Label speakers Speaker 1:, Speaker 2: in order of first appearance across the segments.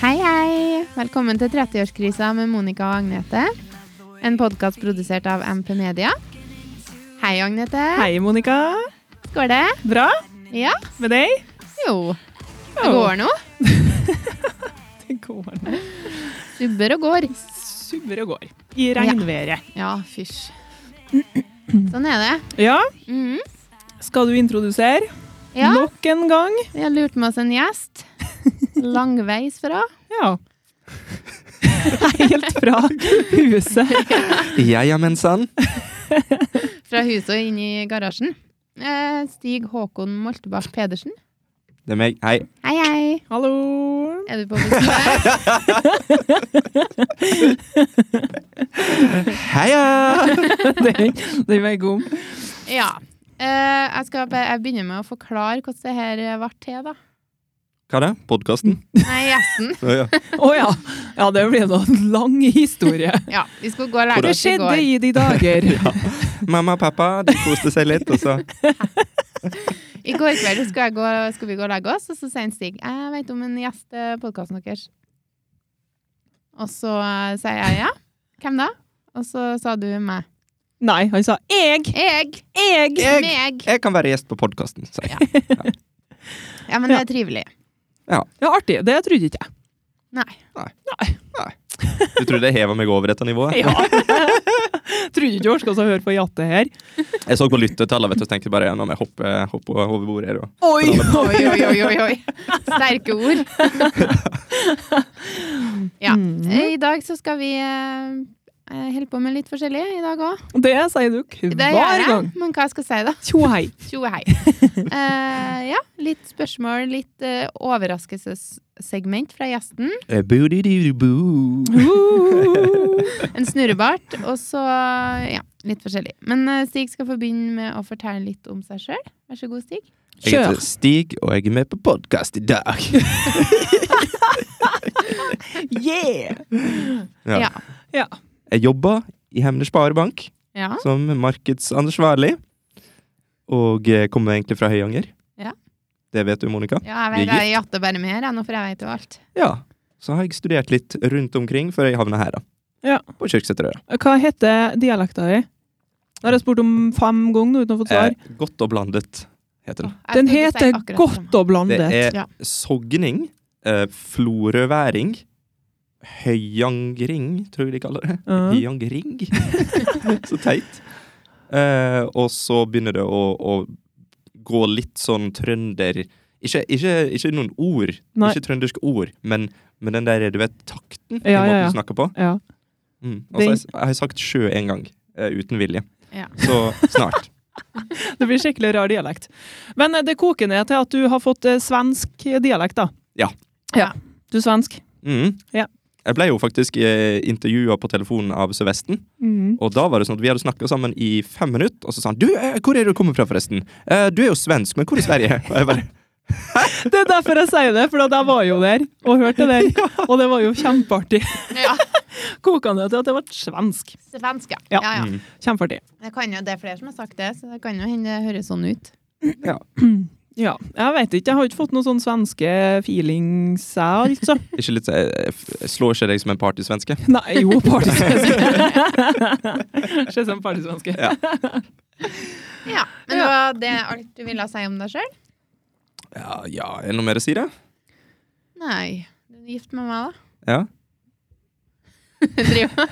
Speaker 1: Hei, hei! Velkommen til 30-årskrisa med Monica og Agnete. En podkast produsert av MP Media. Hei, Agnete.
Speaker 2: Hei, Monica.
Speaker 1: Går det?
Speaker 2: Bra
Speaker 1: Ja?
Speaker 2: med deg?
Speaker 1: Jo. Det går nå.
Speaker 2: Det går nå.
Speaker 1: Subber og går.
Speaker 2: Subber og går. I regnværet.
Speaker 1: Ja, fysj. Sånn er det.
Speaker 2: Ja,
Speaker 1: Mhm.
Speaker 2: skal du introdusere?
Speaker 1: Ja,
Speaker 2: Nok en gang?
Speaker 1: vi har lurt med oss en gjest. Langveis fra.
Speaker 2: Ja. Helt fra huset.
Speaker 3: Jeg er mensan.
Speaker 1: Fra huset og inn i garasjen. Eh, Stig Håkon Moltebakk Pedersen.
Speaker 3: Det er meg. Hei.
Speaker 1: Hei, hei.
Speaker 2: Hallo.
Speaker 1: Er du på besøk?
Speaker 3: Heia!
Speaker 2: Den, den var god.
Speaker 1: Ja. Eh, jeg skal be- jeg begynner med å forklare hvordan det her eh, ble til, da.
Speaker 3: Hva er det? Podkasten?
Speaker 1: Nei, gjesten.
Speaker 3: Ja, ja.
Speaker 2: Å ja. ja. Det ble da en lang historie.
Speaker 1: Ja, vi skulle gå og lære
Speaker 2: Det
Speaker 1: oss i
Speaker 2: skjedde
Speaker 1: går.
Speaker 2: i de dager.
Speaker 3: Mamma og pappa de koste seg litt, og så
Speaker 1: I går kveld skulle, jeg gå, skulle vi gå og legge oss, og så sier en Stig Jeg vet om en gjest til podkasten deres. Og så eh, sier jeg ja. Hvem da? Og så sa du meg.
Speaker 2: Nei, han sa jeg.
Speaker 1: Jeg!
Speaker 2: Jeg.
Speaker 3: Jeg.
Speaker 1: Meg!
Speaker 3: Jeg kan være gjest på podkasten, sa jeg.
Speaker 1: Ja, men det er trivelig.
Speaker 2: Ja, artig. Det trodde ikke jeg.
Speaker 1: Nei.
Speaker 3: Du trodde jeg heva meg over dette nivået?
Speaker 2: Ja. trodde ikke du orka å høre på jatte her.
Speaker 3: Jeg så på lyttetallene vet du, og tenkte bare ja, nå må jeg hoppe, hoppe over bordet. her, og-
Speaker 2: Oi!
Speaker 1: Oi, oi, oi, oi, oi. Sterke ord. Ja. Eh, I dag så skal vi eh, eh, holde på med litt forskjellig i dag òg.
Speaker 2: Det sier du
Speaker 1: Det gjør
Speaker 2: hver
Speaker 1: jeg.
Speaker 2: gang.
Speaker 1: Men hva jeg skal jeg si, da?
Speaker 2: Tjo hei.
Speaker 1: Tjo og hei. Eh, ja, litt spørsmål, litt eh, overraskelsessegment fra gjesten.
Speaker 3: Eh, boo-di-di-di-boo.
Speaker 2: Uh.
Speaker 1: En snurrebart, og så ja, litt forskjellig. Men eh, Stig skal få begynne med å fortelle litt om seg sjøl. Vær så god, Stig.
Speaker 3: Jeg heter
Speaker 2: Kjør.
Speaker 3: Stig, og jeg er med på podkast i dag.
Speaker 2: Yeah!
Speaker 3: Ja.
Speaker 1: Ja.
Speaker 2: Ja.
Speaker 3: Jeg jobber i Hemner Sparebank
Speaker 1: Ja.
Speaker 2: Ah.
Speaker 3: som markedsansvarlig, og eh, kommer egentlig fra Høyanger.
Speaker 1: Ja.
Speaker 3: Det vet du, Monica.
Speaker 1: ja, jeg
Speaker 3: Vi er
Speaker 1: vet jeg jatter bare med her, jeg, nå, for jeg vet jo alt.
Speaker 3: Ja, så har jeg studert litt rundt omkring før jeg havna her, da.
Speaker 2: Ja.
Speaker 3: På Kyrksæterøra.
Speaker 2: Hva heter dialekta di? Det har jeg spurt om fem ganger nå uten å ha fått svar.
Speaker 3: Eh, godt og blandet heter den.
Speaker 1: Jeg
Speaker 2: Den
Speaker 1: skulle ikke si
Speaker 2: heter
Speaker 1: akkurat det samme.
Speaker 2: Godt og
Speaker 3: Det
Speaker 2: blandet.
Speaker 3: er
Speaker 1: Ja.
Speaker 3: sogning, eh, florøværing, høyangring, tror jeg de kaller det.
Speaker 2: Ja.
Speaker 3: Høyangring. så teit. Eh, og så begynner det å, å gå litt sånn trønder ikke, ikke, ikke noen ord,
Speaker 2: Nei.
Speaker 3: ikke trønderske ord, men, men den der, du vet, takten i
Speaker 2: Ja,
Speaker 3: måten
Speaker 2: ja, ja.
Speaker 3: du snakker på.
Speaker 2: Ja.
Speaker 3: Mm. Og så har jeg, jeg har sagt sjø en gang, eh, uten vilje.
Speaker 1: Ja.
Speaker 3: Så snart.
Speaker 2: Det blir skikkelig rar dialekt. Men eh, det koker ned til at du har fått eh, svensk dialekt, da.
Speaker 3: Ja.
Speaker 2: ja. Du er svensk.
Speaker 3: Mm.
Speaker 2: Ja.
Speaker 3: Jeg ble jo faktisk eh, intervjua på telefonen av Sør-Vesten.
Speaker 1: Mm.
Speaker 3: Og da var det sånn at vi hadde snakka sammen i fem minutter, og så sa han 'Du, eh, hvor er du kommer fra, forresten?' Eh, 'Du er jo svensk, men hvor i Sverige?' Og jeg bare
Speaker 2: Det er derfor jeg sier det, for at jeg var jo der og hørte det der. Og det var jo kjempeartig.
Speaker 1: Ja.
Speaker 2: Koker ned til at det ble svensk.
Speaker 1: Svensk, ja.
Speaker 2: Ja.
Speaker 1: ja, ja.
Speaker 3: mm.
Speaker 2: Kjempeartig.
Speaker 1: Det, kan jo, det er flere som har sagt det, så det kan jo hende det høres sånn ut.
Speaker 2: Ja. Jeg vet ikke. Jeg har ikke fått noen sånn svenske feelings, jeg, altså.
Speaker 3: Ikke litt, eh, jeg, f- jeg slår ikke deg som en partysvenske.
Speaker 2: Nei, jo, partysvenske. Skjer som partysvenske.
Speaker 3: Ja.
Speaker 1: Ja, Men
Speaker 2: Ja.
Speaker 1: det var det alt du ville si om deg sjøl?
Speaker 3: Ja, ja, er det noe mer å si, da?
Speaker 1: Nei. Du er gift med meg, da.
Speaker 3: Ja.
Speaker 1: Driver.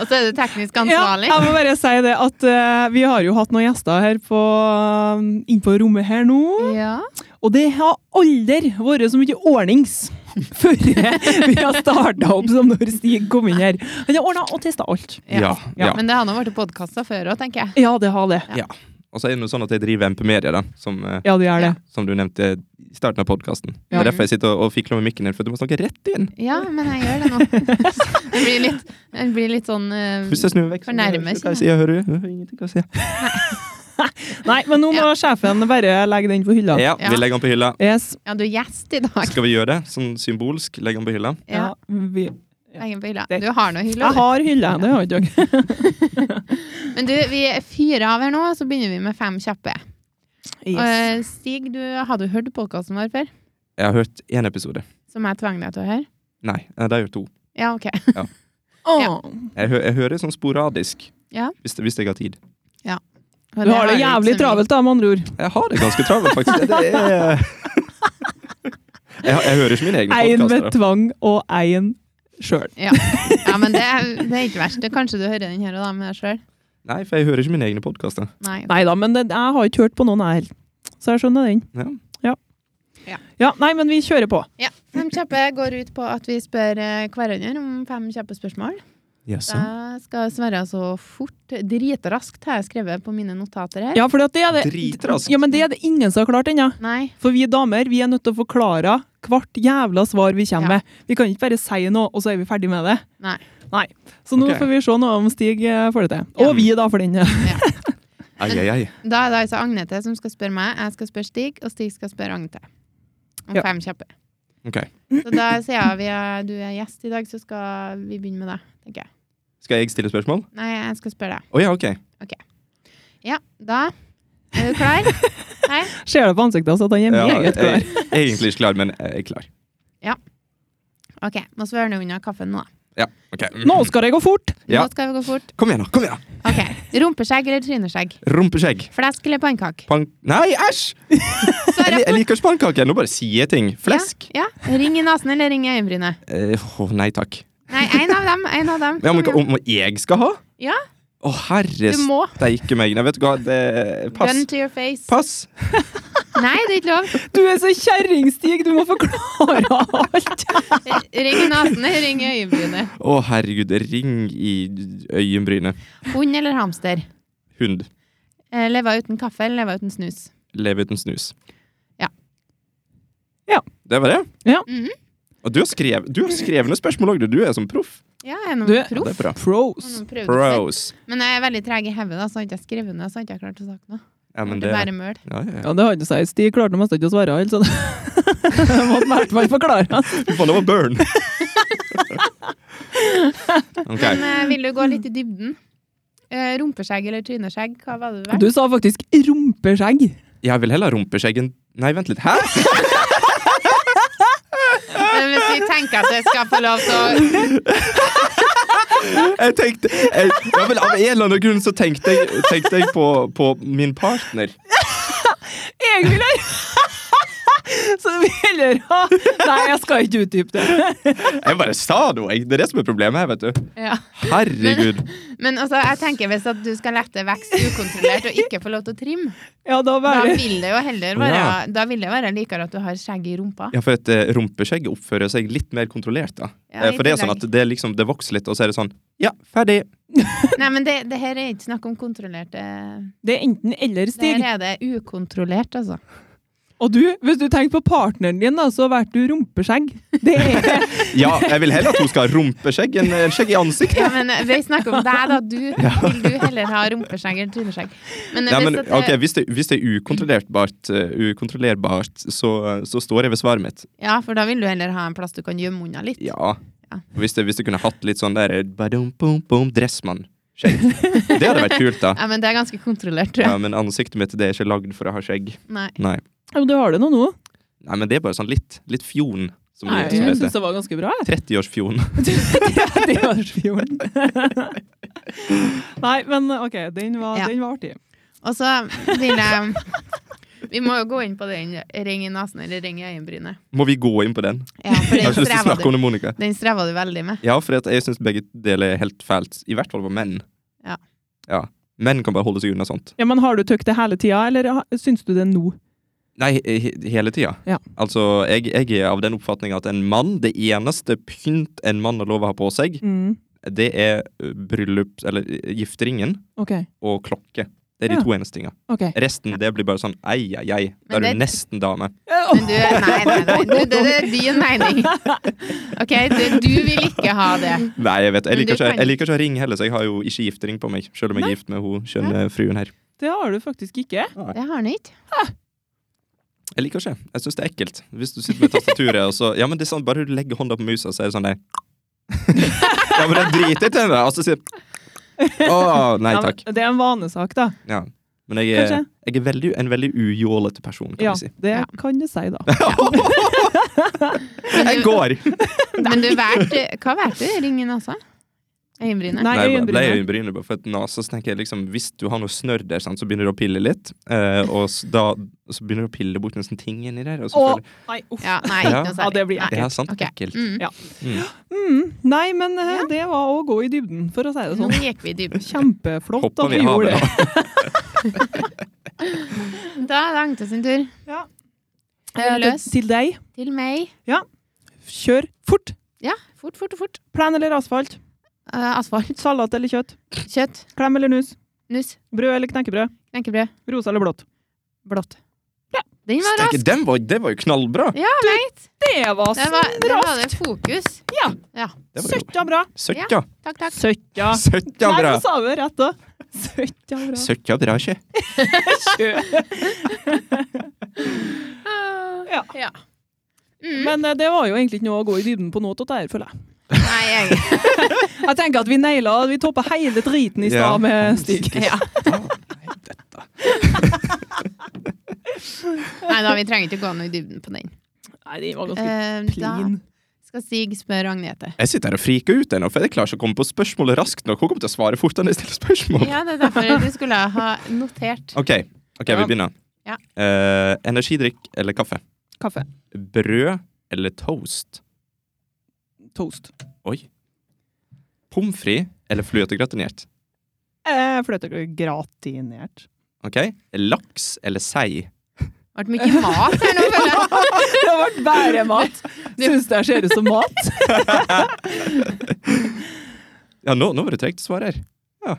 Speaker 1: Og så er du teknisk ansvarlig.
Speaker 2: Ja, jeg må bare si det at eh, vi har jo hatt noen gjester her på, eh, inn på rommet her nå,
Speaker 1: Ja.
Speaker 2: og det har aldri vært så mye ordnings før vi har starta opp som når Stig kom inn her. Han har ordna og testa alt.
Speaker 3: Ja. ja.
Speaker 1: Men det har nå vært podkasta før òg, tenker jeg.
Speaker 2: Ja, det har det.
Speaker 3: Og så er det noe sånn at jeg driver MP Media, da, som, eh,
Speaker 2: Ja, det gjør det.
Speaker 3: som du nevnte i starten av podkasten. Det
Speaker 1: Ja.
Speaker 3: er derfor jeg sitter og, og fikler med mikken din, for du må snakke rett inn.
Speaker 1: Ja, men jeg gjør det nå. Det blir litt, det blir litt sånn eh,
Speaker 3: Hvis jeg snur meg vekk, så
Speaker 1: Fornærmer
Speaker 3: hva jeg sier, hører du? Jeg har Ingenting å si.
Speaker 2: Nei, men nå må sjefen bare legge den på hylla.
Speaker 3: Ja,
Speaker 1: Ja.
Speaker 3: vi legger den på hylla.
Speaker 2: Yes.
Speaker 1: Ja, du er gjest i dag.
Speaker 3: Skal vi gjøre det? Sånn symbolsk, legge den på hylla?
Speaker 1: Ja,
Speaker 2: vi,
Speaker 1: legger den på hylla.
Speaker 2: Det-
Speaker 1: Du har noe hylle.
Speaker 2: jeg har hylle, det har ikke dere.
Speaker 1: Men du, vi fyrer av her nå, så begynner vi med fem kjappe. Og,
Speaker 2: Yes.
Speaker 1: eh, Stig, du hadde jo hørt podkasten vår før,
Speaker 3: Jeg har hørt én episode.
Speaker 1: som jeg tvang deg til å høre.
Speaker 3: Nei, eh, de er jo to.
Speaker 1: Ja, OK.
Speaker 2: Åh.
Speaker 3: Jeg, hø jeg hører sånn sporadisk.
Speaker 1: Ja.
Speaker 3: Hvis, hvis jeg har tid.
Speaker 2: Du har det jævlig travelt, da, med andre ord.
Speaker 3: Jeg har det ganske travelt, faktisk. Det er... jeg, jeg hører ikke mine egne
Speaker 2: Én med
Speaker 3: podkaster.
Speaker 2: tvang og én sjøl.
Speaker 1: Ja. ja, men det, er- det er ikke verst. Det, kanskje du hører den her og da med deg sjøl?
Speaker 3: Nei, for jeg hører ikke mine egne podkaster.
Speaker 1: Nei.
Speaker 2: Nei da, men det, jeg har ikke hørt på noen, jeg heller. Så jeg skjønner den.
Speaker 3: Ja.
Speaker 2: Ja, nei, men vi kjører på.
Speaker 1: Ja. Fem kjappe går ut på at vi spør eh, hverandre om fem kjappe spørsmål.
Speaker 3: Jaså.
Speaker 2: Sånn.
Speaker 1: Da skal Sverre så fort Dritraskt har jeg skrevet på mine notater her.
Speaker 2: Ja, for det er det
Speaker 3: Dritraskt.
Speaker 2: Ja, men det er det ingen som har klart ennå.
Speaker 1: Nei.
Speaker 2: For vi damer vi er nødt til å forklare hvert jævla svar vi
Speaker 1: Ja.
Speaker 2: kommer med. Vi kan ikke bare si noe, og så er vi ferdig med det.
Speaker 1: Nei.
Speaker 2: Så nå
Speaker 3: Ok.
Speaker 2: får vi se noe om Stig eh, får det til.
Speaker 1: Ja.
Speaker 2: Og vi, da, for den.
Speaker 3: Ai, ai, ai.
Speaker 1: Da er det altså Agnete som skal spørre meg, jeg skal spørre Stig, og Stig skal spørre Agnete. Om
Speaker 2: Ja.
Speaker 1: fem kjappe.
Speaker 3: Ok.
Speaker 1: Så da sier jeg vi er, du er gjest i dag, så skal vi begynne med deg. tenker jeg.
Speaker 3: Skal jeg stille spørsmål?
Speaker 1: Nei, jeg skal spørre deg.
Speaker 3: Å ja, ok.
Speaker 1: Ja, da er du klar? Hei.
Speaker 2: Ser det på ansiktet hans at han er
Speaker 3: Ja, jeg
Speaker 2: meget klar.
Speaker 3: er egentlig ikke klar, men jeg er klar.
Speaker 1: OK, må svørne unna kaffen nå. da.
Speaker 3: Ja, ok.
Speaker 2: Nå skal det gå fort!
Speaker 3: Ja.
Speaker 1: Nå skal vi gå fort.
Speaker 3: Kom igjen, da! kom igjen da.
Speaker 1: OK. Rumpeskjegg eller tryneskjegg?
Speaker 3: Rumpeskjegg.
Speaker 1: Flesk eller pannekake?
Speaker 3: Pank... Nei, æsj! Jeg,
Speaker 1: Svar er
Speaker 3: li- jeg
Speaker 1: fort.
Speaker 3: liker ikke pannekaker. Nå bare sier jeg ting. Flesk?
Speaker 1: Ja, ja. Ring i nesen eller ring i øyenbrynet?
Speaker 3: Eh, åh, nei takk.
Speaker 1: Nei, en av dem. En av dem.
Speaker 3: Men om,
Speaker 1: Kom igjen.
Speaker 3: om jeg skal ha?
Speaker 1: Ja.
Speaker 3: Å, herre
Speaker 1: Du må.
Speaker 3: steike meg. Nei, vet du hva, det Pass.
Speaker 1: Gun to your face.
Speaker 3: Pass.
Speaker 1: Nei, det er ikke lov.
Speaker 2: Du er så kjerringstig! Du må forklare alt!
Speaker 1: Ring i nesen eller ring i øyenbrynet?
Speaker 3: Å, herregud. Ring i øyenbrynet.
Speaker 1: Hund eller hamster?
Speaker 3: Hund.
Speaker 1: Eh, Leve uten kaffe eller leve uten snus?
Speaker 3: Leve uten snus.
Speaker 1: Ja.
Speaker 2: Ja.
Speaker 3: Det var det?
Speaker 1: Mhm.
Speaker 3: Og du har skrevet, du har skrevet noen spørsmål òg, du. Du er som proff.
Speaker 1: Ja, jeg er noen
Speaker 2: Du- Ja,
Speaker 3: Ja,
Speaker 1: proff.
Speaker 3: det er bra.
Speaker 2: Pros.
Speaker 1: Noen prøvde seg.
Speaker 3: Pros.
Speaker 1: Men jeg er veldig treg i hodet, da, så har jeg ikke skrevet ned. Så har jeg ikke klart å snakke noe.
Speaker 3: Ja, men
Speaker 1: det
Speaker 3: det
Speaker 1: er bare møl.
Speaker 3: ja, ja, ja.
Speaker 2: Ja, det hadde seg. Stig klarte nesten ikke å svare, altså. Jeg måtte i hvert fall forklare.
Speaker 3: Du får lov å burn. OK.
Speaker 1: Men eh, vil du gå litt i dybden? Eh, rumpeskjegg eller tryneskjegg? Hva var det du var?
Speaker 2: Du sa faktisk rumpeskjegg.
Speaker 3: Jeg vil heller ha rumpeskjegg enn Nei, vent litt. Hæ?
Speaker 1: Men Eh, hvis vi tenker at jeg skal få lov til å
Speaker 3: Jeg tenkte jeg, ja, men Av en eller annen grunn så tenkte jeg, tenkte jeg på, på min partner.
Speaker 2: Jeg vil Så du vil heller ha Nei, jeg skal ikke utdype det.
Speaker 3: Jeg bare sa noe. jeg. Det er det som er problemet her, vet du.
Speaker 1: ja.
Speaker 3: Herregud.
Speaker 1: Men altså, jeg tenker hvis at du skal lette vekst ukontrollert og ikke få lov til å trimme,
Speaker 2: Ja, da
Speaker 1: da
Speaker 2: bare
Speaker 1: vil det jo heller være
Speaker 3: Ja.
Speaker 1: Da vil det være likere at du har skjegg i rumpa.
Speaker 3: Ja, for et eh, rumpeskjegg oppfører seg litt mer kontrollert, da.
Speaker 1: Ja, i
Speaker 3: Eh, for det er sånn
Speaker 1: tillegg.
Speaker 3: at det, er liksom, det vokser litt, og så er det sånn Ja, ferdig!
Speaker 1: Nei, men det, det her er ikke snakk om kontrollerte
Speaker 2: Det er enten eller,
Speaker 1: Det
Speaker 2: Stig.
Speaker 1: her er det ukontrollert, altså.
Speaker 2: Og du, hvis du tenker på partneren din, da, så ble du rumpeskjegg. Det er
Speaker 3: Ja, jeg vil heller at hun skal ha rumpeskjegg enn eh, skjegg i ansiktet.
Speaker 1: Ja, men vi snakker om deg, da. Du, Vil du heller ha rumpeskjegg eller tryneskjegg? Men,
Speaker 3: Ja,
Speaker 1: hvis
Speaker 3: men
Speaker 1: at det-
Speaker 3: ok, Hvis det, hvis det er ukontrollerbart, eh, ukontrollerbart så, så står jeg ved svaret mitt.
Speaker 1: ja, for da vil du heller ha en plass du kan gjemme unna litt.
Speaker 3: Ja.
Speaker 1: Ja.
Speaker 3: Hvis det, hvis det kunne hatt litt sånn der eh, badum, bum, bum, Dressmann. Skjegg. Det hadde vært kult, da.
Speaker 1: Ja, men det er ganske kontrollert, tror jeg.
Speaker 3: Ja, men ansiktet mitt det er ikke lagd for å ha skjegg.
Speaker 1: Nei.
Speaker 3: Nei,
Speaker 2: Jo, du har det nå nå.
Speaker 3: Nei men det er bare sånn litt, litt fjon. Som
Speaker 2: Nei,
Speaker 3: det, som
Speaker 2: jeg
Speaker 3: det
Speaker 2: syns
Speaker 3: heter.
Speaker 2: det var ganske bra. jeg.
Speaker 3: 30-årsfjon.
Speaker 2: Det var fjorden. Nei, men OK, den var,
Speaker 1: Ja.
Speaker 2: den var artig.
Speaker 1: Og så vil jeg Vi må jo gå inn på den ring i nesen eller ring i øyenbrynet.
Speaker 3: Må vi gå inn på den?
Speaker 1: Ja, for den
Speaker 3: Jeg har ikke lyst til å
Speaker 1: streva
Speaker 3: snakke
Speaker 1: du,
Speaker 3: om det, Monica.
Speaker 1: den streva du veldig med.
Speaker 3: Ja, for at jeg syns begge deler er helt fælt. I hvert fall på menn.
Speaker 1: Ja.
Speaker 3: ja. Menn kan bare holde seg unna sånt.
Speaker 2: Ja, men Har du tøkt det hele tida, eller ha- syns du det nå?
Speaker 3: Nei, he- he- hele tida.
Speaker 2: Ja.
Speaker 3: Altså, jeg, jeg er av den oppfatning at en mann, det eneste pynt en mann har lov å ha på seg,
Speaker 2: Mm,
Speaker 3: det er ø, bryllup, eller ø, gifteringen
Speaker 2: OK.
Speaker 3: og klokke. Det er de
Speaker 2: Ja.
Speaker 3: to eneste tinga.
Speaker 2: ok.
Speaker 3: Resten det blir bare sånn ei, ei, ei.
Speaker 1: Men
Speaker 3: Da er
Speaker 1: det-
Speaker 3: du nesten dame.
Speaker 1: Men du, nei, nei, nei. Du, det, det er din mening. OK, du, du vil ikke ha det.
Speaker 3: Nei, jeg vet Jeg
Speaker 1: Men
Speaker 3: liker
Speaker 1: du
Speaker 3: ikke,
Speaker 1: kan-
Speaker 3: jeg liker ikke å ha ring heller, så jeg har jo ikke giftering på meg. Selv om jeg er gift med hun skjønne fruen her.
Speaker 2: Det har du faktisk ikke.
Speaker 1: Det har han ikke.
Speaker 3: Jeg liker ikke. Jeg syns det er ekkelt. Hvis du sitter med tastaturet og så Ja, men det er sånn, bare du legger hånda på musa, så er det sånn nei. ja, men den driter til meg, og så sier Å, nei
Speaker 2: Ja, men
Speaker 3: takk.
Speaker 2: det er en vanesak, da.
Speaker 3: Ja. Men jeg er,
Speaker 2: Kanskje?
Speaker 3: jeg er veldig, en veldig ujålete person, kan
Speaker 2: Ja,
Speaker 3: vi si.
Speaker 2: det
Speaker 1: Ja.
Speaker 2: kan du si, da.
Speaker 3: Jeg går!
Speaker 1: Men du valgte Hva valgte du? Ringen altså? også? Øyenbrynet?
Speaker 2: Nei,
Speaker 3: Nei, jeg ble
Speaker 2: øyenbrynet.
Speaker 3: øyenbrynet bare for at nasa, så tenker jeg liksom, Hvis du har noe snørr der, sant, så begynner du å pille litt. Eh, og s- da, så begynner du å pille bort en sånn ting inni der. Og så
Speaker 2: Å,
Speaker 3: føler,
Speaker 2: nei, uff.
Speaker 1: Ja, nei, ikke noe
Speaker 2: Ja, det
Speaker 1: særlig.
Speaker 2: blir
Speaker 1: Nei.
Speaker 3: det er sant
Speaker 1: Ok.
Speaker 3: ekkelt.
Speaker 1: Mm.
Speaker 2: Mm, nei, men eh, det var å gå i dybden, for å si det
Speaker 1: Nå
Speaker 2: sånn.
Speaker 1: gikk vi i dybden.
Speaker 2: Kjempeflott
Speaker 3: Hoppa
Speaker 2: at vi
Speaker 3: vi i
Speaker 2: gjorde
Speaker 3: havet
Speaker 2: det.
Speaker 3: da.
Speaker 1: Da er det Agnes sin tur.
Speaker 2: Ja.
Speaker 1: Er du
Speaker 2: Eh,
Speaker 1: løs?
Speaker 2: til- Til deg.
Speaker 1: Til meg.
Speaker 2: Kjør fort.
Speaker 1: Ja, fort, fort, fort.
Speaker 2: Plen eller asfalt.
Speaker 1: Eh, asfalt.
Speaker 2: Salat eller kjøtt.
Speaker 1: Kjøtt.
Speaker 2: Klem eller nus.
Speaker 1: Nuss.
Speaker 2: Brød eller knekkebrød.
Speaker 1: Knekkebrød.
Speaker 2: Rosa eller blått.
Speaker 1: Blått. Den var
Speaker 3: Steike,
Speaker 1: rask.
Speaker 3: den var, det var jo knallbra!
Speaker 1: Ja, jeg vet.
Speaker 2: Det var
Speaker 1: Det var,
Speaker 2: sånn
Speaker 1: det var det
Speaker 2: raskt!
Speaker 1: fokus.
Speaker 2: Ja.
Speaker 3: Det var jo-
Speaker 2: Søkka bra.
Speaker 3: Søkka!
Speaker 1: Takk, takk.
Speaker 2: Søkka.
Speaker 3: Søkka
Speaker 2: Nei,
Speaker 3: bra!
Speaker 2: nå sa vi det rett da. Søkka bra.
Speaker 3: Søkka bra, ikke?
Speaker 2: Søkka. Ja.
Speaker 1: Mm.
Speaker 2: Men eh, det var jo egentlig ikke noe å gå i dybden på noe av det her, føler jeg.
Speaker 1: Nei, jeg
Speaker 2: Jeg tenker at vi naila Vi toppa hele driten i stad
Speaker 3: Ja.
Speaker 2: med Stig.
Speaker 1: ja. Nei da, vi trenger ikke gå noe i dybden på den.
Speaker 2: Nei, det var ganske
Speaker 1: Eh, da
Speaker 2: clean.
Speaker 1: skal Stig spørre Agnete.
Speaker 3: Jeg sitter her og friker ut ennå, for jeg klarer ikke å komme på spørsmålet raskt nok. Hun kommer til å svare fortere enn jeg stiller spørsmål.
Speaker 1: Ja, det er derfor du skulle ha notert.
Speaker 3: Ok, ok,
Speaker 2: Ja.
Speaker 3: vi begynner.
Speaker 1: Ja.
Speaker 3: Eh, energidrikk eller kaffe?
Speaker 2: Kaffe.
Speaker 3: Brød eller toast?
Speaker 2: Toast.
Speaker 3: Oi. Pommes frites eller fløtegratinert?
Speaker 2: Eh, Fløtegratinert.
Speaker 3: Ok. Laks eller sei?
Speaker 1: Det ble mye mat her nå, føler jeg.
Speaker 2: Det ble bare mat. Syns det her ser ut som mat.
Speaker 3: Ja, nå, nå var det tregt å svare her.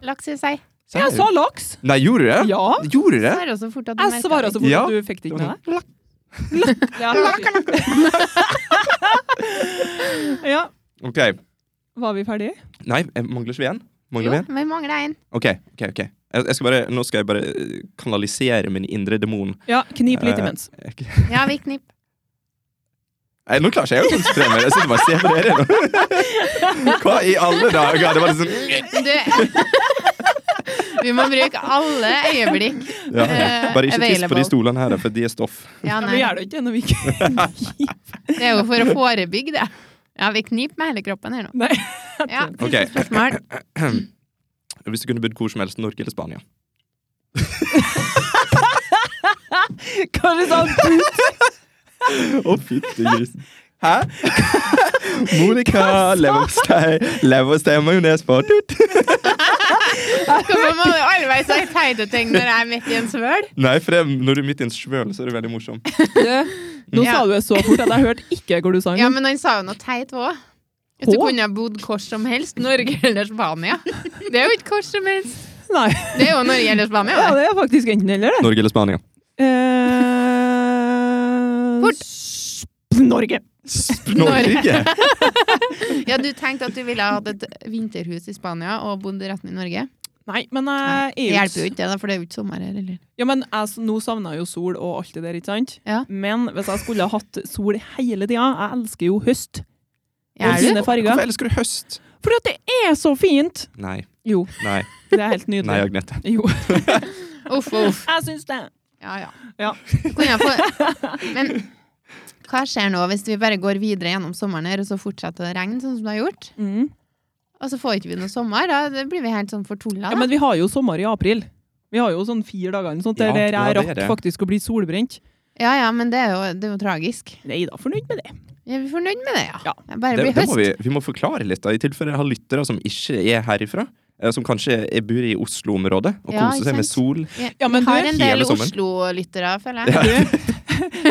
Speaker 1: Laks i seg.
Speaker 3: Sei.
Speaker 2: Jeg sa laks.
Speaker 3: Nei, gjorde du det?
Speaker 2: Ja.
Speaker 3: Gjorde du det?
Speaker 1: Svarer så fort at du
Speaker 2: Jeg svarer
Speaker 1: merker
Speaker 2: så
Speaker 1: det.
Speaker 2: fort
Speaker 3: Ja.
Speaker 2: at du fikk det ikke med deg.
Speaker 3: Lakk.
Speaker 2: Ja, ja.
Speaker 3: Ok.
Speaker 2: Var vi ferdige?
Speaker 3: Nei, eh, mangler ikke vi en?
Speaker 1: Jo,
Speaker 3: Mangler vi en?
Speaker 1: men vi mangler en.
Speaker 3: Ok, ok, ok. Jeg, jeg skal bare, nå skal jeg bare eh, kanalisere min indre demon.
Speaker 2: Ja, knip litt
Speaker 3: Eh,
Speaker 2: imens.
Speaker 3: jeg-
Speaker 1: Ja, vi knipp.
Speaker 3: Nei, nå klarer ikke jeg å konsentrere meg. Jeg sitter bare og ser på dere nå. Hva i alle dager? Det var liksom
Speaker 1: Du Vi må bruke alle øyeblikk.
Speaker 3: ja. Bare ikke tiss på de
Speaker 1: Available.
Speaker 3: stolene her, for de er stoff.
Speaker 1: Ja,
Speaker 2: Men Vi
Speaker 1: nei.
Speaker 2: gjør det ikke når vi ikke
Speaker 1: Det er jo for å forebygge det. Ja, vi kniper med hele kroppen her nå.
Speaker 2: Nei.
Speaker 1: Ja,
Speaker 3: Ok.
Speaker 1: siste spørsmål.
Speaker 3: Hvis du kunne bodd hvor som helst, Norge eller Spania?
Speaker 2: Hva er det sånn?
Speaker 3: Å, fytti grisen. Hæ? Monica, leverpostei, leverpostei og majones på tut.
Speaker 1: Hvorfor må du alltid si teite ting når jeg er midt i en svøl?
Speaker 3: Nei, for det, når du er midt i en svøl, så er det veldig morsom.
Speaker 2: Nå
Speaker 1: Ja.
Speaker 2: sa du det så fort at jeg hørte ikke hvor du sang.
Speaker 1: Ja, men han sa jo noe teit òg. Hvis du
Speaker 2: Hå?
Speaker 1: kunne ha bodd hvor som helst, Norge eller Spania. Det er jo ikke hvor som helst.
Speaker 2: Nei.
Speaker 1: Det er jo Norge eller Spania.
Speaker 2: Ja,
Speaker 1: det.
Speaker 2: det er faktisk enten eller, det.
Speaker 3: Norge eller Spania?
Speaker 2: Eh,
Speaker 1: Fort.
Speaker 2: s- Norge.
Speaker 3: Norge?
Speaker 1: Ja, du tenkte at du ville ha hatt et vinterhus i Spania og bodd resten i Norge?
Speaker 2: Nei, men eh, jeg
Speaker 1: Det
Speaker 2: er
Speaker 1: hjelper jo ikke, det, da, for det er jo ikke sommer her heller.
Speaker 2: Ja, men jeg, s- nå savner jeg jo sol og alt det der, ikke sant?
Speaker 1: Ja.
Speaker 2: Men hvis jeg skulle ha hatt sol hele tida Jeg elsker jo høst.
Speaker 1: Ja,
Speaker 2: Og
Speaker 1: er du?
Speaker 2: sine farger.
Speaker 3: Hvorfor elsker du høst?
Speaker 2: For at det er så fint!
Speaker 3: Nei.
Speaker 2: Jo,
Speaker 3: Nei,
Speaker 2: det er helt
Speaker 3: nei,
Speaker 2: nydelig.
Speaker 3: Agnete.
Speaker 2: Jo.
Speaker 1: Uff, uff.
Speaker 2: Jeg syns det.
Speaker 1: Ja, ja.
Speaker 2: Ja.
Speaker 1: Du kunne ha fått- Men hva skjer nå hvis vi bare går videre gjennom sommeren her, og så fortsetter det å regne sånn som det har gjort?
Speaker 2: Mm.
Speaker 1: Og så får ikke vi noe sommer, da det blir vi helt sånn fortulla.
Speaker 2: Ja, men vi har jo sommer i april. Vi har jo sånn fire dager eller noe sånt,
Speaker 3: Ja,
Speaker 2: der jeg
Speaker 3: ja, det er
Speaker 2: rakk
Speaker 3: det.
Speaker 2: faktisk å bli solbrent.
Speaker 1: ja, ja, men det er jo, det er jo tragisk.
Speaker 2: Nei da, fornøyd med det.
Speaker 1: Ja, vi er fornøyd med det, ja.
Speaker 2: Ja.
Speaker 1: Det Bare
Speaker 3: Det,
Speaker 1: blir
Speaker 3: det
Speaker 1: høst.
Speaker 3: må vi, vi må forklare litt, da, i tilfelle jeg har lyttere som ikke er herifra. eh, Som kanskje er- bor i Oslo-området og
Speaker 1: Ja,
Speaker 3: koser
Speaker 1: ikke
Speaker 3: seg
Speaker 1: sant?
Speaker 3: med sol.
Speaker 1: Vi,
Speaker 2: Ja, men
Speaker 1: vi har
Speaker 2: du-
Speaker 1: en del
Speaker 3: hele sommeren.
Speaker 1: Oslo-lyttere, føler jeg.
Speaker 3: Ja.
Speaker 2: Du,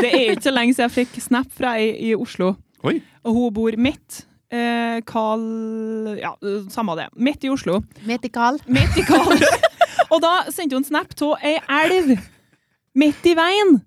Speaker 2: det er ikke så lenge siden jeg fikk snap fra ei i Oslo,
Speaker 3: Oi.
Speaker 2: og hun bor midt. Eh, Carl Ja, samme det. Midt i Oslo.
Speaker 1: Metikal.
Speaker 2: Midt i Carl. og da sendte hun snap av ei elv midt i veien.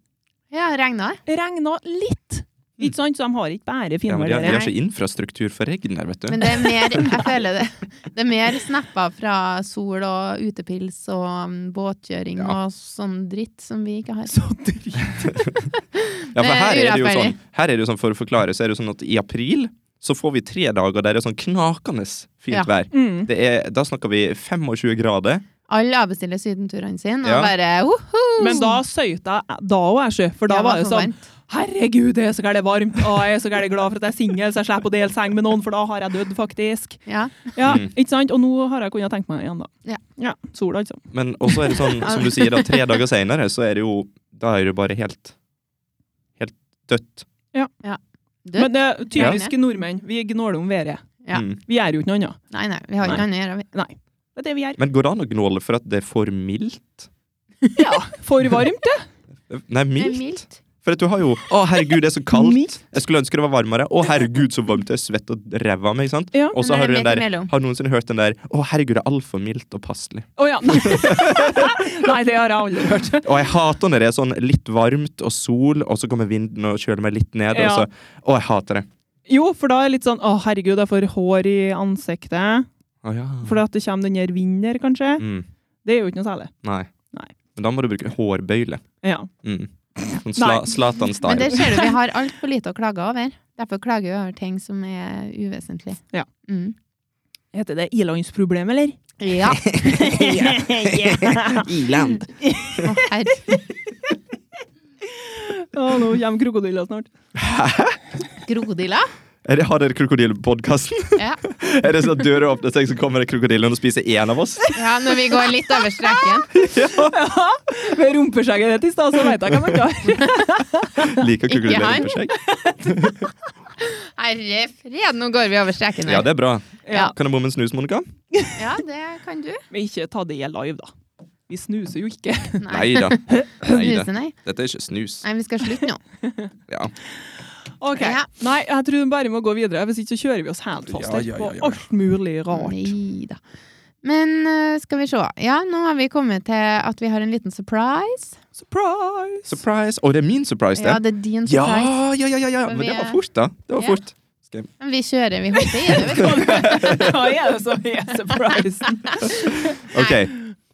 Speaker 1: Ja, regna.
Speaker 2: Regna litt. Ikke sant? Så de har ikke bare
Speaker 3: Mm. Ja, men de, har, de
Speaker 2: finvær.
Speaker 3: har ikke infrastruktur for regn der, vet du.
Speaker 1: Men det er mer, jeg føler det, det er mer snapper fra sol og utepils og mm, båtkjøring
Speaker 3: Ja.
Speaker 1: og sånn dritt som vi ikke har.
Speaker 2: Så dritt.
Speaker 3: Ja, for
Speaker 1: Det er
Speaker 3: her er det jo
Speaker 1: urettferdig.
Speaker 3: sånn, her er det jo sånn for å forklare, så er det jo sånn at i april så får vi tre dager der det er sånn knakende fint
Speaker 1: Ja.
Speaker 3: vær.
Speaker 2: Mm.
Speaker 3: Det er, da snakker vi 25 grader.
Speaker 1: Alle avbestiller sydenturene sine og
Speaker 3: Ja.
Speaker 1: bare woho!
Speaker 2: Men da søyta jeg da òg, jeg, sjø. For da
Speaker 1: Ja,
Speaker 2: var
Speaker 1: hva
Speaker 2: jeg
Speaker 1: for
Speaker 2: sånn
Speaker 1: varmt.
Speaker 2: 'Herregud, jeg er så gæren varmt, og jeg er så gæren glad for at jeg er singel, så jeg slipper å dele seng med noen, for da har jeg dødd, faktisk'.
Speaker 1: Ja.
Speaker 2: Ja,
Speaker 3: Mm.
Speaker 2: ikke sant? Og nå har jeg kunnet tenke meg igjen, da.
Speaker 1: Ja.
Speaker 2: ja Sola, altså.
Speaker 3: Men også er det sånn, som du sier, da, tre dager senere, så er det jo Da er det jo bare helt Helt dødt.
Speaker 1: Død.
Speaker 2: Men det er typiske nordmenn, vi gnåler om været.
Speaker 1: Ja.
Speaker 3: Mm.
Speaker 2: Vi gjør jo ikke noe annet.
Speaker 1: Nei, nei, vi har ikke
Speaker 3: Nei.
Speaker 1: annet å gjøre. vi.
Speaker 2: Nei. Det er det vi gjør.
Speaker 3: Men går det an å gnåle for at det er for mildt?
Speaker 2: For varmt, det.
Speaker 3: Nei,
Speaker 1: Det
Speaker 3: mildt?
Speaker 1: er mildt.
Speaker 3: For at du har jo Å, herregud, det er så kaldt.
Speaker 2: Mildt.
Speaker 3: Jeg skulle ønske det var varmere. Å, herregud, så varmt. Jeg er svett og ræva av meg, ikke sant?
Speaker 2: Ja.
Speaker 3: Og så har du den
Speaker 1: midt
Speaker 3: der
Speaker 1: imellom.
Speaker 3: Har du noensinne hørt den der Å, herregud, det er altfor mildt og passelig.
Speaker 2: Å ja. Nei, det har jeg aldri hørt.
Speaker 3: Og jeg hater når det er sånn litt varmt og sol, og så kommer vinden og kjøler meg litt ned,
Speaker 2: Ja.
Speaker 3: og så Å, jeg hater det.
Speaker 2: Jo, for da er det litt sånn 'Å, herregud, jeg får hår i ansiktet'.
Speaker 3: Å ja.
Speaker 2: Fordi at det kommer den der vinden der, kanskje.
Speaker 3: Mm,
Speaker 2: Det er jo ikke noe særlig.
Speaker 3: nei.
Speaker 2: Nei.
Speaker 3: Men da må du bruke hårbøyle.
Speaker 2: Ja.
Speaker 3: Mm. Sånn sla,
Speaker 2: Nei.
Speaker 1: Men der
Speaker 3: Zlatan-style.
Speaker 1: ser du vi har altfor lite å klage over. Derfor klager vi over ting som er uvesentlig.
Speaker 2: Ja.
Speaker 1: Mm.
Speaker 2: Heter det ilandsproblem, eller?
Speaker 1: Ja.
Speaker 2: Ja.
Speaker 3: Iland.
Speaker 1: Å, herre.
Speaker 2: Å, nå kommer krokodilla snart.
Speaker 1: Krokodilla?
Speaker 3: Er det, har dere krokodillepodkasten?
Speaker 1: Ja.
Speaker 3: Er det sånn at døra åpner seg, så kommer det krokodillen og spiser én av oss?
Speaker 1: ja, når vi går litt over streken.
Speaker 2: Ved rumpeskjegget ditt i stad, så veit jeg hva man tar.
Speaker 3: Liker
Speaker 1: Ikke han.
Speaker 3: krokodillen på skjegg?
Speaker 1: Herre fred, nå går vi over streken her.
Speaker 3: Ja, det er bra.
Speaker 1: Ja.
Speaker 3: Kan jeg bomme en snus, Monica?
Speaker 1: Ja, det kan du.
Speaker 2: Men ikke ta det live, da. Vi snuser jo ikke.
Speaker 3: Nei da.
Speaker 1: Snuse, nei.
Speaker 3: Dette er ikke snus.
Speaker 1: Nei, vi skal slutte nå.
Speaker 3: Ja.
Speaker 2: Ok.
Speaker 1: Ja.
Speaker 2: Nei, jeg tror vi bare må gå videre. Hvis ikke så kjører vi oss helt fast
Speaker 3: Ja, ja, ja,
Speaker 2: på
Speaker 3: ja.
Speaker 2: alt mulig rart.
Speaker 1: Nei da. Men eh, skal vi se. Ja, nå har vi kommet til at vi har en liten surprise.
Speaker 2: Surprise!
Speaker 3: Surprise! Å, det er min surprise,
Speaker 1: Ja, det
Speaker 3: det.
Speaker 1: er din
Speaker 3: Ja,
Speaker 1: surprise.
Speaker 3: ja, ja, ja, ja.
Speaker 1: For
Speaker 3: Men
Speaker 1: vi
Speaker 3: det var
Speaker 1: er-
Speaker 3: fort, da. Det var
Speaker 1: Ja.
Speaker 3: fort.
Speaker 1: Men Vi kjører, vi hopper i det. vet du.
Speaker 2: Hva er det som er surprisen?
Speaker 3: Ok,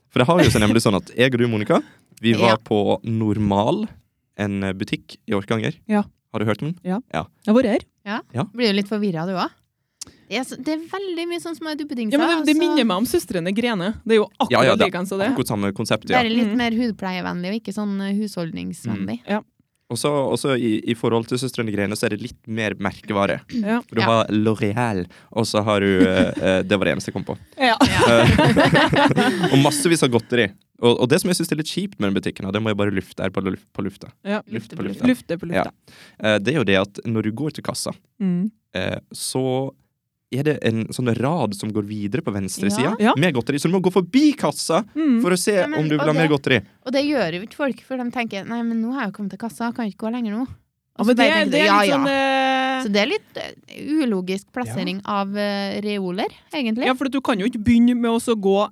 Speaker 3: for det har jo seg nemlig sånn at jeg og du, Monica, vi
Speaker 1: Ja.
Speaker 3: var på Normal, en eh, butikk i Orkanger.
Speaker 2: Ja.
Speaker 3: Har du hørt om den?
Speaker 2: Jeg har vært her.
Speaker 1: Blir jo litt forvirra, du òg. Det, er så- det er veldig mye sånn små duppedingser.
Speaker 2: Ja, men det, det
Speaker 1: og så
Speaker 2: minner meg om søstrene Grene. Det er jo akkurat
Speaker 3: Ja, ja, det er
Speaker 2: likens som det.
Speaker 3: akkurat samme konseptet, ja.
Speaker 1: altså. Bare
Speaker 3: Mm.
Speaker 1: litt
Speaker 2: Mm.
Speaker 1: mer hudpleievennlig, og ikke sånn eh, husholdningsvennlig.
Speaker 3: Og så også i, i forhold til Søstrene Grene så er det litt mer merkevare.
Speaker 2: Ja.
Speaker 3: For du
Speaker 1: Ja.
Speaker 3: har L'Oreal, og så har du eh, eh, Det var det eneste jeg kom på.
Speaker 2: Ja.
Speaker 3: Eh, og massevis av godteri. Og, og det som jeg syns er litt kjipt med den butikken, og det må jeg bare lufte her på, luf, på lufta,
Speaker 2: Ja.
Speaker 3: Luft på lufta.
Speaker 2: Lufte på lufta.
Speaker 3: eh, det er jo det at når du går til kassa,
Speaker 2: Mm.
Speaker 3: eh, så er det en sånn rad som går videre på venstre
Speaker 1: Ja.
Speaker 3: sida
Speaker 2: Ja.
Speaker 3: med godteri. Så du må gå forbi kassa
Speaker 2: Mm.
Speaker 3: for å se
Speaker 1: Ja, men-
Speaker 3: om du vil
Speaker 1: og
Speaker 3: ha mer
Speaker 1: det-
Speaker 3: godteri.
Speaker 1: Og det gjør jo ikke folk, for de tenker nei, men nå har jeg jo kommet til kassa, kan jeg ikke gå lenger nå.
Speaker 2: Ja,
Speaker 1: Og så
Speaker 2: men Altså, det,
Speaker 1: bare tenker
Speaker 2: det
Speaker 1: du,
Speaker 2: er
Speaker 1: ja,
Speaker 2: litt
Speaker 1: ja.
Speaker 2: sånn eh,
Speaker 1: Så det er litt eh, ulogisk plassering av eh, reoler, egentlig.
Speaker 2: Ja, for du kan jo ikke begynne med å så gå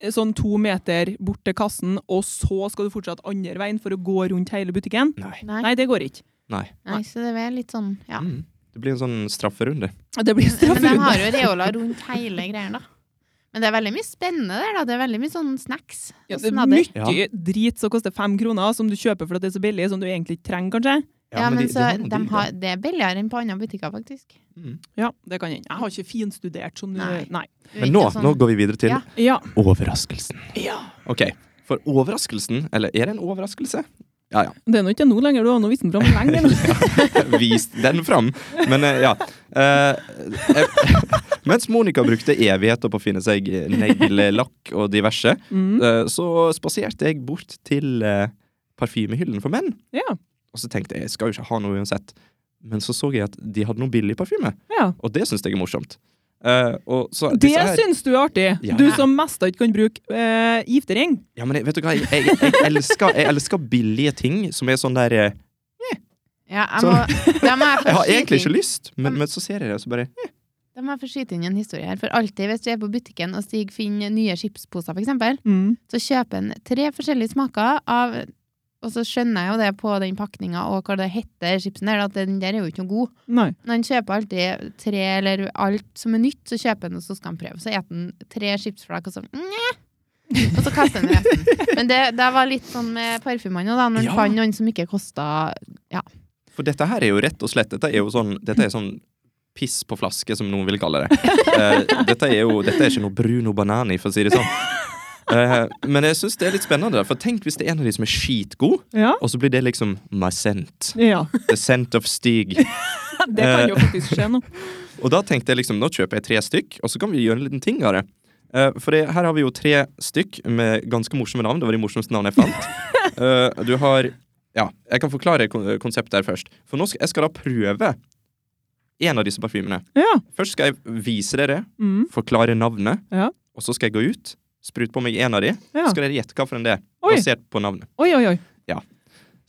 Speaker 2: eh, sånn to meter bort til kassen, og så skal du fortsatt andre veien for å gå rundt hele butikken.
Speaker 3: Nei.
Speaker 1: Nei,
Speaker 2: Nei, det går ikke.
Speaker 3: Nei.
Speaker 1: nei, så det er litt sånn, ja.
Speaker 3: Mm. Det blir en sånn strafferunde.
Speaker 2: Det blir
Speaker 1: Men de har
Speaker 2: strafferunde.
Speaker 1: jo reoler rundt hele greia, da. Men det er veldig mye spennende der, da. Det er veldig mye sånn snacks.
Speaker 2: Ja,
Speaker 1: og
Speaker 2: det er
Speaker 1: snadder.
Speaker 2: mye drit som koster fem kroner, som du kjøper fordi det er så billig, som du egentlig ikke trenger, kanskje.
Speaker 1: Ja, men, så
Speaker 3: noen
Speaker 1: de
Speaker 3: deal, da.
Speaker 1: har, det er billigere enn på andre butikker, faktisk.
Speaker 3: Mm.
Speaker 2: Ja, det kan hende. Jeg har ikke finstudert sånn
Speaker 1: Nei.
Speaker 2: eh, Nei.
Speaker 1: Det er
Speaker 3: Men
Speaker 1: ikke
Speaker 3: nå,
Speaker 1: sånn-
Speaker 3: nå går vi videre til
Speaker 1: Ja.
Speaker 2: Ja.
Speaker 3: overraskelsen.
Speaker 2: ja.
Speaker 3: Ok, For overraskelsen Eller er det en overraskelse? Ja, ja.
Speaker 2: Det er nå ikke nå lenger, du har nå vist den fram lenge. men-
Speaker 3: Vis den fram. Men eh, ja. Eh, eh, mens Monica brukte evigheter på å finne seg neglelakk og diverse,
Speaker 2: Mm.
Speaker 3: eh, så spaserte jeg bort til eh, parfymehyllen for menn.
Speaker 2: Ja.
Speaker 3: Og så tenkte jeg jeg skal jo ikke ha noe uansett. Men så så jeg at de hadde noe billig parfyme,
Speaker 2: ja.
Speaker 3: og det syns jeg er morsomt. Eh, og så,
Speaker 2: Det
Speaker 3: disse her-
Speaker 2: syns du er artig!
Speaker 3: Ja.
Speaker 2: Du som mest ikke kan bruke eh, giftering.
Speaker 3: Ja, men jeg, vet du hva, jeg, jeg, jeg, elsker, jeg elsker billige ting som er sånn der eh,
Speaker 1: Ja, jeg
Speaker 3: Så-
Speaker 1: må, da må jeg
Speaker 3: Jeg
Speaker 1: få
Speaker 3: har
Speaker 1: skyte
Speaker 3: egentlig
Speaker 1: inn-
Speaker 3: ikke lyst,
Speaker 2: Mm.
Speaker 3: men, men så ser jeg det, og så bare
Speaker 1: da må jeg få skyte inn en historie her. For alltid hvis du er på butikken og Stig finner nye chipsposer, for eksempel,
Speaker 2: Mm.
Speaker 1: så kjøper han tre forskjellige smaker av Og så skjønner jeg jo det på den pakninga og hva det heter, chipsen der, at den der er jo ikke noe god.
Speaker 2: Nei.
Speaker 1: Men han kjøper alltid tre eller alt som er nytt, så kjøper han og så skal han prøve. Så eter han tre chipsflak og så Njæ! Og så kaster han resten. Men det, det var litt sånn med parfymene òg, da, når han
Speaker 3: Ja.
Speaker 1: fant noen som ikke kosta
Speaker 3: For dette her er jo rett og slett Dette er jo sånn, dette er sånn piss på flaske, som noen vil kalle det. Eh, dette, er jo, dette er ikke noe Bruno Banani, for å si det sånn. Eh, men jeg syns det er litt spennende. For tenk hvis det er en av de som er skitgod,
Speaker 2: Ja.
Speaker 3: og så blir det liksom my scent.
Speaker 2: ja.
Speaker 3: The scent of Stig.
Speaker 2: Det kan
Speaker 3: Eh.
Speaker 2: jo faktisk skje nå.
Speaker 3: Og da tenkte jeg liksom, nå kjøper jeg tre stykk, og så kan vi gjøre en liten ting av det. Eh, for det, her har vi jo tre stykk med ganske morsomme navn. Det var de morsomste navnene jeg fant. Eh, du har Ja, jeg kan forklare kon- konseptet her først. For nå skal jeg skal da prøve en av disse parfymene.
Speaker 2: Ja.
Speaker 3: Først skal jeg vise dere,
Speaker 2: Mm.
Speaker 3: forklare navnet,
Speaker 2: Ja.
Speaker 3: og så skal jeg gå ut, sprute på meg en av de,
Speaker 2: Ja.
Speaker 3: så skal dere gjette hva for en det er,
Speaker 2: Oi.
Speaker 3: basert på navnet.
Speaker 2: Oi, oi, oi.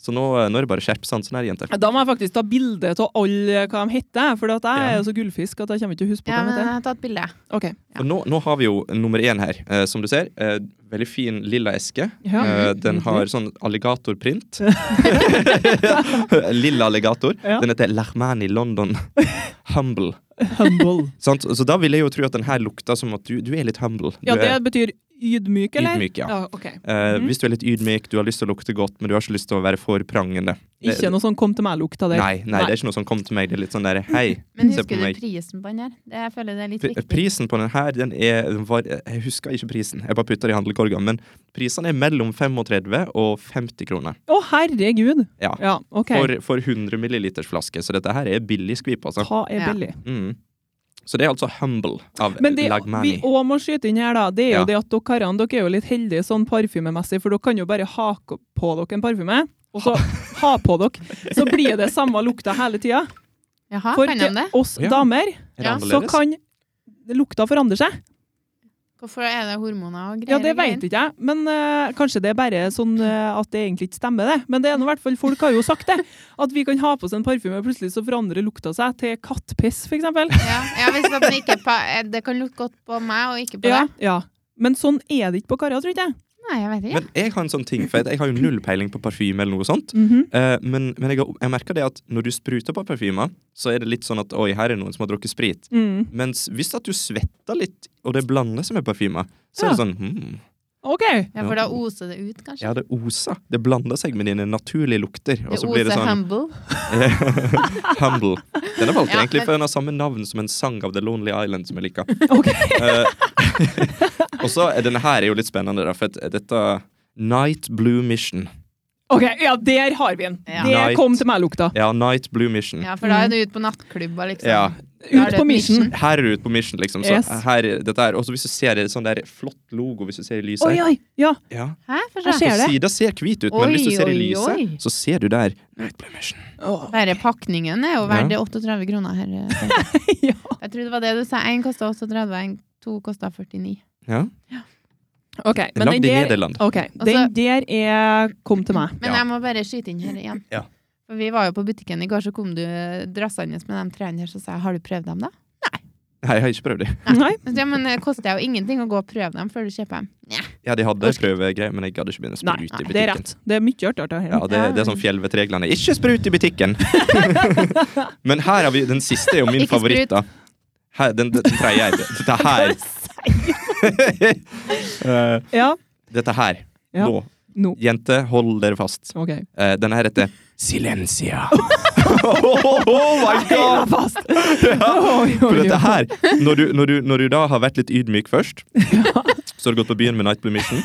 Speaker 3: Så nå, eh, nå er det bare skjerp sansen her, jenter.
Speaker 2: Da må jeg faktisk ta bilde av alle hva de heter, for at jeg
Speaker 3: Ja.
Speaker 2: er jo så gullfisk at jeg kommer ikke til å huske på
Speaker 1: Ja,
Speaker 2: hva
Speaker 1: men
Speaker 2: de
Speaker 1: jeg
Speaker 2: heter.
Speaker 1: har tatt bilde.
Speaker 2: Ok.
Speaker 3: Og nå, nå har vi jo nummer én her, eh, som du ser. Eh, veldig fin lilla eske.
Speaker 2: Ja.
Speaker 3: Eh,
Speaker 1: Mm-hmm.
Speaker 3: den har sånn alligatorprint. Lilla alligator.
Speaker 2: Ja.
Speaker 3: Den heter Lermani London Humble.
Speaker 2: Humble.
Speaker 3: Sant? Så da vil jeg jo tro at den her lukter som at du, du er litt humble. Du
Speaker 2: Ja, det
Speaker 3: er
Speaker 2: betyr ydmyk, eller?
Speaker 3: Ydmyk, ja.
Speaker 2: ok.
Speaker 3: eh,
Speaker 2: Mhm.
Speaker 3: Hvis du er litt ydmyk, du har lyst til å lukte godt, men du har ikke lyst til å være for prangende. Det-
Speaker 2: Ikke noe sånn kom til meg-lukta der.
Speaker 3: Nei, nei, det er ikke noe som kom til meg. Det er litt sånn der, hei,
Speaker 1: Men
Speaker 3: se på
Speaker 1: husker du
Speaker 3: meg.
Speaker 1: prisen på den her? Det, jeg føler det er litt
Speaker 3: Pri-
Speaker 1: viktig.
Speaker 3: Prisen på den her, den er den var, Jeg husker ikke prisen, jeg bare putter det i handlekorga, men prisene er mellom 35 og 50 kroner.
Speaker 2: Å, herregud!
Speaker 3: Ja.
Speaker 2: Ja, ok.
Speaker 3: For, for 100 milliliters flaske, så dette her er billig skvip, altså.
Speaker 2: Hva
Speaker 1: Ja.
Speaker 2: er billig?
Speaker 3: Mm. Så det er altså Humble av
Speaker 2: Men det vi
Speaker 3: Lagmani.
Speaker 2: òg må skyte inn her, da, det er jo
Speaker 3: Ja.
Speaker 2: det at dere karene dere er jo litt heldige sånn parfymemessig, for dere kan jo bare ha k- på dere en parfyme, og så ha på dere. Så blir det samme lukta hele tida.
Speaker 1: Jaha,
Speaker 2: For
Speaker 1: kan de det?
Speaker 2: til oss
Speaker 3: Ja.
Speaker 2: damer
Speaker 3: Er det
Speaker 1: Ja.
Speaker 2: så
Speaker 3: annerledes?
Speaker 2: kan lukta forandre seg.
Speaker 1: Hvorfor er det hormoner og greier?
Speaker 2: Ja, det
Speaker 1: og greier?
Speaker 2: veit ikke jeg, men eh, kanskje det er bare sånn eh, at det egentlig ikke stemmer, det. Men det er nå i hvert fall folk har jo sagt det. At vi kan ha på oss en parfyme, og plutselig så forandrer lukta seg til kattpiss, for eksempel.
Speaker 1: Ja, ja hvis at den ikke pa eh, Det kan lukte godt på meg og ikke på
Speaker 2: Ja,
Speaker 1: deg.
Speaker 2: ja. Men sånn er det ikke på karer, tror ikke jeg.
Speaker 1: Nei, jeg vet ikke.
Speaker 3: Men jeg har en sånn ting, for jeg har jo null peiling på parfyme eller noe sånt.
Speaker 2: Mhm.
Speaker 3: Eh, men men jeg, har- jeg merker det at når du spruter på parfymer, så er det litt sånn at oi, her er noen som har drukket sprit.
Speaker 2: mm.
Speaker 3: Mens hvis at du svetter litt, og det blander seg med parfymer, så er det sånn hmm,
Speaker 2: OK.
Speaker 1: Ja, for da oser det ut, kanskje.
Speaker 3: Ja, det oser. Det blander seg med dine naturlige lukter. Og
Speaker 1: det
Speaker 3: så
Speaker 1: oser
Speaker 3: blir det sånn
Speaker 1: humble.
Speaker 3: Humble. Denne valgte jeg
Speaker 1: Ja,
Speaker 3: egentlig
Speaker 1: men-
Speaker 3: for den har samme navn som en sang av The Lonely Island som jeg liker.
Speaker 2: Ok.
Speaker 3: Eh, og så er denne her er jo litt spennende, da, for at dette Night Blue Mission.
Speaker 2: ok, Ja, der har vi den.
Speaker 1: Ja.
Speaker 2: Det
Speaker 3: Night.
Speaker 2: kom til meg-lukta.
Speaker 3: Ja, Night Blue Mission.
Speaker 1: Ja,
Speaker 2: Mm.
Speaker 1: for da er du ute på nattklubba, liksom.
Speaker 3: Ja.
Speaker 1: Da er
Speaker 2: Ut
Speaker 1: det
Speaker 2: på
Speaker 1: et
Speaker 2: mission.
Speaker 3: Her er du ute på mission, liksom. Så
Speaker 2: Yes.
Speaker 3: her, dette her. Og så hvis du ser det, sånn der flott logo hvis du ser i lyset
Speaker 2: Oi, oi. Ja.
Speaker 3: Ja.
Speaker 1: Hæ, for
Speaker 2: Jeg
Speaker 1: seg.
Speaker 2: ser det.
Speaker 3: Sida ser hvit ut, men hvis du
Speaker 1: Oi,
Speaker 3: ser i
Speaker 1: oi,
Speaker 3: lyset,
Speaker 1: oi.
Speaker 3: så ser du der Night Blue Mission.
Speaker 2: Å,
Speaker 1: Bare pakningen er jo verdt
Speaker 3: Ja.
Speaker 1: 38 kroner her. eh,
Speaker 2: ja.
Speaker 1: Jeg tror det var det du sa. Én kosta 38, en to kosta 49.
Speaker 3: Ja.
Speaker 2: OK. Men
Speaker 3: Lagd i
Speaker 2: den der,
Speaker 3: Nederland.
Speaker 2: Ok,
Speaker 1: Altså-
Speaker 2: den der er kom til meg.
Speaker 1: Men
Speaker 3: Ja.
Speaker 1: jeg må bare skyte inn her igjen.
Speaker 3: Ja.
Speaker 1: For vi var jo på butikken i går, så kom du eh, drassende med de trærne her, så sa jeg har du prøvd dem, da?
Speaker 3: Nei, jeg har ikke prøvd det.
Speaker 2: Nei.
Speaker 1: Så, ja, men det koster jo ingenting å gå og prøve dem før du kjøper dem. Nja.
Speaker 3: Ja, de hadde prøvegreier, men jeg gadd ikke begynne å
Speaker 2: Nei,
Speaker 3: sprute i butikken.
Speaker 2: det er rett. Det er mye artigere her.
Speaker 3: Ja, det, det er sånn fjellvettreglene. Ikke sprut i butikken! Men her har vi den siste er jo min
Speaker 1: Ikke
Speaker 3: favoritt, da. Her, den, den tredje er Dette her. Eh,
Speaker 2: Ja.
Speaker 3: Dette her.
Speaker 2: Ja.
Speaker 3: Nå.
Speaker 2: Nå.
Speaker 3: Jenter, hold dere fast.
Speaker 2: OK.
Speaker 3: Eh, denne her heter Silencia. oh my
Speaker 2: Heila
Speaker 3: god!
Speaker 2: fast!
Speaker 3: Ja.
Speaker 2: Oi,
Speaker 3: For
Speaker 2: oi,
Speaker 3: dette
Speaker 2: oi.
Speaker 3: her, når du, når, du, når du da har vært litt ydmyk først, så har du gått på byen med Night Blue Mission,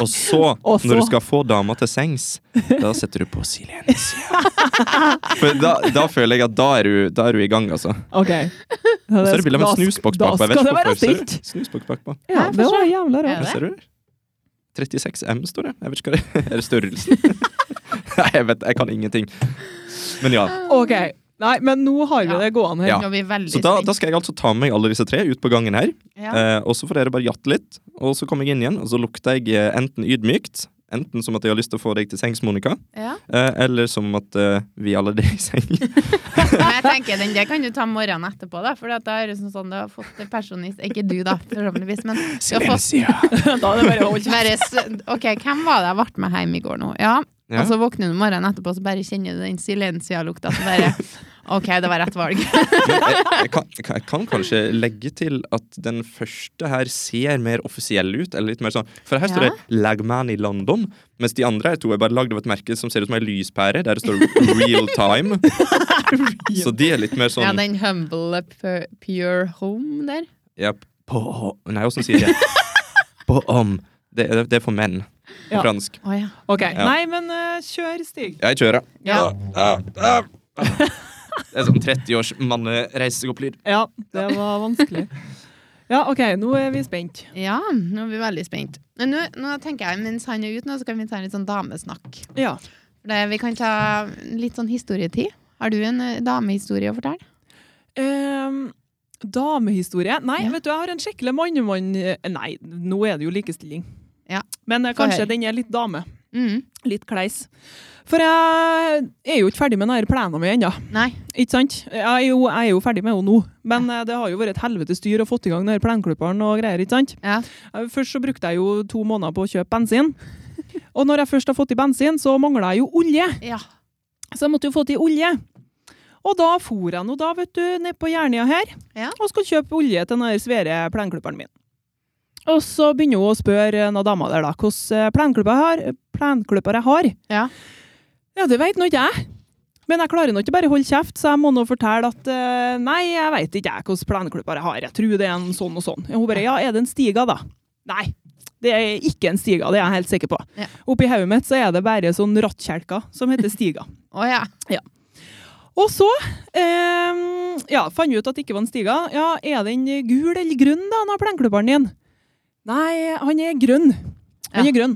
Speaker 3: og så,
Speaker 2: Og så-
Speaker 3: når du skal få dama til sengs, da setter du på silencia. For da, da føler jeg at da er du, da er du i gang, altså.
Speaker 2: OK.
Speaker 3: Og så er det bilde av en snusboks
Speaker 2: Da
Speaker 3: bakpå. jeg vet
Speaker 2: skal
Speaker 3: ikke
Speaker 2: det være
Speaker 3: hvorfor. Ser du?
Speaker 2: stilt!
Speaker 3: Snusboks bakpå.
Speaker 2: Ja,
Speaker 1: Hæ,
Speaker 2: det var
Speaker 1: forstår.
Speaker 2: jævla
Speaker 1: Er
Speaker 2: rart.
Speaker 1: det?
Speaker 3: Ser du? 36M står det. Jeg vet ikke hva det er. Er det størrelsen? Nei, jeg vet, jeg kan ingenting. Men ja.
Speaker 2: OK. Nei, men nå har vi
Speaker 1: Ja.
Speaker 2: det gående
Speaker 3: Ja.
Speaker 2: her.
Speaker 1: Nå blir vi veldig
Speaker 3: Så da,
Speaker 1: spent.
Speaker 3: da skal jeg altså ta med meg alle disse tre ut på gangen her.
Speaker 1: ja.
Speaker 3: Eh, og så får dere bare jatte litt, og så kommer jeg inn igjen, og så lukter jeg eh, enten ydmykt, enten som at jeg har lyst til å få deg til sengs, Monica,
Speaker 1: ja.
Speaker 3: eh, eller som at eh, vi alle er i seng.
Speaker 1: Men jeg tenker, den der kan du ta morgenen etterpå, da. For at da er det sånn, sånn du har fått en personist Ikke du, da, forhåpentligvis, men du har fått
Speaker 2: Da er det bare å holde kjeft.
Speaker 1: bare, s- OK, hvem var det jeg ble med hjem i går nå? Ja.
Speaker 3: Ja.
Speaker 1: Og så våkner du morgenen etterpå, så bare kjenner du den silencia-lukta. Så bare OK, det var rett valg.
Speaker 3: Men jeg, jeg, kan, jeg kan- jeg kan kanskje legge til at den første her ser mer offisiell ut, eller litt mer sånn, for her står
Speaker 1: Ja.
Speaker 3: det Lagman i London, mens de andre her to er bare lagd av et merke som ser ut som en lyspære, der det står Real Time. Så de er litt mer
Speaker 1: Ja,
Speaker 3: sånn,
Speaker 1: den humble pure, pure home der.
Speaker 3: ja, på, nei, hvordan sier jeg? På om Det, det, det er for menn.
Speaker 2: Ja.
Speaker 3: På fransk.
Speaker 1: Å ja.
Speaker 2: OK.
Speaker 3: Ja.
Speaker 2: Nei, men eh, kjør, Stig.
Speaker 3: Jeg kjører.
Speaker 1: ja.
Speaker 3: Det er sånn 30 års mannereise seg opp-lyd.
Speaker 2: Ja, det var vanskelig. Ja, OK, nå er vi spent.
Speaker 1: Ja, nå er vi veldig spent. Men nå, nå tenker jeg, mens han er ute nå, så kan vi ta en litt sånn damesnakk.
Speaker 2: Ja.
Speaker 1: For Det, vi kan ta litt sånn historietid. Har du en eh, damehistorie å fortelle?
Speaker 2: Ehm, damehistorie? Nei,
Speaker 1: Ja.
Speaker 2: vet du, jeg har en skikkelig mannemann Nei, nå er det jo likestilling.
Speaker 1: Ja.
Speaker 2: Men eh,
Speaker 1: Få
Speaker 2: kanskje
Speaker 1: høre.
Speaker 2: den er litt dame.
Speaker 1: Mm.
Speaker 2: Litt kleis. For jeg er jo ikke ferdig med denne plenen min ennå.
Speaker 1: Nei.
Speaker 2: Ikke sant? Jeg er, jo, jeg er jo ferdig med henne nå, men eh, det har jo vært et helvetes styr å få i gang denne plenklipperen og greier. ikke sant?
Speaker 1: Ja.
Speaker 2: Eh, Først så brukte jeg jo to måneder på å kjøpe bensin. Og når jeg først har fått i bensin, så mangla jeg jo olje.
Speaker 1: ja.
Speaker 2: Så jeg måtte jo få til olje. Og da for jeg nå da, vet du, ned på Jernia her
Speaker 1: Ja.
Speaker 2: og skal kjøpe olje til den her svære plenklipperen min. Og så begynner hun å spørre noen damer der da, hvordan plenklipper jeg har. Plenklipper jeg har.
Speaker 1: Ja.
Speaker 2: Ja, det vet nå ikke jeg. Men jeg klarer nå ikke bare å holde kjeft, så jeg må nå fortelle at eh, nei, jeg vet ikke jeg hvilken plenklipper jeg har. Jeg tror det er en sånn og sånn. Og hun bare ja, er det en Stiga da? Nei, det er ikke en Stiga, det er jeg helt sikker på.
Speaker 1: Ja.
Speaker 2: Oppi hodet mitt så er det bare sånn rattkjelker som heter Stiga.
Speaker 1: Å ja.
Speaker 2: Og så eh, ja, fant vi ut at det ikke var en stiga. Ja, er den gul eller grønn, da, han har plenklubberen din? Nei, han er grønn.
Speaker 1: Ja.
Speaker 2: Han er grønn.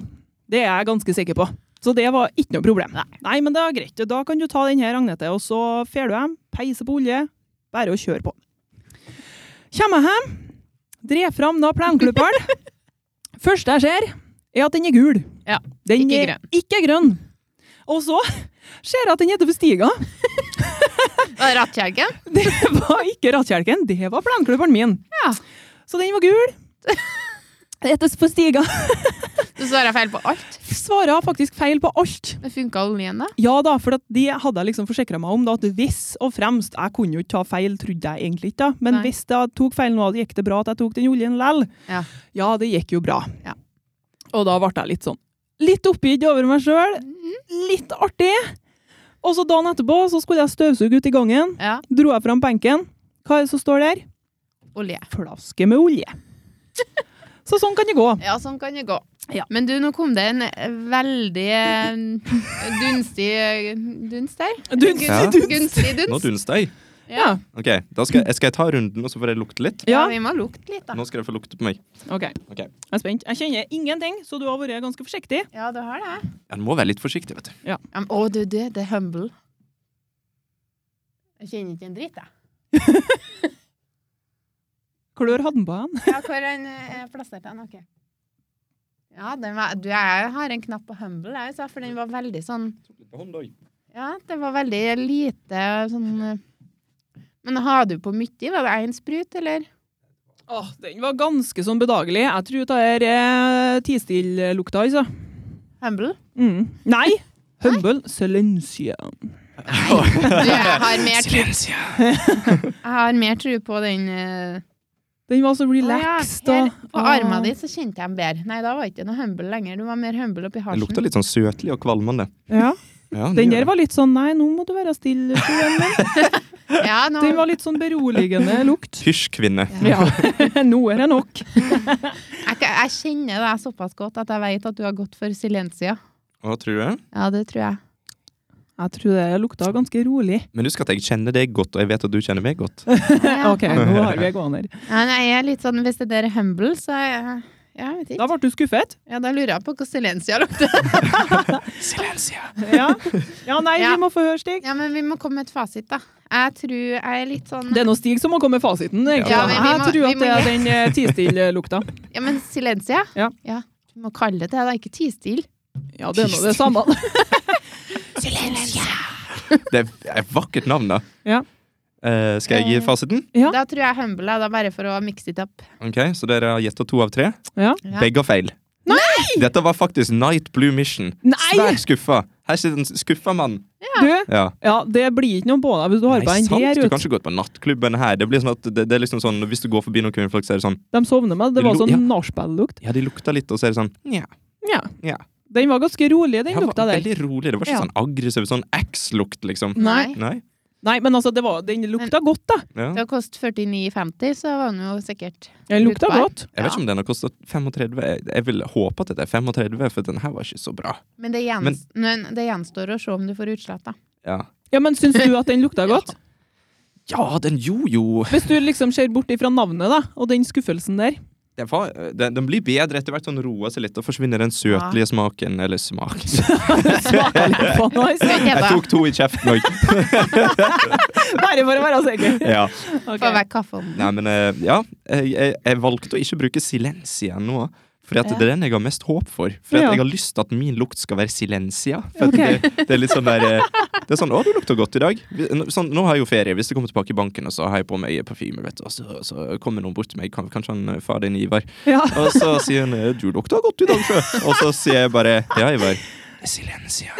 Speaker 2: Det er jeg ganske sikker på. Så det var ikke noe problem. Nei, men det er greit. Da kan du ta den her, Agnete, og så fer du hjem, peiser på olje, bare å kjøre på. Kommer jeg hjem, dreier fram da plenklubberen. Første jeg ser, er at den er gul.
Speaker 1: Ja,
Speaker 2: Den
Speaker 1: ikke
Speaker 2: er ikke grønn. Og så ser jeg at den heter for Stiga.
Speaker 1: Var det rattkjelken?
Speaker 2: Det var ikke rattkjelken, det var planklubberen min.
Speaker 1: Ja.
Speaker 2: Så den var gul. Ettes på stiga.
Speaker 1: Du svarer feil på alt.
Speaker 2: Svarer jeg faktisk feil på alt.
Speaker 1: Men funka oljen, da?
Speaker 2: Ja da, for at det hadde jeg liksom forsikra meg om. da, at Hvis og fremst Jeg kunne jo ikke ta feil, trodde jeg egentlig ikke. da, Men
Speaker 1: Nei.
Speaker 2: hvis jeg tok feil nå, gikk det bra at jeg tok den oljen lell?
Speaker 1: Ja.
Speaker 2: ja, det gikk jo bra.
Speaker 1: Ja.
Speaker 2: Og da ble jeg litt sånn Litt oppgitt over meg sjøl.
Speaker 1: Mm.
Speaker 2: Litt artig. Og så dagen etterpå så skulle jeg støvsuge ut i gangen.
Speaker 1: Ja.
Speaker 2: Dro jeg fram benken. Hva er det som står der?
Speaker 1: Olje.
Speaker 2: flaske med olje. Så sånn kan det gå.
Speaker 1: Ja, sånn kan det gå.
Speaker 2: Ja.
Speaker 1: Men du, nå kom det en veldig eh, dunstig eh, Dunst der?
Speaker 2: Dunst,
Speaker 3: Ja.
Speaker 1: Gunst- Gunstig
Speaker 3: Nå
Speaker 1: dunst.
Speaker 3: dunster jeg.
Speaker 1: Ja.
Speaker 3: Ok, da skal jeg, skal jeg ta runden, og så får jeg lukte litt.
Speaker 1: ja,
Speaker 2: Ja,
Speaker 1: vi må lukte litt, da.
Speaker 3: Nå skal jeg få lukte på meg.
Speaker 2: ok. Jeg
Speaker 3: Ok.
Speaker 2: er spent. Jeg kjenner ingenting, så du har vært ganske forsiktig.
Speaker 1: Ja, du har det.
Speaker 3: En må være litt forsiktig, vet du.
Speaker 1: Ja, men- Å, du, du, det er humble. Jeg kjenner ikke en dritt, jeg.
Speaker 2: Klør hadde den på han.
Speaker 1: Ja, hvor er den eh, plassert den? Ok. Ja, den var, du, jeg har en knapp på humble, jeg, så, for den var veldig sånn Ja, det var veldig lite sånn eh, Men har du på mye? Var det én sprut, eller?
Speaker 2: Åh, den var ganske sånn bedagelig. Jeg tror det er eh, tistil-lukta, altså.
Speaker 1: Humble?
Speaker 2: Mm. Nei! Humble silencia.
Speaker 1: Du, jeg har mer tru,
Speaker 3: Silencia.
Speaker 1: jeg har mer tro på den eh,
Speaker 2: Den var så
Speaker 1: å
Speaker 2: relaxed.
Speaker 1: ja, her,
Speaker 2: og-
Speaker 1: På armen din så kjente jeg den bedre. Nei, da var ikke noe humble lenger. Du var mer humble oppi
Speaker 3: Den lukta
Speaker 1: halsen.
Speaker 3: litt sånn søtlig og kvalmende.
Speaker 2: Ja.
Speaker 3: Ja, det
Speaker 2: Den
Speaker 3: gjør
Speaker 2: der var litt sånn Nei, nå må du være stille. Suen min.
Speaker 1: Ja, nå,
Speaker 2: Den var litt sånn beroligende lukt.
Speaker 3: Hysj, kvinne.
Speaker 2: Ja. Nå er det nok.
Speaker 1: jeg, jeg kjenner deg såpass godt at jeg vet at du har gått for silencia.
Speaker 3: Hva tror du?
Speaker 1: Ja, det tror jeg.
Speaker 2: Jeg tror det lukta ganske rolig.
Speaker 3: Men husk at jeg kjenner deg godt, og jeg vet at du kjenner meg godt.
Speaker 1: Ja.
Speaker 2: OK, nå har vi gående her.
Speaker 1: Ja, nei, jeg er litt sånn, hvis det der er humble, så er jeg ja, jeg vet
Speaker 2: Da
Speaker 1: ikke.
Speaker 2: ble du skuffet?
Speaker 1: Ja, da lurer jeg på hva silencia lukter.
Speaker 3: Silencia.
Speaker 2: Ja. ja, nei,
Speaker 1: Ja.
Speaker 2: vi må få høre Stig.
Speaker 1: Ja, men vi må komme med et fasit, da. Jeg tror jeg er litt sånn
Speaker 2: Det er nå Stig som må komme med fasiten. egentlig.
Speaker 1: Ja, men vi må-
Speaker 2: jeg tror
Speaker 1: vi
Speaker 2: at
Speaker 1: må
Speaker 2: det er den eh, tistill-lukta.
Speaker 1: Ja, men silencia?
Speaker 2: Ja.
Speaker 1: Du må kalle det det, da. Ikke tistil.
Speaker 2: Ja, det er nå det samme.
Speaker 1: Silencia!
Speaker 3: Det er et vakkert navn, da.
Speaker 2: Ja.
Speaker 3: Eh, skal jeg gi fasiten?
Speaker 2: Ja.
Speaker 1: Da tror jeg humble, da, bare for å mikse it up.
Speaker 3: Ok, Så dere har gjetta to av tre?
Speaker 2: Ja.
Speaker 1: Ja.
Speaker 3: Begge har feil. Nei! Dette var faktisk Night Blue Mission.
Speaker 2: Nei!
Speaker 3: Svært skuffa. Her sitter en skuffa mann.
Speaker 2: Du,
Speaker 3: Ja.
Speaker 2: ja, det blir ikke noe på deg hvis du har på
Speaker 3: Nei,
Speaker 2: den
Speaker 3: sant.
Speaker 2: der
Speaker 3: Du
Speaker 2: ut.
Speaker 3: kan ikke gå ut på nattklubben her. Det, blir sånn at, det, det er liksom sånn, Hvis du går forbi noen kvinnfolk, så er det sånn
Speaker 2: De sovner meg. Det var
Speaker 3: Lo-
Speaker 2: sånn
Speaker 3: ja.
Speaker 2: nachspiel-lukt.
Speaker 3: Ja, de lukta litt, og så er det sånn Nja.
Speaker 2: Ja.
Speaker 3: Ja.
Speaker 2: Den var ganske rolig, den
Speaker 3: Det
Speaker 2: lukta
Speaker 3: var
Speaker 2: der.
Speaker 3: veldig rolig. Det var ikke
Speaker 2: Ja. Mm.
Speaker 3: sånn aggressiv, sånn X-lukt, liksom.
Speaker 2: Nei.
Speaker 3: Nei.
Speaker 2: Nei, men altså, det var, den lukta godt, da.
Speaker 3: Ja.
Speaker 1: Det har kostet 49,50, så var den jo sikkert
Speaker 2: Den lukta
Speaker 1: Brukbar.
Speaker 2: godt.
Speaker 3: Jeg vet ikke om den har kosta 35. Jeg- Jeg vil håpe at det er 35, for den her var ikke så bra.
Speaker 1: Men det, gjens, men, det gjenstår å se om du får utslett, da.
Speaker 3: Ja,
Speaker 2: Ja, men syns du at den lukta godt?
Speaker 3: ja den gjorde jo
Speaker 2: Hvis du liksom ser bort ifra navnet, da, og den skuffelsen der.
Speaker 3: det var, den, den blir bedre etter hvert. Den roer seg litt og forsvinner den søtlige smaken. Eller smak.
Speaker 2: Smaker litt på noe, altså.
Speaker 1: Eva,
Speaker 3: Jeg tok to i kjeften òg.
Speaker 2: Bare for å være sikker.
Speaker 3: Ja.
Speaker 2: Ok.
Speaker 1: få vekk kaffen.
Speaker 3: Nei, men eh, ja. Jeg, jeg, jeg valgte å ikke bruke silensia nå. Fordi at
Speaker 1: Ja.
Speaker 3: det er den jeg har mest håp for. Fordi at
Speaker 2: Ja.
Speaker 3: jeg har lyst til at min lukt skal være silensia. For at
Speaker 2: Ok.
Speaker 3: det, det er litt sånn der eh, Det er sånn 'Å, du lukter godt i dag'. Vi- nå- Sånn, nå har jeg jo ferie. Hvis jeg kommer tilbake i banken, og så har jeg på meg parfyme, vet du, og så, så kommer noen bort til meg, kan- kanskje han eh, far din Ivar,
Speaker 2: Ja.
Speaker 3: og så sier hun eh, 'du lukter godt i dag', sjø. Og så sier jeg bare 'ja, Ivar'. Silensia.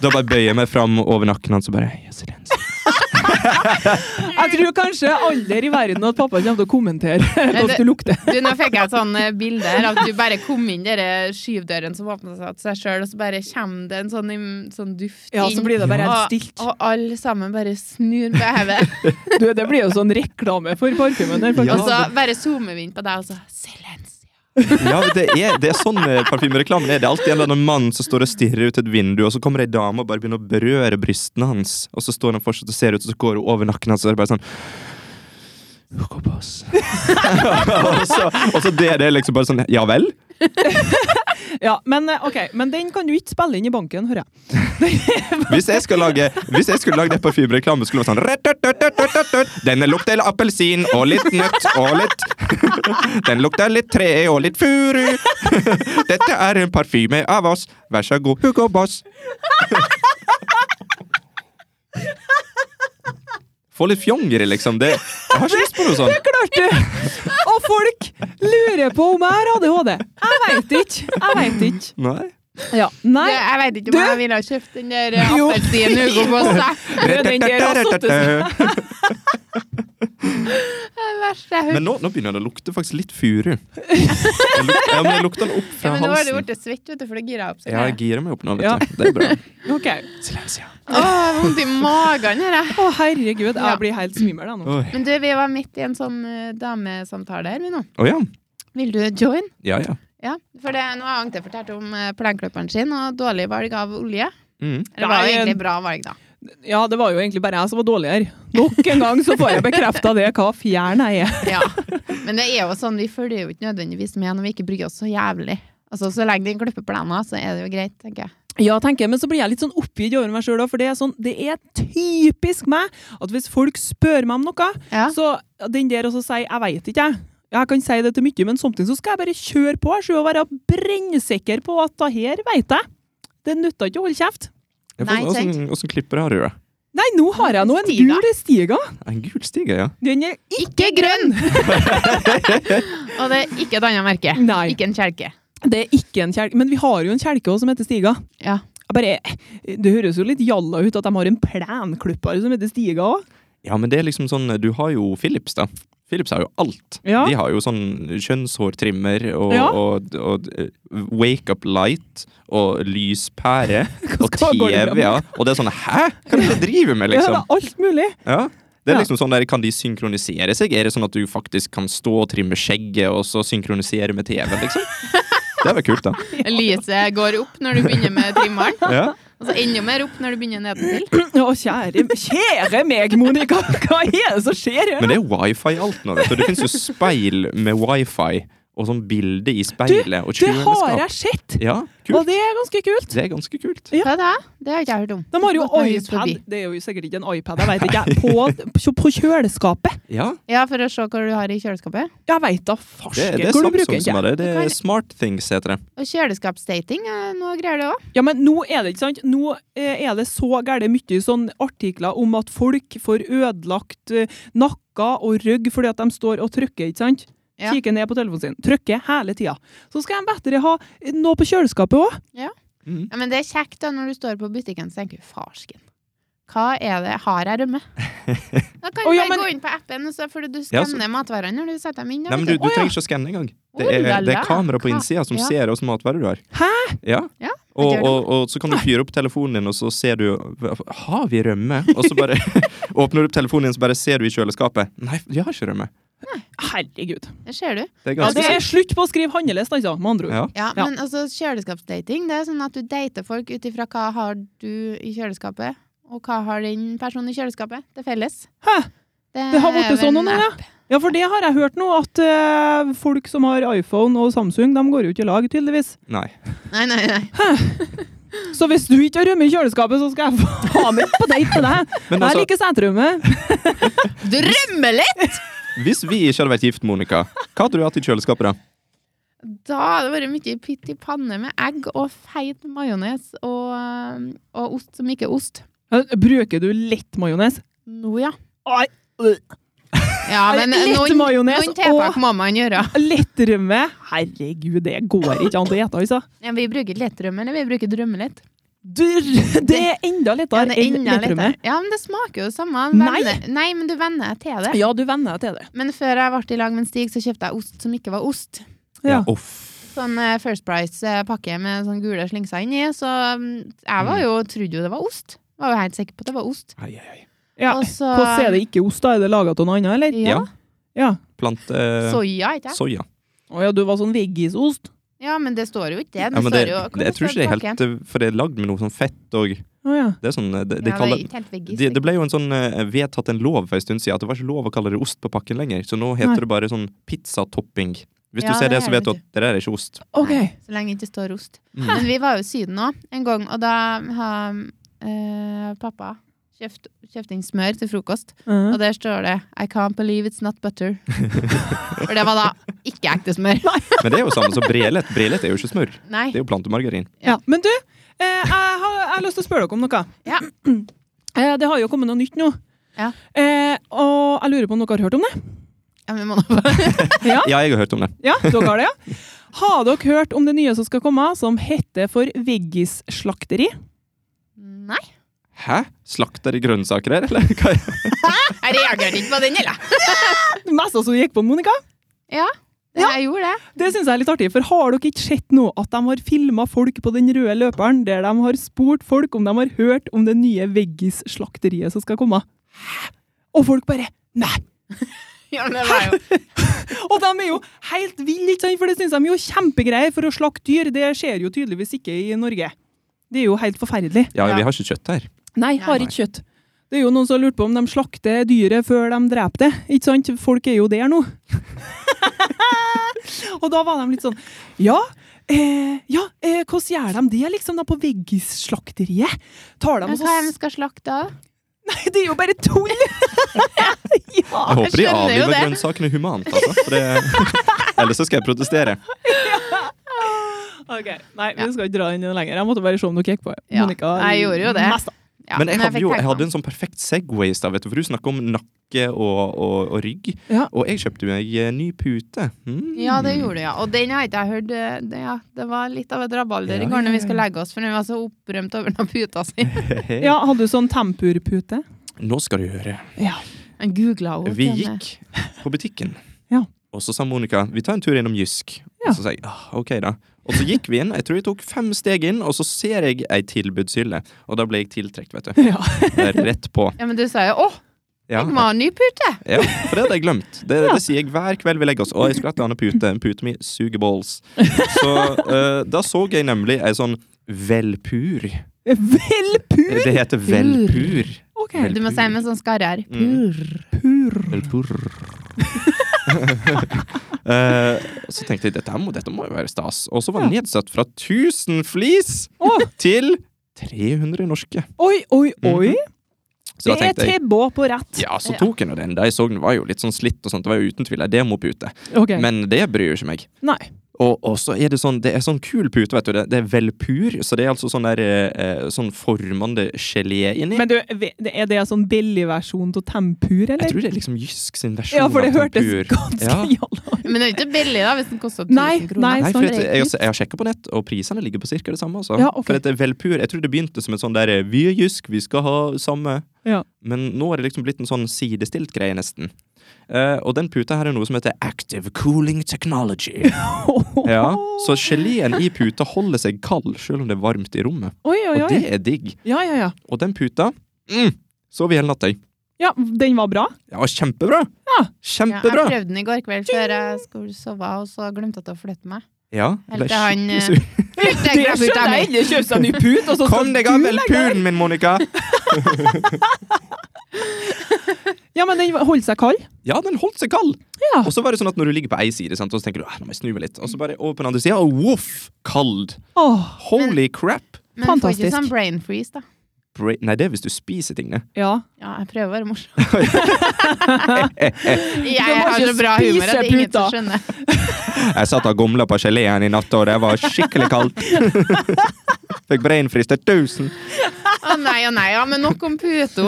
Speaker 3: Da bare bøyer jeg meg fram over nakken hans og bare ja, silensia.
Speaker 2: Jeg tror kanskje aldri i verden at pappa kommer til å kommentere
Speaker 1: det-
Speaker 2: hvordan du lukter.
Speaker 1: Du, nå fikk jeg et sånn eh, bilde her av at du bare kom inn dere skyvdøren som åpna seg til seg sjøl, og så bare kommer det en sånn, im- sånn duft
Speaker 2: Ja,
Speaker 1: inn.
Speaker 2: så blir det bare helt
Speaker 1: og,
Speaker 2: stilt.
Speaker 1: og alle sammen bare snur på hodet.
Speaker 2: Du, det blir jo sånn reklame for parfymen der,
Speaker 1: Og
Speaker 2: faktisk.
Speaker 1: så bare zoomer vi inn på deg, og så Silensia.
Speaker 3: Ja, men det er, det er sånn eh, parfymereklamen er. Det er alltid en eller annen mann som står og stirrer ut et vindu, og så kommer det ei dame og bare begynner å berøre brystene hans, og så står han fortsatt og ser ut, og så går hun over nakken hans, og så er det bare sånn «Gå på oss». og, så, og så det, det er liksom bare sånn Ja vel?
Speaker 2: Ja, men, eh, ok, men den kan du ikke spille inn i banken, hører jeg.
Speaker 3: Hvis jeg skulle lage Hvis jeg skulle lage det parfymereklame, skulle det være sånn «Rødt-rødt-rødt-rødt-rødt-rødt. Denne lukter appelsin og litt nøtt og litt Den lukter litt tre og litt furu. Dette er en parfyme av oss. Vær så god, Hugo Boss. Få litt fjongere, liksom. Det, jeg har ikke lyst på noe sånt.
Speaker 2: Klarte du! Og folk lurer på om jeg har ADHD. Jeg veit ikke. Jeg vet ikke.
Speaker 3: Nei.
Speaker 2: Ja, nei.
Speaker 1: Det- Jeg vet ikke
Speaker 2: Du-
Speaker 1: om jeg ville ha kjøpt den der eh,
Speaker 2: Jo.
Speaker 1: appelsinen Hugo Boss. jeg.
Speaker 2: Den der har satt
Speaker 1: Det er det verste jeg har hørt.
Speaker 3: Men nå, nå begynner det å lukte faktisk litt furu. Jeg luk, ja, men jeg lukter den opp
Speaker 1: Ja,
Speaker 3: fra
Speaker 1: men nå har du
Speaker 3: halsen.
Speaker 1: blitt svett, vet du, for det girer jeg opp.
Speaker 3: Ja, jeg girer meg opp nå, vet du. Det er bra.
Speaker 2: Ok.
Speaker 3: Silensia.
Speaker 1: Åh, jeg har vondt i magen her, jeg.
Speaker 2: Å, herregud.
Speaker 1: Ja.
Speaker 2: Jeg blir helt svimmel jeg, nå.
Speaker 3: Oi.
Speaker 1: Men du, vi var midt i en sånn eh, damesamtale her, vi nå.
Speaker 3: Å ja.
Speaker 1: Vil du join?
Speaker 3: Ja, ja.
Speaker 1: Ja, for det, nå har Agnte fortalt om eh, planklipperen sin og dårlig valg av olje.
Speaker 3: Mm.
Speaker 1: Eller var det
Speaker 2: Nei,
Speaker 1: egentlig bra valg, da?
Speaker 2: Ja, det var jo egentlig bare jeg som var dårligere. Nok en gang så får jeg bekrefta det, hva fjern jeg er.
Speaker 1: Ja. Men det er jo sånn, vi følger jo ikke nødvendigvis med når vi ikke bryr oss så jævlig. Altså, Så lenge det er en klippeplaner, så er det jo greit, tenker jeg.
Speaker 2: Ja, tenker jeg, men så blir jeg litt sånn oppgitt over meg sjøl òg, for det er, sånn, det er typisk meg at hvis folk spør meg om noe,
Speaker 1: Ja.
Speaker 2: så den der også sier 'jeg veit ikke', jeg. Jeg kan si det til mye, men samtidig så skal jeg bare kjøre på jeg skal jo være brennsikker på at det her veit jeg. Det nytter ikke å holde kjeft.
Speaker 3: Ja,
Speaker 1: Nei,
Speaker 3: for-
Speaker 1: sant.
Speaker 3: hvordan- Hvordan klipper har du det?
Speaker 2: Nei, nå har jeg nå en
Speaker 1: Stiga.
Speaker 2: gul stiga.
Speaker 3: En gul stige, ja.
Speaker 2: Den er
Speaker 1: Ikke grønn! og det er ikke et annet merke.
Speaker 2: Nei,
Speaker 1: Ikke en kjelke.
Speaker 2: det er ikke en kjelke. Men vi har jo en kjelke også som heter Stiga.
Speaker 1: Ja.
Speaker 2: Jeg bare, det høres jo litt jalla ut at de har en plenklipper som heter Stiga òg.
Speaker 3: Ja, men det er liksom sånn Du har jo Philips, da. Philips har jo alt.
Speaker 2: Ja.
Speaker 3: De har jo sånn kjønnshårtrimmer og,
Speaker 2: Ja.
Speaker 3: og, og, eh, wake up light og lyspære og
Speaker 2: skal- går det bra
Speaker 3: TV, ja. Og det er sånn Hæ?! Hva er det du driver med,
Speaker 2: Ja, det
Speaker 3: liksom?
Speaker 2: er alt mulig.
Speaker 3: Ja. Det er
Speaker 2: Ja.
Speaker 3: liksom sånn der, Kan de synkronisere seg? Er det sånn at du faktisk kan stå og trimme skjegget, og så synkronisere med TV, liksom? Det er vel kult, da.
Speaker 1: Lyset går opp når du begynner med trimmeren,
Speaker 3: Ja.
Speaker 1: og så enda mer opp når du begynner nedentil.
Speaker 2: Å, kjære, kjære meg, Monica! Hva er det som skjer her?
Speaker 3: Men det er wifi alt nå, vet du. Det finnes jo speil med wifi, og sånn bilde i speilet, og
Speaker 2: Det har
Speaker 3: kjøleskap.
Speaker 2: jeg sett!
Speaker 3: Ja,
Speaker 2: Og
Speaker 3: kult.
Speaker 2: det er ganske kult.
Speaker 3: Det er ganske kult.
Speaker 1: Hva er det? Det har ikke jeg hørt om.
Speaker 2: De har jo
Speaker 1: Gått meg hus
Speaker 2: iPad
Speaker 1: forbi.
Speaker 2: Det er jo sikkert ikke en iPad, jeg vet ikke. På, på, på kjøleskapet.
Speaker 3: Ja,
Speaker 1: Ja, for å se hva du har i kjøleskapet.
Speaker 2: Jeg veit da
Speaker 3: det,
Speaker 2: farsken
Speaker 3: det er
Speaker 2: hvor du bruker
Speaker 3: Samsung som
Speaker 2: den.
Speaker 3: har det. Det
Speaker 1: Du
Speaker 3: er
Speaker 1: kan-
Speaker 3: Smart Things heter det.
Speaker 1: Og kjøleskapsdating er noe greier, det òg.
Speaker 2: Ja, men nå er det ikke sant. Nå eh, er det så gære mye sånn artikler om at folk får ødelagt eh, nakker og rygg fordi at de står og trykker, ikke sant?
Speaker 1: Ja.
Speaker 2: Kikker ned på telefonen sin. Trykker hele tida. Så skal de bedre ha noe på kjøleskapet òg.
Speaker 3: Mm.
Speaker 1: Ja, men det er kjekt da når du står på butikken og tenker du, farsken. Hva er det? Har jeg rømme? Da kan du
Speaker 2: Å,
Speaker 1: bare
Speaker 2: ja, men-
Speaker 1: gå inn på appen, og så for du
Speaker 3: Ja, så-
Speaker 1: skanner matvarene når du setter dem inn. da,
Speaker 3: Nei, men du,
Speaker 1: vet
Speaker 3: du
Speaker 2: Å, ja.
Speaker 3: trenger ikke å skanne engang. Det
Speaker 1: Oh, la,
Speaker 3: er, det
Speaker 1: la.
Speaker 3: er kamera på
Speaker 1: Ka-
Speaker 3: innsida som
Speaker 1: ja.
Speaker 3: ser åssen matvarer du har.
Speaker 2: Hæ?
Speaker 3: Ja.
Speaker 1: Ja.
Speaker 3: Og,
Speaker 1: gjør det.
Speaker 3: og, og så kan du fyre opp telefonen din, og så ser du Har vi rømme? Og så bare åpner du opp telefonen din, så bare ser du i kjøleskapet. Nei, vi har ikke rømme.
Speaker 2: Herregud.
Speaker 1: Det ser du.
Speaker 3: Det er
Speaker 2: Ja,
Speaker 3: ganske
Speaker 2: det er slutt på å skrive handleliste, altså, med andre ord.
Speaker 3: Ja.
Speaker 1: Ja,
Speaker 2: Ja.
Speaker 1: men altså kjøleskapsdating, det er sånn at du dater folk ut ifra hva har du i kjøleskapet, og hva har den personen i kjøleskapet til felles.
Speaker 2: Hæ? Det har
Speaker 1: er
Speaker 2: blitt
Speaker 1: jo
Speaker 2: sånn
Speaker 1: en
Speaker 2: nå, ja.
Speaker 1: app.
Speaker 2: Ja, for det har jeg hørt nå, at eh, folk som har iPhone og Samsung, de går jo ikke i lag, tydeligvis.
Speaker 3: Nei.
Speaker 1: Nei, nei, nei.
Speaker 2: Så hvis du ikke har rømme i kjøleskapet, så skal jeg ha med på date med deg.
Speaker 3: Men
Speaker 2: Jeg
Speaker 3: altså,
Speaker 2: liker seterømme.
Speaker 1: Du rømmer litt!
Speaker 3: hvis vi ikke hadde vært gift, Monica, hva hadde du hatt i kjøleskapet da?
Speaker 1: Da har det vært mye pytt i panne med egg og feit majones og, øhm, og ost som ikke er ost.
Speaker 2: Eh, Bruker du lett majones?
Speaker 1: Nå, ja.
Speaker 2: Ai,
Speaker 1: ja men eh,
Speaker 2: Litt
Speaker 1: noen,
Speaker 2: majones
Speaker 1: noen tiltak
Speaker 2: og-
Speaker 1: må man gjøre.
Speaker 2: Lett rømme? Herregud, det går ikke an å ete, altså.
Speaker 1: Ja, vi bruker lettrømme, eller vi bruker drømmerlett.
Speaker 2: Du, det er enda
Speaker 1: Ja,
Speaker 2: lettere
Speaker 1: det er
Speaker 2: enn
Speaker 1: enda
Speaker 2: lett rømme.
Speaker 1: lettere. Ja, men det smaker jo det samme.
Speaker 2: Nei.
Speaker 1: Venne- Nei, men du venner deg til det.
Speaker 2: Ja, du venner deg til det.
Speaker 1: Men før jeg ble i lag med en Stig, så kjøpte jeg ost som ikke var ost.
Speaker 2: Ja.
Speaker 3: Uff.
Speaker 1: Sånn eh, First Price-pakke med sånn gule slingser inni. Så mm, jeg var jo, trodde jo det var ost. Var jo helt sikker på at det var ost.
Speaker 3: Ai, ai, ai.
Speaker 2: Ja.
Speaker 1: Og så
Speaker 2: Hvordan er det ikke ost, da? Er det laga av noe annet, eller?
Speaker 1: Ja.
Speaker 3: Ja.
Speaker 2: Ja.
Speaker 3: Plante... Soya.
Speaker 1: Soya, ikke sant?
Speaker 3: eh, Soya.
Speaker 2: Å ja, du var sånn veggisost?
Speaker 1: Ja, men det står jo ikke det.
Speaker 3: Ja, men det,
Speaker 1: står jo, hva
Speaker 3: det, jeg tror
Speaker 1: står
Speaker 3: ikke det er
Speaker 1: på pakken?
Speaker 3: helt eh, For det er lagd med noe sånn fett og
Speaker 2: Å ja.
Speaker 3: Det er sånn eh, Det,
Speaker 1: Ja,
Speaker 3: de
Speaker 1: det er
Speaker 3: kaller,
Speaker 1: ikke helt veggis,
Speaker 3: de, det
Speaker 1: liksom.
Speaker 3: ble jo en sånn eh, vedtatt en lov for en stund siden at det var ikke lov å kalle det ost på pakken lenger. Så nå heter
Speaker 2: Nei.
Speaker 3: det bare sånn pizzatopping. Hvis
Speaker 1: Ja,
Speaker 3: du ser
Speaker 1: det
Speaker 3: det,
Speaker 1: er
Speaker 3: så
Speaker 1: det,
Speaker 3: vet du
Speaker 1: vet
Speaker 3: at det der er ikke ost.
Speaker 2: OK.
Speaker 1: Nei, Så lenge det ikke står ost.
Speaker 3: Mm.
Speaker 1: Men vi var jo i Syden òg en gang, og da har eh, pappa kjøpt, kjøpt inn smør til frokost.
Speaker 2: Ja.
Speaker 1: Og der står det 'I can't believe it's not butter'. For det var da ikke ekte smør.
Speaker 3: Men det er jo samme som brelet. Brelet er jo ikke smør.
Speaker 1: Nei.
Speaker 3: Det er jo plantemargarin.
Speaker 2: Ja. Men du, eh, jeg, har, jeg har lyst til å spørre dere om noe.
Speaker 1: Ja.
Speaker 2: Eh, det har jo kommet noe nytt nå.
Speaker 1: Ja.
Speaker 2: Eh, og jeg lurer på om dere har hørt om det?
Speaker 1: Ja, men må nå bare
Speaker 2: Ja,
Speaker 3: Ja, jeg har hørt om det.
Speaker 2: ja dere har det, ja. Har dere hørt om det nye som skal komme, som heter for veggisslakteri?
Speaker 1: Nei.
Speaker 3: Hæ? Slakter de grønnsaker her, eller? Hva er-
Speaker 1: Jeg reagerte ikke på den, eller?
Speaker 2: Det meste som gikk på, Monica.
Speaker 1: Ja, det, jeg gjorde det.
Speaker 2: Det syns jeg er litt artig, for har dere ikke sett nå at de har filma folk på den røde løperen, der de har spurt folk om de har hørt om det nye veggisslakteriet som skal komme? Og folk bare Nei!
Speaker 1: Ja, men det var jo
Speaker 2: Og de er jo helt ville, ikke sant? For det syns de er jo kjempegreier for å slakte dyr. Det skjer jo tydeligvis ikke i Norge. Det er jo helt forferdelig.
Speaker 3: Ja,
Speaker 1: Ja.
Speaker 3: vi har ikke kjøtt her.
Speaker 2: Nei, har
Speaker 3: Nei.
Speaker 2: ikke kjøtt. Det er jo noen som lurte på om de slakter dyret før de dreper det. Ikke sant? Folk er jo der nå. og da var de litt sånn Ja, eh, ja eh, hvordan gjør de det, liksom, da, på veggisslakteriet? Tar de
Speaker 1: Men
Speaker 2: og
Speaker 1: hva er det
Speaker 2: så
Speaker 1: vi skal slakte av?
Speaker 2: Nei, det er jo bare tull! ja.
Speaker 3: Jeg håper de
Speaker 1: skjønner jo
Speaker 3: avliver
Speaker 1: det.
Speaker 3: grønnsakene humant, altså. For det... Ellers så skal jeg protestere.
Speaker 2: Ok, Nei, vi skal ikke dra inn i det lenger. Jeg måtte bare se om dere gikk på.
Speaker 1: Ja,
Speaker 2: Monica
Speaker 1: jeg gjorde jo det.
Speaker 2: mest-
Speaker 1: Ja,
Speaker 3: Men jeg hadde
Speaker 1: fikk
Speaker 3: jo
Speaker 1: tenkt
Speaker 3: jeg
Speaker 1: meg
Speaker 3: hadde
Speaker 1: om.
Speaker 3: en sånn perfekt Segway i stad, vet du. For du snakker om nakke og, og, og rygg.
Speaker 2: Ja.
Speaker 3: Og jeg kjøpte meg eh, ny pute. Mm.
Speaker 1: Ja, det gjorde jeg. Og den har ikke jeg hørt eh, det, ja, det var litt av et rabalder
Speaker 3: Ja,
Speaker 1: i går
Speaker 3: ja,
Speaker 1: når vi
Speaker 3: ja.
Speaker 1: skulle legge oss, for den var så opprømt over den puta si.
Speaker 2: Ja, hadde du sånn tempurpute?
Speaker 3: Nå skal du høre.
Speaker 2: Ja.
Speaker 1: Han googla henne.
Speaker 3: Vi
Speaker 1: til og med.
Speaker 3: gikk på butikken,
Speaker 2: Ja.
Speaker 3: og så sa Monica vi tar en tur innom Jysk.
Speaker 2: Ja.
Speaker 3: Og så sa jeg «Ah, ok, da. Og så gikk vi inn. Jeg tror jeg tok fem steg inn, og så ser jeg ei tilbudshylle. Og da ble jeg tiltrukket, vet du.
Speaker 2: ja.
Speaker 3: Det er Rett på.
Speaker 1: Ja, men du sa jo 'Å,
Speaker 3: Ja,
Speaker 1: jeg må ha en ny pute'.
Speaker 3: ja, for det hadde jeg glemt. Det,
Speaker 2: Ja.
Speaker 3: det sier jeg hver kveld vi legger oss. Å, jeg skulle hatt en annen pute. En pute mi suger balls. Så eh, da så jeg nemlig ei sånn Velpur. Eh,
Speaker 2: Velpur!
Speaker 3: Det heter velpur.
Speaker 2: Ok.
Speaker 3: Vel-
Speaker 1: Du må si med sånn skarre her.
Speaker 3: Mm.
Speaker 2: Pur.
Speaker 3: Velpur. Eh, så tenkte jeg dette, her må, dette må jo være stas. Og så var den nedsatt fra 1000 flis
Speaker 2: Å.
Speaker 3: til 300 norske.
Speaker 2: Oi, oi, oi!
Speaker 3: Mhm. Så
Speaker 2: Det
Speaker 3: da
Speaker 2: er
Speaker 3: tenkte jeg
Speaker 2: tebå på rett.
Speaker 3: ja, så tok jeg nå den. Da jeg så den var jo litt sånn slitt, og sånt. det var jo uten tvil ei demopute.
Speaker 2: Ok.
Speaker 3: Men det bryr jo ikke meg.
Speaker 2: Nei.
Speaker 3: Og, og så er det sånn Det er sånn kul pute, vet du. Det, det er velpur, så det er altså sånn der eh, eh, Sånn formende gelé inni.
Speaker 2: Men du, ve- det- er det sånn billigversjon av tempur, eller?
Speaker 3: jeg tror det er liksom Jysk sin versjon
Speaker 2: ja, for det
Speaker 3: av
Speaker 2: hørtes
Speaker 3: tempur.
Speaker 2: ganske
Speaker 3: Ja.
Speaker 2: jalla ut.
Speaker 1: Men det er jo ikke billig, da, hvis den koster 1000
Speaker 2: Nei,
Speaker 1: kroner.
Speaker 2: nei.
Speaker 3: Nei, for
Speaker 2: sånn
Speaker 3: at, jeg,
Speaker 2: rent
Speaker 3: jeg, har sjekka på nett, og prisene ligger på ca. det samme. Altså.
Speaker 2: Ja, ok.
Speaker 3: For at det er velpur, Jeg tror det begynte som en sånn der eh, Vi er jysk, vi skal ha samme.
Speaker 2: Ja.
Speaker 3: Men nå er det liksom blitt en sånn sidestilt greie, nesten. Eh, og den puta her er noe som heter Active Cooling Technology. Ja, Så geleen i puta holder seg kald selv om det er varmt i rommet.
Speaker 2: Oi, oi,
Speaker 3: Og
Speaker 2: oi.
Speaker 3: det er digg.
Speaker 2: Ja, ja, ja.
Speaker 3: Og den puta mm, sov i hele natta i.
Speaker 2: Ja, den var bra.
Speaker 3: Ja, kjempebra!
Speaker 2: Ja.
Speaker 3: Kjempebra!
Speaker 1: jeg prøvde den i går kveld før jeg skulle sove, og så glemte jeg til å flytte meg.
Speaker 3: Ja,
Speaker 1: Helt
Speaker 3: det
Speaker 1: til
Speaker 3: er
Speaker 1: han,
Speaker 3: skikkelig
Speaker 1: eh,
Speaker 3: sur.
Speaker 1: Flytte
Speaker 2: Det skjønner jeg ikke. Kjøp seg ny put, og så skal
Speaker 3: Kom deg
Speaker 2: du
Speaker 3: av vel
Speaker 2: legge deg.
Speaker 3: pulen min, Monica!
Speaker 2: Ja, men den holdt seg kald.
Speaker 3: Ja, den holdt seg kald!
Speaker 2: Ja.
Speaker 3: Og så var det sånn at når du ligger på ei side, sant, og så tenker du «Ah, nå må jeg snu meg litt, og så bare over på den andre sida, og voff! Kald!
Speaker 2: Åh,
Speaker 3: Holy crap!
Speaker 1: Men jeg får
Speaker 2: Fantastisk.
Speaker 1: ikke sånn brain freeze, da.
Speaker 3: Bra Nei, det er hvis du spiser ting, det.
Speaker 2: ja.
Speaker 1: Ja, jeg prøver å være morsom.
Speaker 2: Du
Speaker 1: jeg
Speaker 2: må
Speaker 1: har
Speaker 2: ikke
Speaker 1: så bra humor at det er
Speaker 2: spise
Speaker 1: ingen som skjønner.
Speaker 3: Jeg satt og gomla på geleen i natt, og det var skikkelig kaldt. Fikk breinfrist til 1000.
Speaker 1: Å nei, å nei, ja, men nok om puto.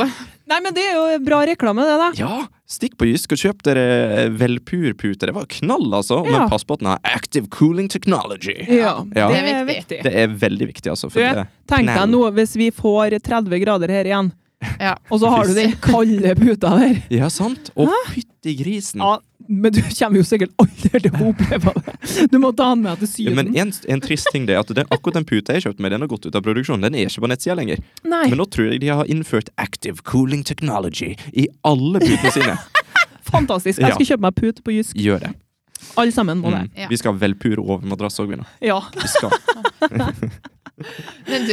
Speaker 2: Nei, men det er jo bra reklame, det, da.
Speaker 3: Ja, stikk på Jysk og kjøp dere eh, Velpur-pute. Det var knall, altså.
Speaker 2: Ja.
Speaker 3: Men pass på at den har active cooling technology. Ja.
Speaker 2: Det er
Speaker 1: viktig.
Speaker 2: viktig.
Speaker 3: Det er veldig viktig, altså. For
Speaker 2: Du,
Speaker 3: det,
Speaker 2: Tenk deg
Speaker 3: Knall.
Speaker 2: nå hvis vi får 30 grader her igjen,
Speaker 1: Ja.
Speaker 2: og så har du den kalde puta der.
Speaker 3: ja, sant? Å, fytti grisen.
Speaker 2: Ja, men du kommer jo sikkert aldri til å oppleve det. Du må ta den med til
Speaker 3: Ja,
Speaker 2: Syden.
Speaker 3: Men en, en trist ting det er at den, akkurat den puta jeg kjøpte meg, den har gått ut av produksjon. Den er ikke på nettsida lenger.
Speaker 2: Nei.
Speaker 3: Men nå tror jeg de har innført active cooling technology i alle putene sine.
Speaker 2: Fantastisk. Jeg skal kjøpe meg put på Jysk.
Speaker 3: Gjør det.
Speaker 2: Alle sammen må det.
Speaker 3: Mm. Vi skal ha velpur over madrass òg, Vinna.
Speaker 2: Ja.
Speaker 3: Vi skal.
Speaker 1: Men du,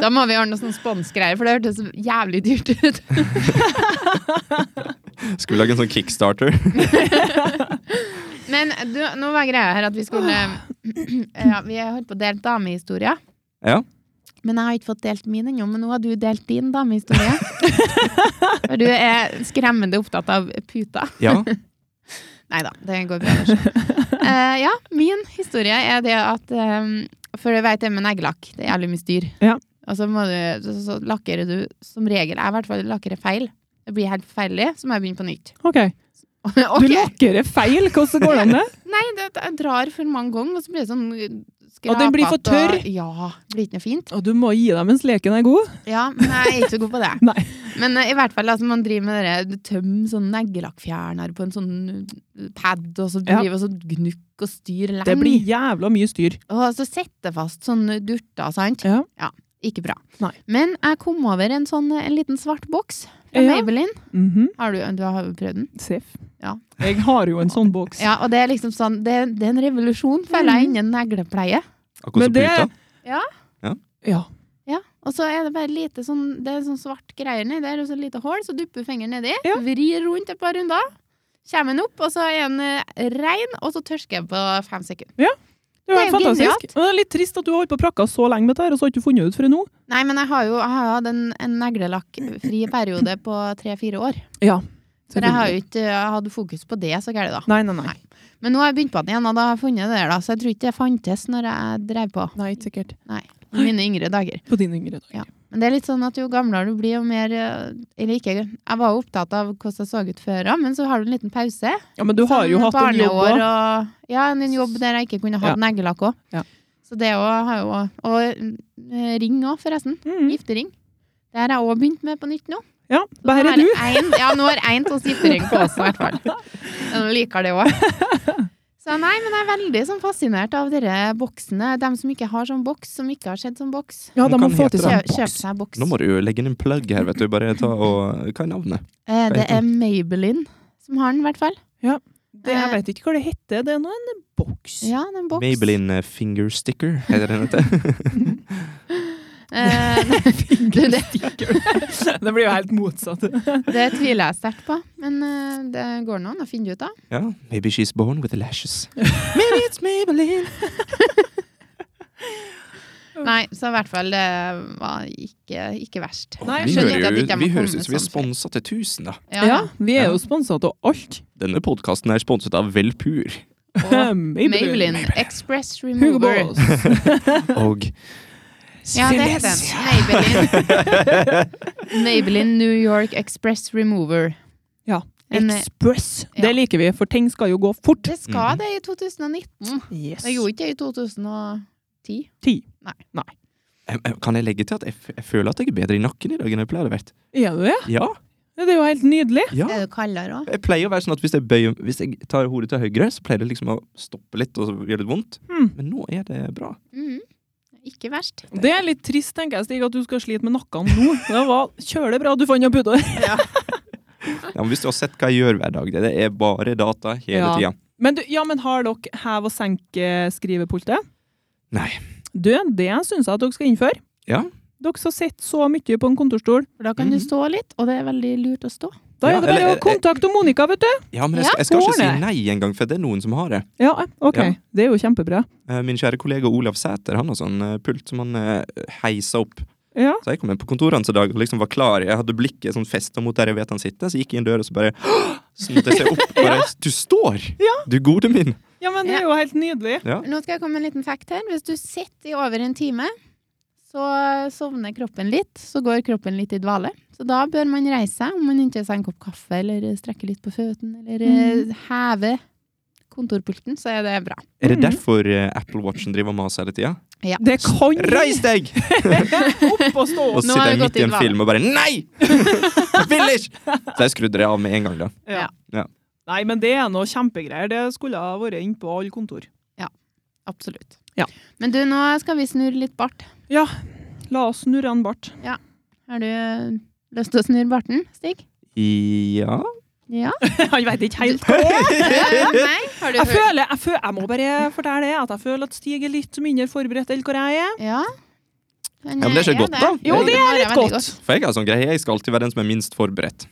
Speaker 1: da må vi ordne sånn sponsgreier, for det hørtes så jævlig dyrt ut.
Speaker 3: Skulle lage en sånn kickstarter.
Speaker 1: Men du, nå var greia her at vi skulle ja, Vi har holdt på å dele damehistorier.
Speaker 3: Ja.
Speaker 1: Men jeg har ikke fått delt min ennå, men nå har du delt din damehistorie. For du er skremmende opptatt av puta.
Speaker 3: Ja.
Speaker 1: Nei da, det går bra. Lars. Eh, ja, min historie er det at eh, For du vet det med neglelakk, det er jævlig mye styr.
Speaker 2: Ja.
Speaker 1: Og så, må du, så, så lakkerer du som regel Jeg i hvert fall lakkerer feil. Det blir helt forferdelig, så må jeg begynne på nytt.
Speaker 2: OK. Du
Speaker 1: Ok.
Speaker 2: lakkerer feil. Hvordan går det an, det?
Speaker 1: Nei, det, det jeg drar for mange ganger, og så blir det sånn uh,
Speaker 2: Og den blir for
Speaker 1: skrapete og-
Speaker 2: tørr?
Speaker 1: Ja. det Blir ikke noe fint.
Speaker 2: Å, du må gi deg mens leken er god.
Speaker 1: Ja, men jeg er ikke så god på det.
Speaker 2: Nei.
Speaker 1: Men eh, i hvert fall, altså, man driver med det der, du tømmer sånn neglelakkfjerner på en sånn uh, pad, og så
Speaker 2: Ja.
Speaker 1: driver og så gnukk og styr lenge.
Speaker 2: Det blir jævla mye styr.
Speaker 1: Og så setter fast sånn durter, sant?
Speaker 2: Ja.
Speaker 1: Ikke bra.
Speaker 2: Nei.
Speaker 1: Men jeg kom over en sånn eh, en liten svart boks fra
Speaker 2: Ja.
Speaker 1: Maybelline.
Speaker 2: Mhm.
Speaker 1: Har du, du har prøvd den?
Speaker 2: Seff.
Speaker 1: Ja.
Speaker 2: Jeg har jo en sånn boks.
Speaker 1: Ja, og det er liksom sånn, det, det er en revolusjon, føler
Speaker 2: Mm.
Speaker 1: jeg, innen neglepleie.
Speaker 2: Men
Speaker 3: Akkurat som
Speaker 2: det-
Speaker 3: puta.
Speaker 2: Ja.
Speaker 1: Ja, og så er det bare lite sånn, det er sånn svart greier nedi der, og så et lite hull, så dupper fingeren nedi,
Speaker 2: Ja.
Speaker 1: vrir rundt et par runder, kommer den opp, og så er den eh, rein, og så tørsker den på fem sekunder.
Speaker 2: Det var
Speaker 1: Det er jo
Speaker 2: fantastisk.
Speaker 1: genialt.
Speaker 2: Men det er litt trist at du har holdt på å prakke så lenge med det her, og så har du ikke funnet ut for nå.
Speaker 1: Nei, men jeg har jo jeg har jo hatt en, en neglelakkfri periode på tre-fire år.
Speaker 2: Ja.
Speaker 1: For jeg har jo ikke eh, hatt fokus på det så gærent, da.
Speaker 2: Nei, nei, nei.
Speaker 1: Nei. Men nå har jeg begynt på den igjen, og da har jeg funnet det der, da. Så jeg tror ikke det fantes når jeg drev på
Speaker 2: Nei, ikke sikkert.
Speaker 1: i mine yngre dager.
Speaker 2: På din yngre dag.
Speaker 1: Ja. Men det er litt sånn at jo gamlere du blir, jo mer eh, Eller ikke, jeg var jo opptatt av hvordan jeg så ut før, ja, men så har du en liten pause.
Speaker 2: Ja, men du har jo
Speaker 1: Sånn
Speaker 2: hatt en jobb
Speaker 1: barneår
Speaker 2: også.
Speaker 1: og Ja, en jobb der jeg ikke kunne hatt
Speaker 2: Ja.
Speaker 1: neglelakk òg.
Speaker 2: Ja.
Speaker 1: Så det òg har jo Og eh, ring òg, forresten.
Speaker 2: Mm.
Speaker 1: Giftering. Det har jeg òg begynt med på nytt nå.
Speaker 2: Ja,
Speaker 1: Så nå
Speaker 2: der
Speaker 1: har
Speaker 2: er du.
Speaker 1: En, ja, nå har én av giftering på oss, i hvert fall. Hun liker det òg. Så nei, men jeg er veldig sånn fascinert av dere boksene. De som ikke har sånn boks, som ikke har sett sånn boks.
Speaker 2: Ja,
Speaker 3: Men
Speaker 2: da
Speaker 3: hva
Speaker 2: må få
Speaker 3: heter
Speaker 2: til sånn-
Speaker 3: den?
Speaker 2: seg.
Speaker 1: Kjøp, kjøp seg boks.
Speaker 3: Nå må du jo legge inn en plug her, vet du. Bare ta og Hva er navnet?
Speaker 1: Eh, det er Maybelline som har den, i hvert fall.
Speaker 2: Det, jeg vet ikke hva det heter. Det er nå en boks.
Speaker 1: Ja, det er en boks.
Speaker 3: Maybelline eh, Finger Sticker, heter den ikke?
Speaker 1: Eh, du, det,
Speaker 2: det blir jo helt motsatt.
Speaker 1: Det tviler jeg sterkt på, men eh, det går nå an å finne det ut av.
Speaker 3: Ja. Maybe she's born with lashes. Maybe it's Maybelline.
Speaker 1: Nei, så i hvert fall det var ikke, ikke verst.
Speaker 2: Nei, jeg
Speaker 3: vi
Speaker 1: skjønner ikke at
Speaker 3: hører
Speaker 1: ikke
Speaker 3: jo
Speaker 1: jeg må
Speaker 3: vi
Speaker 1: komme
Speaker 3: høres ut som vi er
Speaker 1: sånn før.
Speaker 3: sponsa til 1000, da.
Speaker 1: Ja,
Speaker 2: Ja, vi er jo sponsa av alt.
Speaker 3: Denne podkasten er sponset av Velpur.
Speaker 1: Og
Speaker 2: Maybelline.
Speaker 1: Maybelline Express
Speaker 2: Hugo
Speaker 1: Remover.
Speaker 2: Boss.
Speaker 3: Og
Speaker 1: Ja, det heter den. Maybelline. Maybelline New York Express Remover.
Speaker 2: Ja.
Speaker 1: En, eh,
Speaker 2: Express.
Speaker 1: Ja.
Speaker 2: Det liker vi, for ting skal jo gå fort.
Speaker 1: det skal det i 2019.
Speaker 2: Yes.
Speaker 1: Det gjorde ikke det i 2010.
Speaker 2: Ti.
Speaker 3: Em, em, Kan jeg legge til at jeg, f jeg føler at jeg er bedre i nakken i dag enn jeg pleier å være?
Speaker 2: Er du det?
Speaker 3: Ja.
Speaker 2: Det er jo helt nydelig.
Speaker 3: Ja.
Speaker 1: Er det kaldere òg?
Speaker 3: Jeg pleier å være sånn at hvis jeg, bøyer, hvis jeg tar hodet til høyre, så pleier det liksom å stoppe litt og gjøre litt vondt.
Speaker 2: Hmm.
Speaker 3: Men nå er det bra.
Speaker 1: Mm. Ikke verst.
Speaker 2: Det er litt trist, tenker jeg, Stig, at du skal slite med nakken nå. Det var kjølig bra du fant noe puter.
Speaker 3: Ja, men hvis du har sett hva jeg gjør hver dag, det- det er bare data hele
Speaker 2: Ja.
Speaker 3: tida.
Speaker 2: Men, du- ja, men har dere hev- og senk-skrivepultet?
Speaker 3: Nei.
Speaker 2: Du, det syns jeg at dere skal innføre.
Speaker 3: Ja.
Speaker 2: Dere som sitter så mye på en kontorstol.
Speaker 1: For da kan du
Speaker 3: Mhm.
Speaker 1: stå litt, og det er veldig lurt å stå.
Speaker 2: Da
Speaker 3: Ja,
Speaker 2: er det bare
Speaker 3: eller- eh,
Speaker 2: å kontakte Monica, vet du.
Speaker 3: Ja, men jeg
Speaker 1: Ja,
Speaker 3: skal, jeg skal ikke si
Speaker 2: går det?
Speaker 3: nei engang, for det er noen som har det.
Speaker 2: Ja, ok.
Speaker 3: Ja.
Speaker 2: Det er jo kjempebra.
Speaker 3: Eh, Min kjære kollega Olav Sæter han har sånn eh, pult som han eh, heiser opp.
Speaker 2: Ja.
Speaker 3: Så jeg kom inn på kontoret hans i dag og liksom var klar. Jeg hadde blikket sånn festa mot der jeg vet han sitter, så gikk jeg inn døra og så bare Så måtte jeg se opp. Bare, Du står! Du gode min!
Speaker 2: ja, men det er jo helt nydelig.
Speaker 1: Nå skal jeg komme med en liten fact her. Hvis du sitter i over en time, så sovner kroppen litt, så går kroppen litt i dvale. Så da bør man reise seg, om man ikke seg en kopp kaffe, eller strekke litt på føttene, eller eh, heve kontorpulten, så er det bra.
Speaker 3: Er det
Speaker 2: Mhm.
Speaker 3: derfor eh, Apple Watchen driver og maser hele tida?
Speaker 1: Ja.
Speaker 2: Det kan
Speaker 3: Reis deg!
Speaker 2: opp og stå
Speaker 3: Og
Speaker 2: opp.
Speaker 3: så
Speaker 1: Nå har det
Speaker 3: sitter jeg midt
Speaker 1: gått
Speaker 3: i
Speaker 1: i
Speaker 3: en
Speaker 1: dvale.
Speaker 3: film og bare Nei! Jeg vil ikke! Så jeg skrudde det av med en gang, da.
Speaker 1: Ja.
Speaker 3: Ja.
Speaker 2: Nei, men det er noe kjempegreier. Det skulle ha vært inne på alle kontor.
Speaker 1: Absolutt.
Speaker 2: Ja.
Speaker 1: Men du, nå skal vi snurre litt bart.
Speaker 2: La oss snurre en bart.
Speaker 1: Har du eh, lyst til å snurre barten, Stig?
Speaker 3: Ja
Speaker 1: Ja?
Speaker 2: Han veit ikke helt.
Speaker 1: Eh, nei? Har du
Speaker 2: Jeg
Speaker 1: hørt?
Speaker 2: føler, jeg føler, jeg må bare fortelle det, at jeg føler at Stig er litt mindre forberedt enn hvor jeg er.
Speaker 1: Ja. Men,
Speaker 3: Ja, men det er så
Speaker 1: eh,
Speaker 3: godt, da.
Speaker 2: Jo, det er
Speaker 1: har jeg
Speaker 2: litt
Speaker 1: veldig
Speaker 2: godt.
Speaker 3: For jeg har sånn greie, jeg skal alltid være den som er minst forberedt.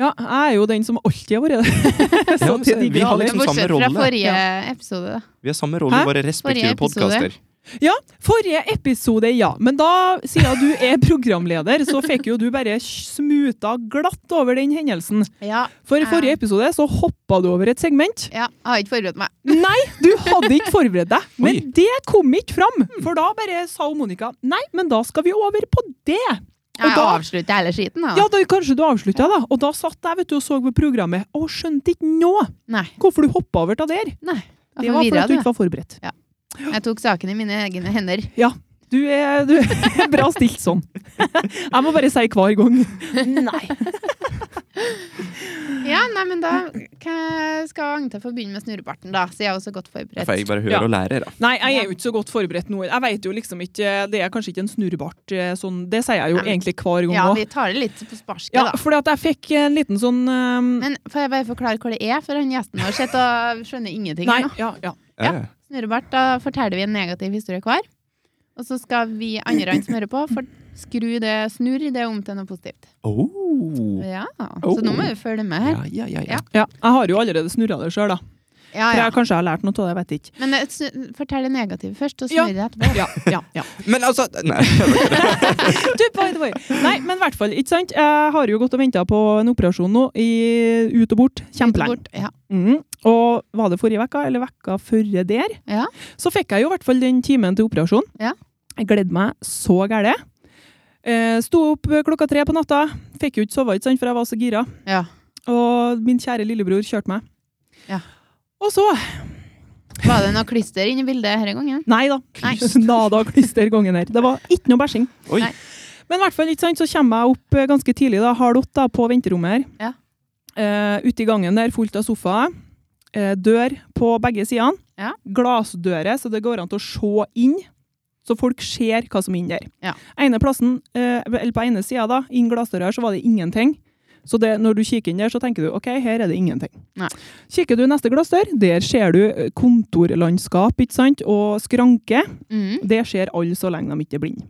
Speaker 2: Ja, jeg er jo den som alltid har vært det.
Speaker 3: Ja,
Speaker 2: Sånn til de
Speaker 3: vi har
Speaker 2: grader.
Speaker 3: liksom samme
Speaker 1: Bortsett fra
Speaker 3: rolle.
Speaker 1: forrige episode, da.
Speaker 3: Vi har samme rolle i
Speaker 2: Hæ?
Speaker 3: våre respektive
Speaker 1: Forrige episode.
Speaker 3: podkaster.
Speaker 2: Ja, forrige episode, ja. Men da, siden du er programleder, så fikk jo du bare smuta glatt over den hendelsen.
Speaker 1: Ja,
Speaker 2: For i forrige
Speaker 1: Ja.
Speaker 2: episode så hoppa du over et segment.
Speaker 1: ja, jeg har ikke forberedt meg.
Speaker 2: Nei, du hadde ikke forberedt deg, men
Speaker 3: Oi.
Speaker 2: det kom ikke fram. For da bare sa hun Monica nei, men da skal vi over på det. Og
Speaker 1: Jeg
Speaker 2: da-
Speaker 1: avslutter hele skiten, da.
Speaker 2: Ja, da kanskje du avslutta, da. Og da satt jeg vet du, og så på programmet og skjønte ikke nå
Speaker 1: Nei.
Speaker 2: hvorfor du hoppa over til der.
Speaker 1: jeg
Speaker 2: Det var fordi
Speaker 1: forvirret
Speaker 2: at du
Speaker 1: det.
Speaker 2: ikke var forberedt.
Speaker 1: Jeg tok saken i mine egne hender.
Speaker 2: Du er, du er bra stilt sånn. Jeg må bare si hver gang. Nei.
Speaker 1: Ja, nei, men da hva skal Agnete få begynne med snurrebarten, da, siden jeg er også godt
Speaker 3: Da får jeg
Speaker 1: forberedt.
Speaker 3: bare høre
Speaker 2: Ja.
Speaker 3: og lære, da.
Speaker 2: Nei, jeg er jo ikke så godt forberedt nå. Jeg vet jo liksom ikke, Det er kanskje ikke en snurrebart eh, sånn Det sier jeg jo
Speaker 1: Nei, men-
Speaker 2: egentlig hver gang
Speaker 1: Ja,
Speaker 2: òg.
Speaker 1: vi tar det litt på sparsket,
Speaker 2: Ja,
Speaker 1: da.
Speaker 2: fordi at jeg fikk en liten sånn eh,
Speaker 1: Men får jeg bare forklare hva det er, for han gjesten vår sitter og skjønner ingenting
Speaker 2: Nei,
Speaker 1: nå.
Speaker 2: ja, ja.
Speaker 1: Ja. Snurrebart, da forteller vi en negativ historie hver. Og så skal vi andre som hører på, for skru det, snurr det om til noe positivt.
Speaker 3: Oh.
Speaker 1: Ja, så nå må vi følge med her.
Speaker 3: Ja, ja, ja, ja.
Speaker 1: Ja.
Speaker 2: ja. Jeg har jo allerede snurra det sjøl, da.
Speaker 1: Ja,
Speaker 2: For
Speaker 1: ja.
Speaker 2: jeg kanskje jeg har lært noe av det, jeg vet ikke.
Speaker 1: Men eh, snu- fortell det negative først, og
Speaker 2: Ja.
Speaker 1: snurr det etterpå.
Speaker 2: Ja, ja, ja.
Speaker 3: Men altså Nei.
Speaker 2: Du, by the way. Nei, men i hvert fall, ikke sant. Jeg har jo gått og venta på en operasjon nå, i, ut og bort, kjempelenge.
Speaker 1: Bort, Ja.
Speaker 2: Mm. Og var det forrige vekka, eller vekka før der,
Speaker 1: Ja.
Speaker 2: så fikk jeg jo i hvert fall den timen til operasjon.
Speaker 1: Ja.
Speaker 2: Jeg gledde meg så gæle. Eh, sto opp klokka tre på natta. Fikk jo ikke sove, ikke sant, for jeg var så gira.
Speaker 1: ja.
Speaker 2: Og min kjære lillebror kjørte meg.
Speaker 1: Ja.
Speaker 2: Og så
Speaker 1: Var det noe klister inne i bildet denne gangen?
Speaker 2: Nei da.
Speaker 1: Nei.
Speaker 2: Nada klister gangen her. Det var ikke noe bæsjing.
Speaker 3: Oi.
Speaker 1: Nei.
Speaker 2: Men i hvert fall, ikke sant, så kommer jeg opp eh, ganske tidlig, da, halv åtte da, på venterommet her.
Speaker 1: Ja.
Speaker 2: Eh, ute i gangen der, fullt av sofaer. Eh, dør på begge sidene.
Speaker 1: Ja.
Speaker 2: Glassdører, så det går an til å se inn. Så folk ser hva som er inn der.
Speaker 1: Ja.
Speaker 2: Ene plassen, eh, eller på ene sida, da, inn glassdøra her, så var det ingenting. Så det, når du kikker inn der, så tenker du OK, her er det ingenting.
Speaker 1: Nei.
Speaker 2: Kikker du i neste glassdør, der ser du eh, kontorlandskap ikke sant, og skranke.
Speaker 1: Mm.
Speaker 2: Det skjer alle så lenge de ikke er blinde.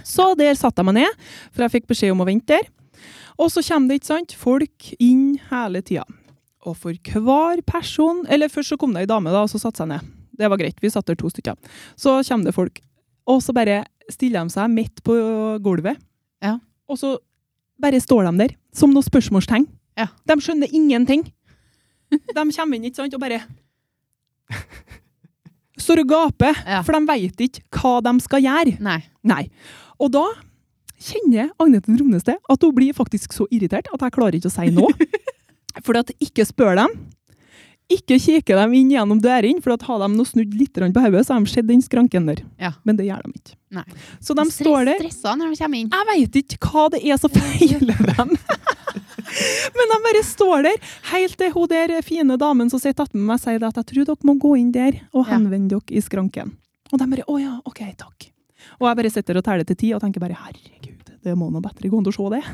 Speaker 2: Så der satte jeg meg ned, for jeg fikk beskjed om å vente der. Og så kommer det ikke sant, folk inn hele tida. Og for hver person Eller først så kom det ei dame, da, og så satte seg ned. Det var greit, vi satt der to stykker. Så kommer det folk. Og så bare stiller de seg midt på gulvet.
Speaker 1: Ja.
Speaker 2: Og så bare står de der som noen spørsmålstegn.
Speaker 1: Ja.
Speaker 2: De skjønner ingenting. De kommer inn, ikke sant, og bare Står og gaper,
Speaker 1: Ja.
Speaker 2: for de veit ikke hva de skal gjøre.
Speaker 1: Nei.
Speaker 2: Nei. Og da kjenner Agnete Dromneste at hun blir faktisk så irritert at jeg klarer ikke å si noe. For at ikke spør dem. Ikke kikker dem inn gjennom dørene, for at har de nå snudd litt grann på hodet, så har de sett den skranken der.
Speaker 1: Ja.
Speaker 2: Men det gjør de ikke.
Speaker 1: Nei.
Speaker 2: Så de står der.
Speaker 1: Stressa når de kommer inn.
Speaker 2: Jeg veit ikke hva det er som feiler dem. Men de bare står der, helt til hun der fine damen som sitter attmed meg, sier det at jeg tror dere må gå inn der og
Speaker 1: Ja.
Speaker 2: henvende dere i skranken. Og de bare 'Å ja, OK, takk'. Og jeg bare sitter og teller til ti og tenker bare 'herregud, det må nå bedre gå an å se det'.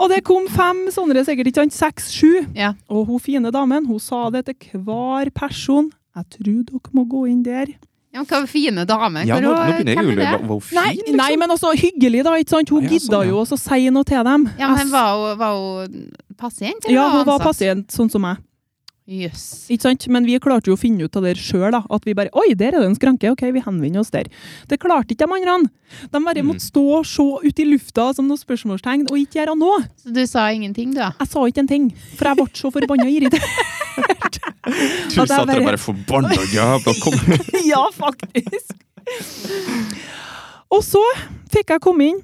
Speaker 2: og det kom fem sånne, sikkert ikke sant, seks-sju.
Speaker 1: Ja.
Speaker 2: Og hun fine damen hun sa det til hver person. Jeg tror dere må gå inn der.
Speaker 1: Ja, men hva fine dame.
Speaker 3: Ja,
Speaker 1: Hvor-
Speaker 3: nå, nå begynner jeg
Speaker 1: hvem
Speaker 3: jo
Speaker 1: er
Speaker 3: å lure
Speaker 1: det?
Speaker 3: på hvor fin liksom.
Speaker 2: Nei, nei, men også hyggelig, da. ikke sant? Hun
Speaker 3: Ja, ja,
Speaker 2: gidda
Speaker 3: sånn, ja.
Speaker 2: jo også å si noe til dem.
Speaker 1: Ja, men
Speaker 2: Jeg-
Speaker 1: var hun, var hun pasient? eller
Speaker 2: ja, hun var
Speaker 1: ansatt?
Speaker 2: pasient, sånn som meg.
Speaker 1: Jøss.
Speaker 2: Ikke sant? Men vi klarte jo å finne ut av det sjøl. At vi bare Oi, der er det en skranke. OK, vi henvender oss der. Det klarte ikke de andre. De bare
Speaker 3: Mm.
Speaker 2: måtte stå og se ut i lufta som noen spørsmålstegn, og ikke gjøre noe.
Speaker 1: Så du sa ingenting, du, da?
Speaker 2: Jeg sa ikke en ting, for jeg ble så forbanna irritert.
Speaker 3: Du
Speaker 2: at jeg
Speaker 3: satt der
Speaker 2: bare-
Speaker 3: bare forbanna jævla kom.
Speaker 2: ja, faktisk. Og så fikk jeg komme inn.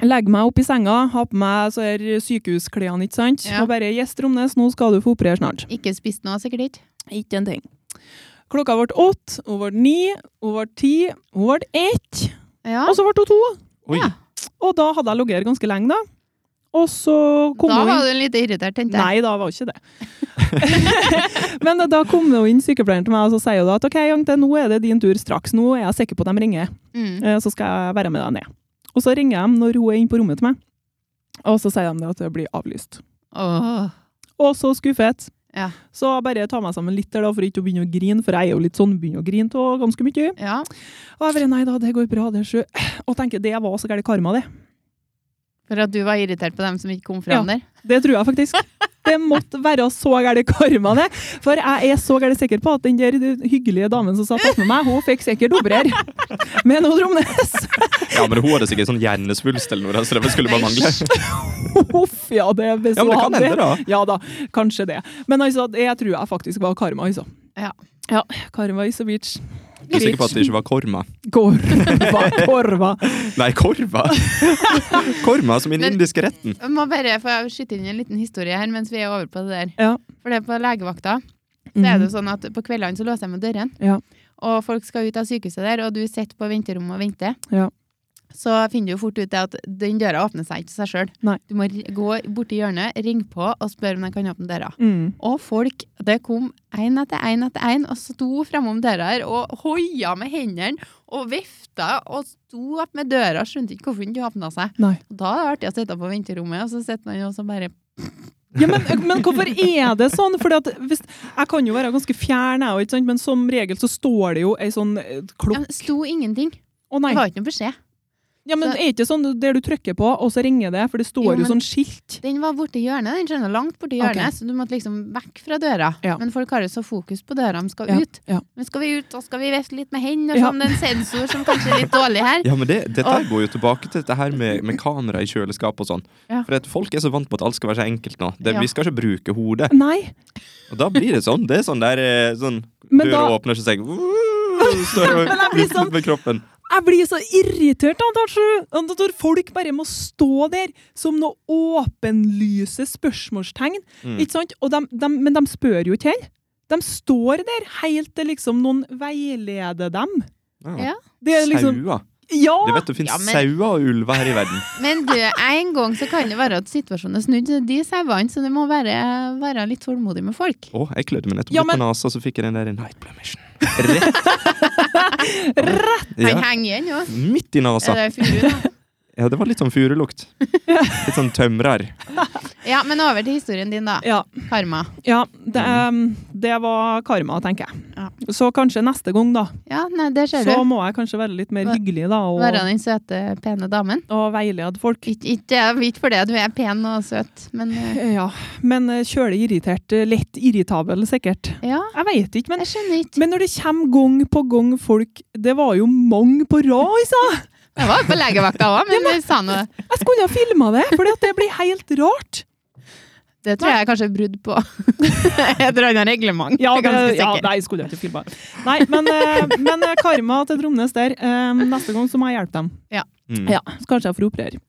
Speaker 2: Legge meg opp i senga, ha på meg så her sykehusklærne, ikke sant.
Speaker 1: Ja.
Speaker 2: Og bare 'Gjest Romnes, nå skal du få operere snart'.
Speaker 1: Ikke spist noe, sikkert ikke?
Speaker 2: Ikke en ting. Klokka ble åtte, hun ble ni, hun ble ti, hun ble ett,
Speaker 1: Ja.
Speaker 2: og så ble hun to.
Speaker 3: Oi.
Speaker 1: Ja.
Speaker 2: Og da hadde jeg ligget her ganske lenge, da. Og så kom
Speaker 1: Da
Speaker 2: hun
Speaker 1: var
Speaker 2: inn.
Speaker 1: du litt irritert, tenkte jeg.
Speaker 2: Nei, da var hun ikke det. Men da kom hun inn sykepleieren til meg, og så sier hun da at OK, Jante, nå er det din tur straks. Nå er jeg sikker på at de ringer,
Speaker 1: Mm.
Speaker 2: eh, så skal jeg være med deg ned. Og så ringer de når hun er inne på rommet til meg, og så sier de det at det blir avlyst.
Speaker 1: Åh.
Speaker 2: Og så skuffet.
Speaker 1: Ja.
Speaker 2: Så jeg bare ta meg sammen litt der da, for ikke å begynne å grine, for jeg er jo litt sånn, begynner å grine av ganske mye.
Speaker 1: ja.
Speaker 2: Og jeg bare, nei da, det går bra, det er sjø. Og tenker, det var så gærlig karma det.
Speaker 1: For at du var irritert på dem som ikke kom fram der?
Speaker 2: Det tror jeg faktisk. Det måtte være så gærlig karma det. For jeg er så gærlig sikker på at den der hyggelige damen som satt med meg, hun fikk sikkert operer. Men hun Romnes,
Speaker 3: Ja, men hun hadde sikkert sånn hjernesvulst eller noe, så det skulle bare mangle.
Speaker 2: uff, ja, det er
Speaker 3: Ja, men det kan hende, da.
Speaker 2: Ja da, kanskje det. Men altså, det tror jeg faktisk var karma, altså.
Speaker 1: Ja.
Speaker 2: Ja, karma is a bitch.
Speaker 3: Du er sikker på at det ikke var korma?
Speaker 2: Korva, korva.
Speaker 3: Nei, korva! Korma som i den
Speaker 1: Men-
Speaker 3: indiske retten.
Speaker 1: Jeg må bare få skyte inn en liten historie her mens vi er over på det der.
Speaker 2: Ja. Mhm.
Speaker 1: For det er på legevakta. Så er det jo sånn at På kveldene så låser jeg med døren,
Speaker 2: Ja.
Speaker 1: og folk skal ut av sykehuset der, og du sitter på venterommet og venter.
Speaker 2: Ja.
Speaker 1: Så finner du jo fort ut det at den døra åpner seg ikke seg sjøl.
Speaker 2: Nei.
Speaker 1: Du må r- gå borti hjørnet, ringe på og spørre om de kan åpne døra.
Speaker 2: Mm.
Speaker 1: Og folk, det kom én etter én etter én, og sto framom døra her og hoia med hendene og vifta og sto opp med døra, skjønte ikke hvorfor den ikke åpna seg.
Speaker 2: Nei.
Speaker 1: Og da er det artig å sitte på venterommet, og så sitter man jo også bare
Speaker 2: Ja, men, men hvorfor er det sånn? Fordi at hvis, jeg kan jo være ganske fjern, jeg, også, ikke sant? men som regel så står det jo ei sånn eh,
Speaker 1: ja,
Speaker 2: klokk
Speaker 1: det Sto ingenting.
Speaker 2: Å
Speaker 1: Det
Speaker 2: nei!
Speaker 1: var ikke noe beskjed.
Speaker 2: Ja, men
Speaker 1: så-
Speaker 2: er ikke sånn der du trykker på, og så ringer det, for det står
Speaker 1: Jo,
Speaker 2: jo,
Speaker 1: men-
Speaker 2: sånn skilt.
Speaker 1: Den var borti hjørnet, den skjønner langt borti hjørnet, så du måtte liksom vekk fra døra.
Speaker 2: Ja.
Speaker 1: Men folk har jo så fokus på døra, de skal
Speaker 2: Ja,
Speaker 1: ut.
Speaker 2: ja.
Speaker 1: Men skal vi ut, da skal vi vifte litt med hendene, og
Speaker 2: Ja.
Speaker 1: sånn, det er en sensor som kanskje er litt dårlig her.
Speaker 3: Ja, men det, Dette her går jo tilbake til dette her med, med kamera i kjøleskap og sånn.
Speaker 1: Ja.
Speaker 3: For at folk er så vant på at alt skal være så enkelt nå. Det,
Speaker 1: Ja.
Speaker 3: Vi skal ikke bruke hodet.
Speaker 2: Nei.
Speaker 3: Og da blir det sånn. Det er sånn der eh, sånn,
Speaker 2: Men
Speaker 3: Døra
Speaker 2: da-
Speaker 3: åpner seg, og står og
Speaker 2: Men jeg blir sånn-
Speaker 3: med kroppen.
Speaker 2: Jeg blir så irritert da, Tatsju, at når folk bare må stå der som noe åpenlyse spørsmålstegn.
Speaker 3: Mm.
Speaker 2: Ikke sant? Og dem- dem- men de spør jo ikke heller. De står der helt til liksom noen veileder dem.
Speaker 1: Ja.
Speaker 2: Det er liksom
Speaker 3: Sauer.
Speaker 2: Ja!
Speaker 3: Du vet det finnes
Speaker 1: Ja, men-
Speaker 3: sauer og ulver her i verden.
Speaker 1: Men du, en gang så kan det være at situasjonen er snudd, så de sauene, så du må være, være litt tålmodig med folk.
Speaker 3: Å, jeg klødde meg nettopp
Speaker 2: Ja,
Speaker 3: litt
Speaker 2: men-
Speaker 3: på nesa, så fikk jeg den der night blemission. Rett. Rett.
Speaker 1: Han
Speaker 3: Ja.
Speaker 1: henger igjen, jo.
Speaker 3: Midt i nesa.
Speaker 1: Er det furu, da?
Speaker 3: Ja, det var litt sånn furulukt. Litt sånn tømrer.
Speaker 1: Ja, men over til historien din, da.
Speaker 2: ja.
Speaker 1: Karma.
Speaker 2: Ja, det,
Speaker 3: Mm.
Speaker 2: um, det var karma, tenker jeg.
Speaker 1: Ja.
Speaker 2: Så kanskje neste gang, da.
Speaker 1: Ja, nei, det ser
Speaker 2: Så
Speaker 1: du.
Speaker 2: må jeg kanskje være litt mer
Speaker 1: Hva-
Speaker 2: hyggelig, da,
Speaker 1: Være
Speaker 2: og,
Speaker 1: den søte, pene damen.
Speaker 2: og veilede folk.
Speaker 1: Ikke, ikke, ikke fordi du er pen og søt, men eh,
Speaker 2: Ja, men eh, kjølig irritert. eh, Lett irritabel, sikkert.
Speaker 1: ja.
Speaker 2: Jeg veit ikke, men,
Speaker 1: Jeg skjønner ikke.
Speaker 2: men når det kommer gang på gang folk Det var jo mange på rad, altså!
Speaker 1: Jeg var på legevakta òg, men vi sa nå
Speaker 2: Jeg skulle ha filma det, for det blir helt rart.
Speaker 1: Det tror jeg er kanskje brudd på et eller annet reglement.
Speaker 2: Ja,
Speaker 1: Jeg er
Speaker 2: det,
Speaker 1: ganske
Speaker 2: ja,
Speaker 1: sikker.
Speaker 2: nei, skulle jeg ikke filma. Nei, men, eh, men eh, karma til Tromnes der. Eh, Neste gang så må jeg hjelpe dem.
Speaker 3: Mm.
Speaker 2: Ja, så kanskje jeg får operere.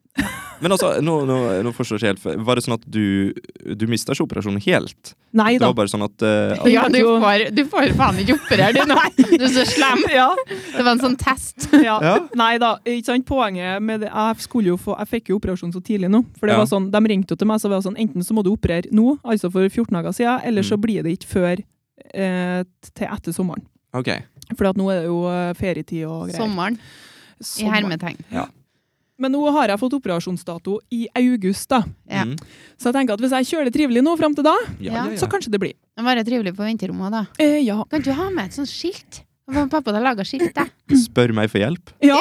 Speaker 3: Men altså, nå, nå, nå forstår jeg ikke helt. Var det sånn at du, du mista ikke operasjonen helt?
Speaker 2: Nei
Speaker 3: Det
Speaker 2: da.
Speaker 3: var bare sånn at eh, at-
Speaker 1: Ja, du får, du får faen ikke operere du nå. Du er så slem.
Speaker 2: Ja,
Speaker 1: Det var en sånn test.
Speaker 2: ja.
Speaker 3: Ja.
Speaker 2: Nei da, ikke sant. Poenget med det Jeg, skulle jo få, jeg fikk jo operasjon så tidlig nå. For det
Speaker 3: Ja.
Speaker 2: var sånn, De ringte jo til meg så var det sånn Enten så må du operere nå, altså for 14 dager siden, eller så
Speaker 3: Mm.
Speaker 2: blir det ikke før eh, til etter sommeren.
Speaker 3: Ok.
Speaker 2: For at nå er det jo eh, ferietid og greier.
Speaker 1: Sommeren, i
Speaker 2: Sommer.
Speaker 1: hermetegn.
Speaker 2: Men nå har jeg fått operasjonsdato i august, da.
Speaker 1: Ja.
Speaker 3: Mm.
Speaker 2: Så jeg tenker at hvis jeg kjører det trivelig nå fram til da,
Speaker 3: Ja,
Speaker 1: Ja.
Speaker 3: ja, ja.
Speaker 2: så kanskje det blir.
Speaker 1: Det var jo trivelig på venterommet da.
Speaker 2: Eh, ja.
Speaker 1: Kan du ha med et sånt skilt? Hva om Pappa hadde laget skilt, da.
Speaker 3: Spør meg for hjelp.
Speaker 2: ja.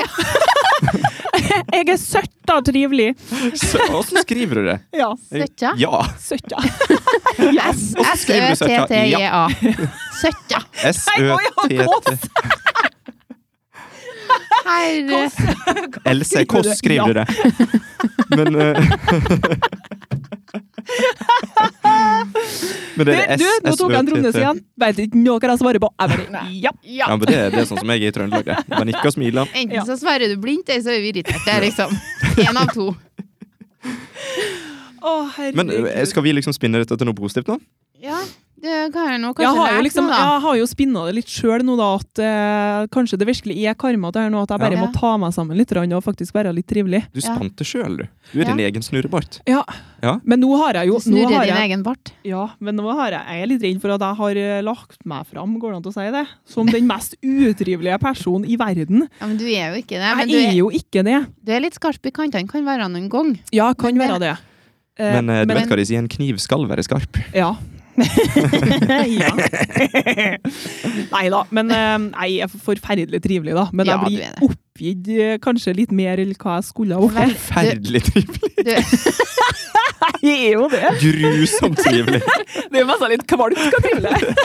Speaker 2: jeg er søtt og trivelig.
Speaker 3: Så- Åssen skriver du det?
Speaker 2: Ja.
Speaker 1: Søtta.
Speaker 3: Eh, Ja!
Speaker 2: Søtt, ja.
Speaker 3: skriver du søtta?
Speaker 1: S-Ø-T-T-I-A. Søtta.
Speaker 3: S-Ø-T-T
Speaker 1: Herre.
Speaker 3: Else
Speaker 2: skriver du
Speaker 3: Kåss
Speaker 2: det?
Speaker 3: skriver du det. Men eh, Men det er
Speaker 2: du, nå tok jeg en Tromnes
Speaker 3: S-Ø-T-T.
Speaker 2: igjen. Vet ikke noe hva jeg svarer på. Jeg bare, ja.
Speaker 1: Ja.
Speaker 3: Ja, men det, er- det er sånn som jeg er i Trøndelag. det. Man nikker og smiler.
Speaker 2: Ja.
Speaker 1: Enten så svarer du blindt, eller så er vi irritert. Det er liksom én av to.
Speaker 2: Å,
Speaker 3: Men
Speaker 2: herregud.
Speaker 3: eh, skal vi liksom spinne dette til noe positivt nå?
Speaker 1: Ja, det kan jeg nå
Speaker 2: jeg
Speaker 1: kanskje
Speaker 2: har jo,
Speaker 1: lære
Speaker 2: liksom,
Speaker 1: noe, da.
Speaker 2: jeg har jo spinna det litt sjøl nå, da, at eh, kanskje det virkelig er karma til her nå, at jeg bare
Speaker 1: Ja.
Speaker 2: må ta meg sammen litt grann og faktisk være litt trivelig.
Speaker 3: Du
Speaker 1: Ja.
Speaker 3: spant det sjøl, du. Du er din egen snurrebart.
Speaker 2: Ja.
Speaker 3: Ja.
Speaker 2: Men nå har jeg jo
Speaker 1: Du
Speaker 2: nå
Speaker 1: snurrer
Speaker 2: har
Speaker 1: din
Speaker 2: jeg,
Speaker 1: egen bart.
Speaker 2: Ja, men nå har jeg, jeg er litt redd for at jeg har eh, lagt meg fram, går det an til å si det? Som den mest utrivelige personen i verden.
Speaker 1: Ja, men du er jo ikke det. Men
Speaker 2: Jeg
Speaker 1: du
Speaker 2: er
Speaker 1: er,
Speaker 2: jo ikke det.
Speaker 1: du er litt skarp i kantene. Kan være noen gang.
Speaker 2: Ja, kan
Speaker 1: Men det-
Speaker 2: være det. Eh,
Speaker 3: Men eh, du
Speaker 1: men-
Speaker 3: vet hva de sier, en kniv skal være skarp.
Speaker 2: Ja. ja. Nei da. Men eh, nei, jeg er forferdelig trivelig, da. Men
Speaker 1: Ja,
Speaker 2: jeg
Speaker 1: du er
Speaker 2: blir
Speaker 1: det.
Speaker 2: oppgitt eh, kanskje litt mer enn hva jeg skulle ha vært.
Speaker 1: Du,
Speaker 3: Forferdelig trivelig.
Speaker 1: du,
Speaker 2: Jeg er jo det.
Speaker 3: Grusomt trivelig.
Speaker 2: Det er jo nesten litt kvalmt hva trivelig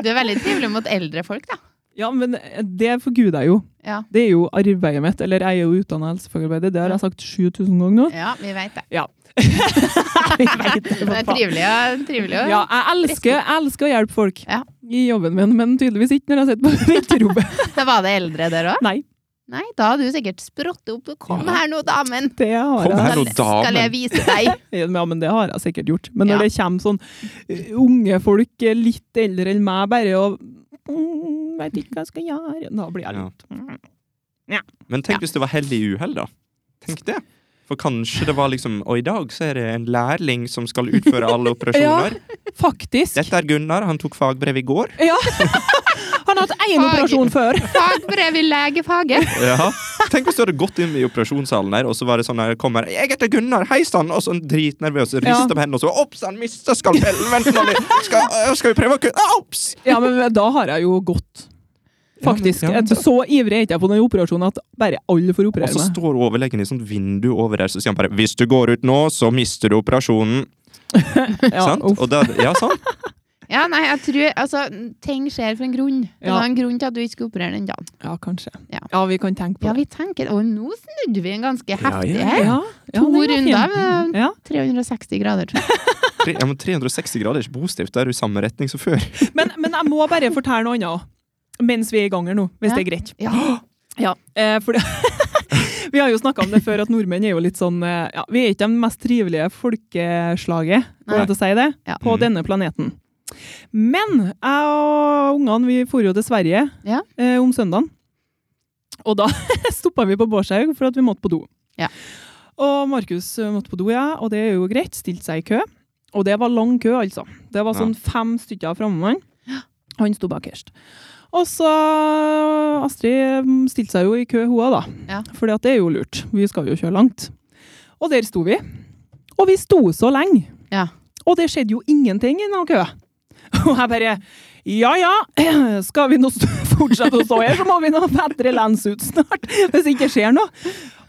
Speaker 1: du er veldig trivelig mot eldre folk, da.
Speaker 2: Ja, men eh, det forguder jeg jo.
Speaker 1: Ja,
Speaker 2: Det er jo arbeidet mitt. Eller jeg er jo utdanna helsefagarbeider. Det har jeg sagt 7000 ganger nå.
Speaker 1: ja vi veit det.
Speaker 2: Jeg vet det,
Speaker 1: Det
Speaker 2: for
Speaker 1: er
Speaker 2: faen.
Speaker 1: trivelig, ja, trivelig å
Speaker 2: Ja, jeg elsker, jeg elsker å hjelpe folk
Speaker 1: Ja.
Speaker 2: i jobben min, men tydeligvis ikke når jeg sitter på venterommet.
Speaker 1: Da var det eldre der òg?
Speaker 2: Nei,
Speaker 1: Nei, da hadde du sikkert sprått opp. Kom
Speaker 2: Ja.
Speaker 1: her nå, damen!
Speaker 2: det har
Speaker 3: Kom
Speaker 2: jeg.
Speaker 3: her nå,
Speaker 1: skal
Speaker 3: damen.
Speaker 1: jeg vise deg!
Speaker 2: Ja, men det har jeg sikkert gjort. Men
Speaker 1: Ja.
Speaker 2: når det kommer sånn eh, unge folk, eh, litt eldre enn meg, bare og mm, Veit ikke hva jeg skal gjøre Da blir jeg
Speaker 3: Ja.
Speaker 2: litt mm.
Speaker 3: Men tenk hvis det var hell i uhell, da. Tenk det. For kanskje det var liksom Og i dag så er det en lærling som skal utføre alle operasjoner.
Speaker 2: Faktisk.
Speaker 3: Dette er Gunnar, han tok fagbrev i går.
Speaker 2: Ja. Han har hatt én
Speaker 1: Fag.
Speaker 2: operasjon før!
Speaker 1: Fagbrev i legefaget!
Speaker 3: Ja. Tenk hvis du hadde gått inn i operasjonssalen der, og så var det sånn her kommer 'Jeg heter Gunnar, hei sann!' Og så dritnervøs, rister
Speaker 2: Ja.
Speaker 3: på hendene, og så 'Ops, han mista skalpellen! Vent nå litt! Skal, øh, skal vi prøve å kutte Ops!'
Speaker 2: Ja, men da har jeg jo gått. Faktisk.
Speaker 3: Ja, men- ja, men
Speaker 2: Et- Så ivrig er ikke jeg på den operasjonen at bare alle får
Speaker 3: Og
Speaker 2: operere
Speaker 3: så
Speaker 2: meg.
Speaker 3: står overlegen i sånt vindu over der, så sier han bare 'Hvis du går ut nå, så mister du operasjonen'.
Speaker 2: Ja,
Speaker 3: sant?
Speaker 2: uff.
Speaker 3: Og da, ja, sant?
Speaker 1: Ja, nei, jeg tror Altså, ting skjer for en grunn. Det
Speaker 2: Ja.
Speaker 1: var en grunn til at du ikke skulle operere den dagen.
Speaker 2: ja, kanskje.
Speaker 1: Ja.
Speaker 2: Ja, vi kan tenke
Speaker 1: Ja,
Speaker 2: på det.
Speaker 1: vi tenker Og nå snudde vi en ganske heftig
Speaker 3: ja,
Speaker 1: her.
Speaker 2: ja,
Speaker 1: To
Speaker 2: den var fin.
Speaker 1: runder med
Speaker 2: Ja.
Speaker 1: 360 grader, tror jeg.
Speaker 3: Tre- Ja, men 360 grader er ikke positivt. Da er du i samme retning som før.
Speaker 2: Men, men jeg må bare fortelle noe annet også, mens vi er i gang her nå, hvis
Speaker 1: Ja.
Speaker 2: det er greit.
Speaker 1: Ja.
Speaker 2: Ja, eh, for det, vi har jo snakka om det før, at nordmenn er jo litt sånn eh, ja, Vi er ikke det mest trivelige folkeslaget, går det an å si det,
Speaker 1: Ja.
Speaker 2: på
Speaker 3: Mm.
Speaker 2: denne planeten. Men jeg og ungene vi for jo til Sverige
Speaker 1: Ja.
Speaker 2: eh, om søndagen. Og da stoppa vi på Bårdshaug for at vi måtte på do.
Speaker 1: Ja.
Speaker 2: Og Markus eh, måtte på do, ja, og det er jo greit. Stilte seg i kø. Og det var lang kø, altså. Det var sånn fem stykker framme med han. Han sto bakerst. Og så Astrid mm, stilte seg jo i kø, hun òg, da.
Speaker 1: Ja.
Speaker 2: For det er jo lurt. Vi skal jo kjøre langt. Og der sto vi. Og vi sto så lenge.
Speaker 1: Ja.
Speaker 2: Og det skjedde jo ingenting i noen kø. Og jeg bare Ja ja, skal vi nå st- fortsette å stå her, så må vi nå bedre lens ut snart. Hvis ikke det skjer noe.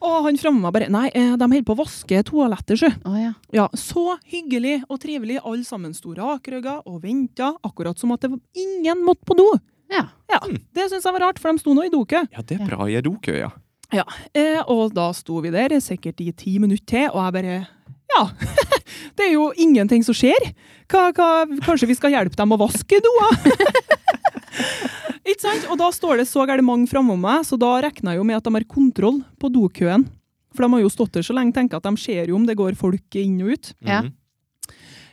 Speaker 2: Og han framme meg bare Nei, eh, de holder på å vaske toaletter, sjø.
Speaker 1: Å ja.
Speaker 2: Ja, så hyggelig og trivelig. Alle sammen sto rakrygga og venta, akkurat som at det var ingen måtte på do.
Speaker 1: ja.
Speaker 2: Ja, Det syns jeg var rart, for de sto nå i dokø.
Speaker 3: Ja, det er bra i dokø, ja.
Speaker 2: Eh, og da sto vi der sikkert i ti minutter til, og jeg bare Ja, det er jo ingenting som skjer. Hva, hva, kanskje vi skal hjelpe dem å vaske doa? Ikke sant? Og da står det så gærent mange framom meg, så da regner jeg jo med at de har kontroll på dokøen. For de har jo stått der så lenge, tenker at de ser jo om det går folk inn og ut.
Speaker 1: Ja.
Speaker 3: Mhm.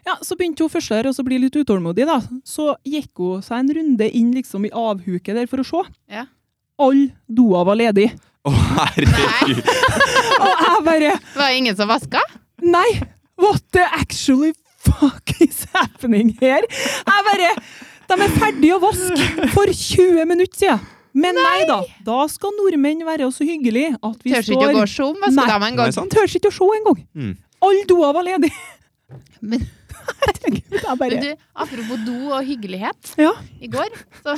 Speaker 2: Ja, Så begynte hun først her og så bli litt utålmodig. da. Så gikk hun seg en runde inn liksom i avhuket der for å se.
Speaker 1: Ja.
Speaker 2: Alle doer var ledige.
Speaker 3: Å, herregud!
Speaker 2: Og jeg bare
Speaker 1: Var det ingen som vaska?
Speaker 2: Nei! What the actually fuck is happening her? Jeg bare De er ferdige å vaske for 20 minutter siden. Men nei, da. Da skal nordmenn være så hyggelige at vi
Speaker 1: Tør ikke å
Speaker 2: står
Speaker 1: gå som vaskedame
Speaker 3: Nei,
Speaker 1: engang.
Speaker 3: sant?
Speaker 2: Tør ikke å se engang.
Speaker 3: Mm.
Speaker 2: Alle doer var ledige.
Speaker 1: Men,
Speaker 2: Jeg
Speaker 1: men
Speaker 2: bare
Speaker 1: du, apropos do og hyggelighet.
Speaker 2: Ja.
Speaker 1: I går så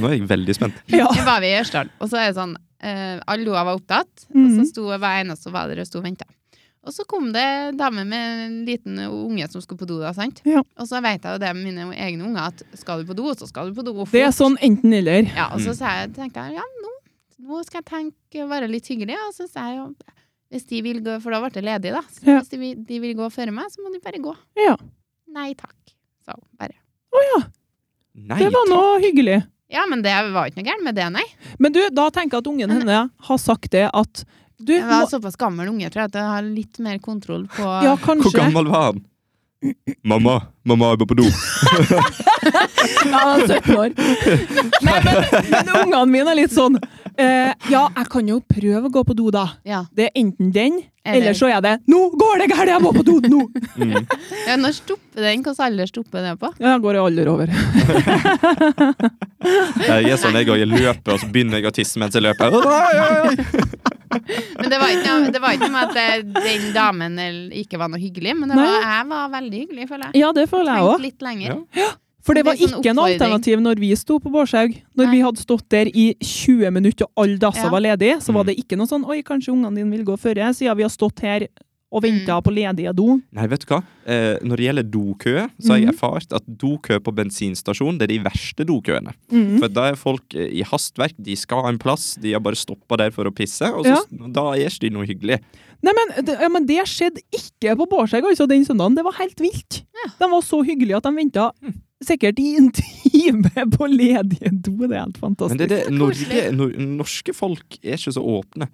Speaker 3: Nå er jeg veldig spent.
Speaker 2: ja.
Speaker 1: var vi i Ørstad, og så er det sånn eh, Alle doer var opptatt, og så
Speaker 2: Mhm.
Speaker 1: sto hver eneste som var der og sto og venta. Og så kom det en dame med en liten unge som skulle på do. da, sant?
Speaker 2: Ja.
Speaker 1: Og så vet jeg jo det med mine egne unger, at skal du på do, så skal du på do. og
Speaker 2: Det er
Speaker 1: fort.
Speaker 2: sånn enten-eller.
Speaker 1: Ja, og så
Speaker 3: Mm.
Speaker 1: sa jeg, tenkte jeg, ja, nå, nå skal jeg tenke, være litt hyggelig, og så sa jeg jo, hvis de vil gå, for da ble det ledig da, så
Speaker 2: Ja.
Speaker 1: hvis de, vil- de vil gå før meg, så må de bare gå.
Speaker 2: Ja.
Speaker 1: Nei, takk, sa hun bare.
Speaker 3: Nei,
Speaker 2: Det var noe hyggelig.
Speaker 1: Ja, men det var jo ikke noe gærent med det, nei.
Speaker 2: Men du, da tenker jeg at ungen henne har sagt det at du
Speaker 1: Jeg var
Speaker 2: må,
Speaker 1: såpass gammel unge, tror jeg, at jeg har litt mer kontroll på...
Speaker 2: Ja,
Speaker 3: Hvor
Speaker 2: kanskje.
Speaker 3: gammel var han? Mamma, mamma, jeg må på do.
Speaker 2: Ja, han er 17 år. Nei, men, men ungene mine er litt sånn eh, Ja, jeg kan jo prøve å gå på do, da.
Speaker 1: Ja,
Speaker 2: Det er enten den,
Speaker 1: Eller-
Speaker 2: eller så er det Nå går det galt, jeg må på do nå!
Speaker 3: Mm.
Speaker 1: ja når stopper den, hvilken alder stopper det på?
Speaker 2: Ja, jeg går i alder over.
Speaker 3: Jeg er sånn jeg òg. Jeg løper, og så begynner jeg å tisse mens jeg løper. Oi, oi, oi.
Speaker 1: Men det var ikke noe, det var ikke noe med at eh, den damen eller- ikke var noe hyggelig, men det var,
Speaker 2: Nei.
Speaker 1: jeg var veldig hyggelig, føler jeg.
Speaker 2: Ja, det føler jeg
Speaker 1: Tenkte
Speaker 2: òg.
Speaker 1: litt lenger.
Speaker 3: Ja.
Speaker 2: For det
Speaker 1: Det er
Speaker 2: var
Speaker 1: sånn
Speaker 2: ikke en
Speaker 1: oppfordring.
Speaker 2: alternativ når vi sto på Bårdshaug. Når
Speaker 1: Nei.
Speaker 2: vi hadde stått der i 20 minutter og alle dasser
Speaker 1: Ja.
Speaker 2: var ledige, så
Speaker 3: Mm.
Speaker 2: var det ikke noe sånn Oi, kanskje ungene dine vil gå før jeg, siden vi har stått her
Speaker 1: Mm.
Speaker 2: og venta på ledige do.
Speaker 3: Nei, vet du hva? Eh, når det gjelder dokø, så
Speaker 2: Mhm.
Speaker 3: har jeg erfart at dokø på bensinstasjon det er de verste dokøene.
Speaker 2: Mm.
Speaker 3: For da er folk eh, i hastverk, de skal en plass, de har bare stoppa der for å pisse, og så, da er ikke de noe hyggelig.
Speaker 2: Nei, men, det- ja, men det skjedde ikke på Bårdshaug altså, den søndagen. Det var helt vilt. De var så hyggelige at de venta sikkert i en time på ledige do. Det er helt
Speaker 3: Men
Speaker 2: fantastisk.
Speaker 3: det er det,
Speaker 1: Så
Speaker 3: Norge,
Speaker 1: koselig.
Speaker 3: nor norske folk er ikke så åpne.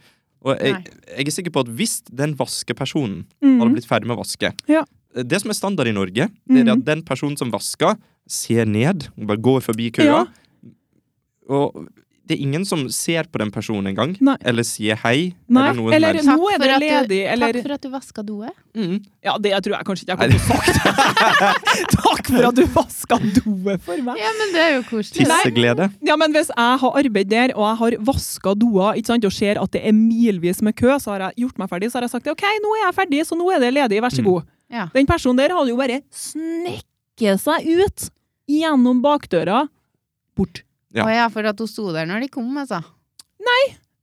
Speaker 3: Og jeg, jeg er sikker på at hvis den vaskepersonen
Speaker 2: Mhm.
Speaker 3: hadde blitt ferdig med å vaske
Speaker 2: Ja.
Speaker 3: Det som er standard i Norge, det er det
Speaker 2: Mhm.
Speaker 3: at den personen som vasker, ser ned og bare går forbi køa.
Speaker 2: Ja.
Speaker 3: Og det er ingen som ser på den personen engang,
Speaker 2: Nei.
Speaker 3: eller sier hei.
Speaker 2: Nei,
Speaker 3: eller noe
Speaker 2: eller-
Speaker 1: Takk
Speaker 3: som helst.
Speaker 2: Nå er
Speaker 1: for
Speaker 2: det
Speaker 1: at du-
Speaker 2: ledig, eller-
Speaker 1: Takk for at du vaska doet.
Speaker 3: Mhm.
Speaker 2: Ja, det tror jeg kanskje ikke jeg
Speaker 3: Nei,
Speaker 2: kommer til å sagt. Takk for at du vaska doet for meg.
Speaker 1: Ja, men det er jo koselig. da.
Speaker 3: Tisseglede.
Speaker 2: Ja, men Hvis jeg har arbeid der, og jeg har vaska doer ikke sant, og ser at det er milvis med kø, så har jeg gjort meg ferdig, så har jeg sagt OK, nå er jeg ferdig, så nå er det ledig, vær så
Speaker 3: Mm.
Speaker 2: god.
Speaker 1: Ja.
Speaker 2: Den personen der hadde jo bare snekket seg ut gjennom bakdøra, bort.
Speaker 3: Ja.
Speaker 1: Å ja, for at hun sto der når de kom, altså.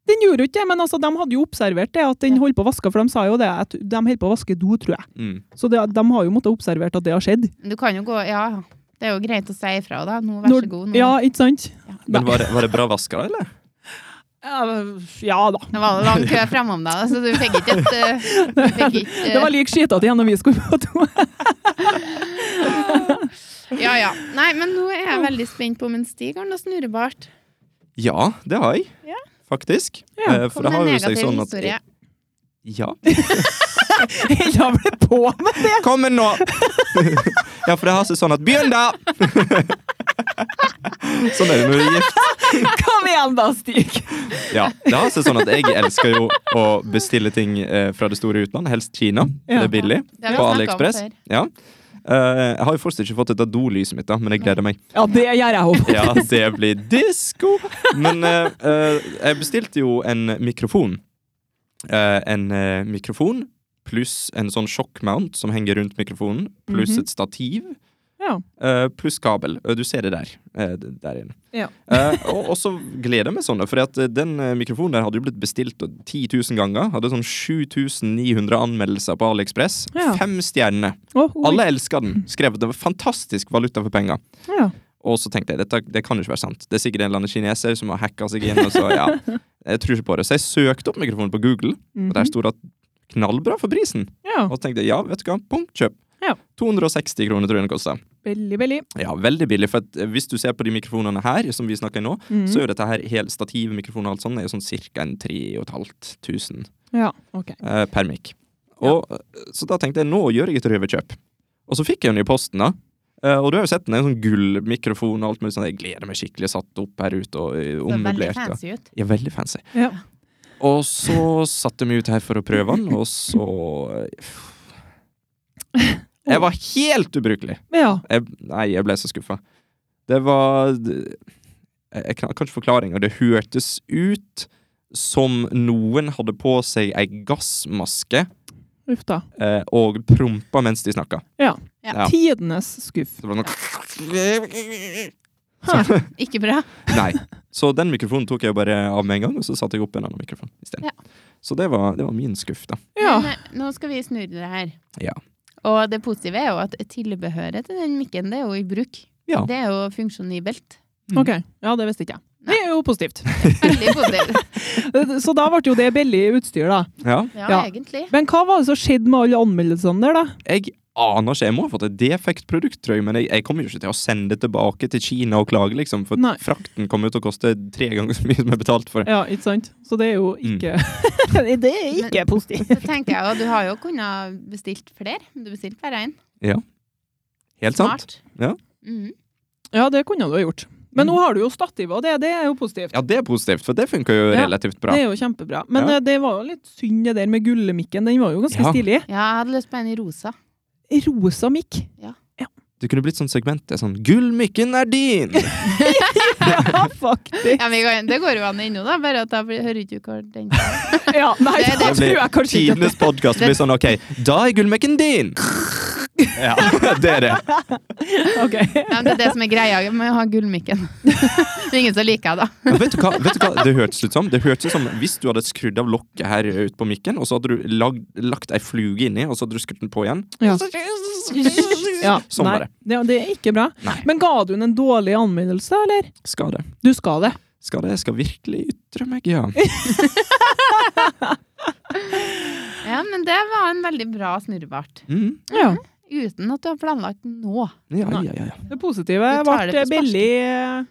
Speaker 2: Den gjorde jo ikke det, men altså, de hadde jo observert det, at den
Speaker 1: Ja.
Speaker 2: holdt på å vaske, for de sa jo det, at de holdt på å vaske do, tror jeg.
Speaker 3: Mm.
Speaker 2: Så det, de har jo måttet observert at det har skjedd.
Speaker 1: Men Du kan jo gå Ja, det er jo greit å si ifra, da. Nå, vær
Speaker 2: Når-
Speaker 1: så god. Nå.
Speaker 2: Ja, ikke sant?
Speaker 3: Men var det, var det bra vaskere, eller?
Speaker 2: Eh, Ja da.
Speaker 1: Nå var det lang kø fremom deg, da, så du fikk ikke et eh, du fikk ikke, eh,
Speaker 2: Det var lik skitete igjen når vi skulle på do.
Speaker 1: Ja, ja. Nei, men nå er jeg veldig spent på om en Stig har noe snurrebart.
Speaker 3: Ja, det har jeg.
Speaker 1: Ja.
Speaker 3: Faktisk.
Speaker 2: Ja,
Speaker 3: Eh, for
Speaker 1: Kom
Speaker 3: det
Speaker 1: med
Speaker 3: har
Speaker 1: en
Speaker 3: jo seg
Speaker 1: negativ
Speaker 3: sånn at
Speaker 1: historie.
Speaker 3: Ja.
Speaker 2: Hella ble på med det.
Speaker 3: Kom med nå! ja, for det har seg sånn at Begynn, da! sånn er det når du er gift.
Speaker 2: Kom igjen da, Stig.
Speaker 3: Ja, det har seg sånn at jeg elsker jo å bestille ting eh, fra det store utland, helst Kina.
Speaker 2: Ja.
Speaker 3: Det er billig.
Speaker 1: Det har vi snakket om
Speaker 3: På AliExpress.
Speaker 1: før.
Speaker 3: Ja. Eh, jeg har jo fortsatt ikke fått dette dolyset mitt, da, men jeg gleder meg.
Speaker 2: Ja, det gjør jeg òg.
Speaker 3: Ja, det blir disko! Men eh, eh, jeg bestilte jo en mikrofon. Eh, en eh, mikrofon pluss en sånn sjokkmount som henger rundt mikrofonen, pluss
Speaker 2: Mhm.
Speaker 3: et stativ.
Speaker 2: Ja.
Speaker 3: Eh, pluss kabel. Eh, Du ser det der. eh, d- der inne.
Speaker 2: Ja.
Speaker 3: Eh, og og så gleder jeg meg sånn, for at eh, den eh, mikrofonen der hadde jo blitt bestilt 10 000 ganger. Hadde sånn 7900 anmeldelser på AliExpress.
Speaker 2: Ja.
Speaker 3: Fem stjerner.
Speaker 2: Å, oi.
Speaker 3: Alle elska den. Skrev det var fantastisk valuta for penger.
Speaker 2: ja.
Speaker 3: Og så tenkte jeg dette, det kan jo ikke være sant. Det er sikkert en eller annen kineser som har hacka seg inn. Og så, ja, jeg tror ikke på det. Så jeg søkte opp mikrofonen på Google, og der
Speaker 2: Mhm.
Speaker 3: sto det at knallbra for prisen.
Speaker 2: ja.
Speaker 3: Og så tenkte jeg ja, vet du hva, punkt kjøp.
Speaker 2: Ja.
Speaker 3: 260 kroner tror jeg den kosta.
Speaker 2: Veldig, veldig.
Speaker 3: Ja, veldig billig. For at eh, hvis du ser på de mikrofonene her, som vi snakker i nå,
Speaker 2: Mhm.
Speaker 3: så er jo dette her hele stativmikrofonen og alt sånt, er jo sånn cirka en 3500
Speaker 2: Ja, ok.
Speaker 3: eh, permik. Og, eh, Så da tenkte jeg nå gjør jeg et røverkjøp. Og så fikk jeg den i posten, da. Eh, og du har jo sett den, en sånn gullmikrofon og alt mulig sånn. Jeg gleder meg skikkelig. Satt opp her ute og eh,
Speaker 1: Så veldig
Speaker 3: ommøblert. og-
Speaker 1: fancy ut.
Speaker 3: Ja, veldig fancy.
Speaker 2: Ja.
Speaker 3: Og så satte vi ut her for å prøve den, og så eh, Jeg var helt ubrukelig.
Speaker 2: ja.
Speaker 3: Jeg, nei, jeg ble så skuffa. Det var Jeg jeg kan kanskje forklaringa. Det hørtes ut som noen hadde på seg ei gassmaske
Speaker 2: Uff da.
Speaker 3: eh, og prompa mens de snakka. Ja.
Speaker 2: Tidenes skuff.
Speaker 3: Det var noe
Speaker 1: Ikke bra.
Speaker 3: Nei. Så den mikrofonen tok jeg bare av med en gang, og så satte jeg opp en annen mikrofon isteden.
Speaker 1: Ja.
Speaker 3: Så det var, det var min skuff, da.
Speaker 2: Ja.
Speaker 1: Men, eh, nå skal vi snurre det her.
Speaker 3: Ja.
Speaker 1: Og det positive er jo at tilbehøret til den mikken, det er jo i bruk.
Speaker 3: Ja.
Speaker 1: Det er jo funksjonibelt.
Speaker 2: Ok. Ja, det visste ikke jeg. Det er jo positivt.
Speaker 1: Veldig positivt.
Speaker 2: Så da ble jo det billig utstyr, da.
Speaker 3: Ja.
Speaker 1: Ja,
Speaker 2: Ja.
Speaker 1: egentlig.
Speaker 2: Men hva var det som skjedde med alle anmeldelsene der, da?
Speaker 3: Jeg aner ikke. Jeg må ha fått et defekt produkt, tror jeg, men jeg, jeg kommer jo ikke til å sende det tilbake til Kina og klage, liksom, for
Speaker 2: Nei.
Speaker 3: frakten kommer jo til å koste tre ganger så mye som jeg betalte for det.
Speaker 2: Ja, ikke sant? Så det er jo
Speaker 3: Mm.
Speaker 2: ikke Det er ikke positivt.
Speaker 1: Så tenker jeg, og du har jo kunnet bestilt flere. Du bestilte bare én.
Speaker 3: Helt sant?
Speaker 1: Smart.
Speaker 3: Ja.
Speaker 1: Mhm.
Speaker 2: Ja, det kunne du ha gjort. Men nå har du jo stativet, og det, det er jo positivt.
Speaker 3: Mm. Ja, det er positivt, for det funka jo
Speaker 2: Ja,
Speaker 3: relativt bra.
Speaker 2: Det er jo kjempebra. Men
Speaker 3: Ja.
Speaker 2: eh, det var jo litt synd det der med gullmikken. Den var jo ganske
Speaker 3: Ja.
Speaker 2: stilig.
Speaker 1: ja, jeg hadde lyst på en i rosa.
Speaker 2: Rosa mikk.
Speaker 3: Det kunne blitt sånn segment. Det er sånn 'Gullmykken er din!'
Speaker 2: Ja, faktisk.
Speaker 1: Ja, men vi kan- det går jo an ennå, da. Bare at da blir- hører ikke du hva den
Speaker 2: Ja, nei,
Speaker 1: Det-
Speaker 2: det
Speaker 1: det-
Speaker 2: tror jeg kanskje ikke.
Speaker 3: Tidenes podkast blir sånn 'OK, da er gullmykken din'! Ja, det er det.
Speaker 2: Ok.
Speaker 1: Ja, men det er det som er greia med å ha gullmikken. det er ingen som liker det, da.
Speaker 3: Men vet, du hva, vet du hva det hørtes ut som? Det hørtes ut som Hvis du hadde skrudd av lokket her ute på mikken, og så hadde du lagd, lagt ei fluge inni, og så hadde du skrudd den på igjen
Speaker 2: Ja. Ja,
Speaker 3: Sånn
Speaker 2: nei,
Speaker 3: var det.
Speaker 2: det. Det er ikke bra.
Speaker 3: Nei.
Speaker 2: Men ga du den en dårlig anmeldelse, eller?
Speaker 3: Skal det.
Speaker 2: Du skal det.
Speaker 3: Skal det. Skal virkelig ytre meg, ja.
Speaker 2: Eh.
Speaker 1: Ja, men det var en veldig bra snurrebart.
Speaker 3: Mm.
Speaker 2: Ja.
Speaker 1: Uten at du har planlagt nå.
Speaker 3: Ja, ja, ja, ja.
Speaker 2: Det positive
Speaker 1: Du tar det
Speaker 2: ble
Speaker 1: på
Speaker 2: billig eh,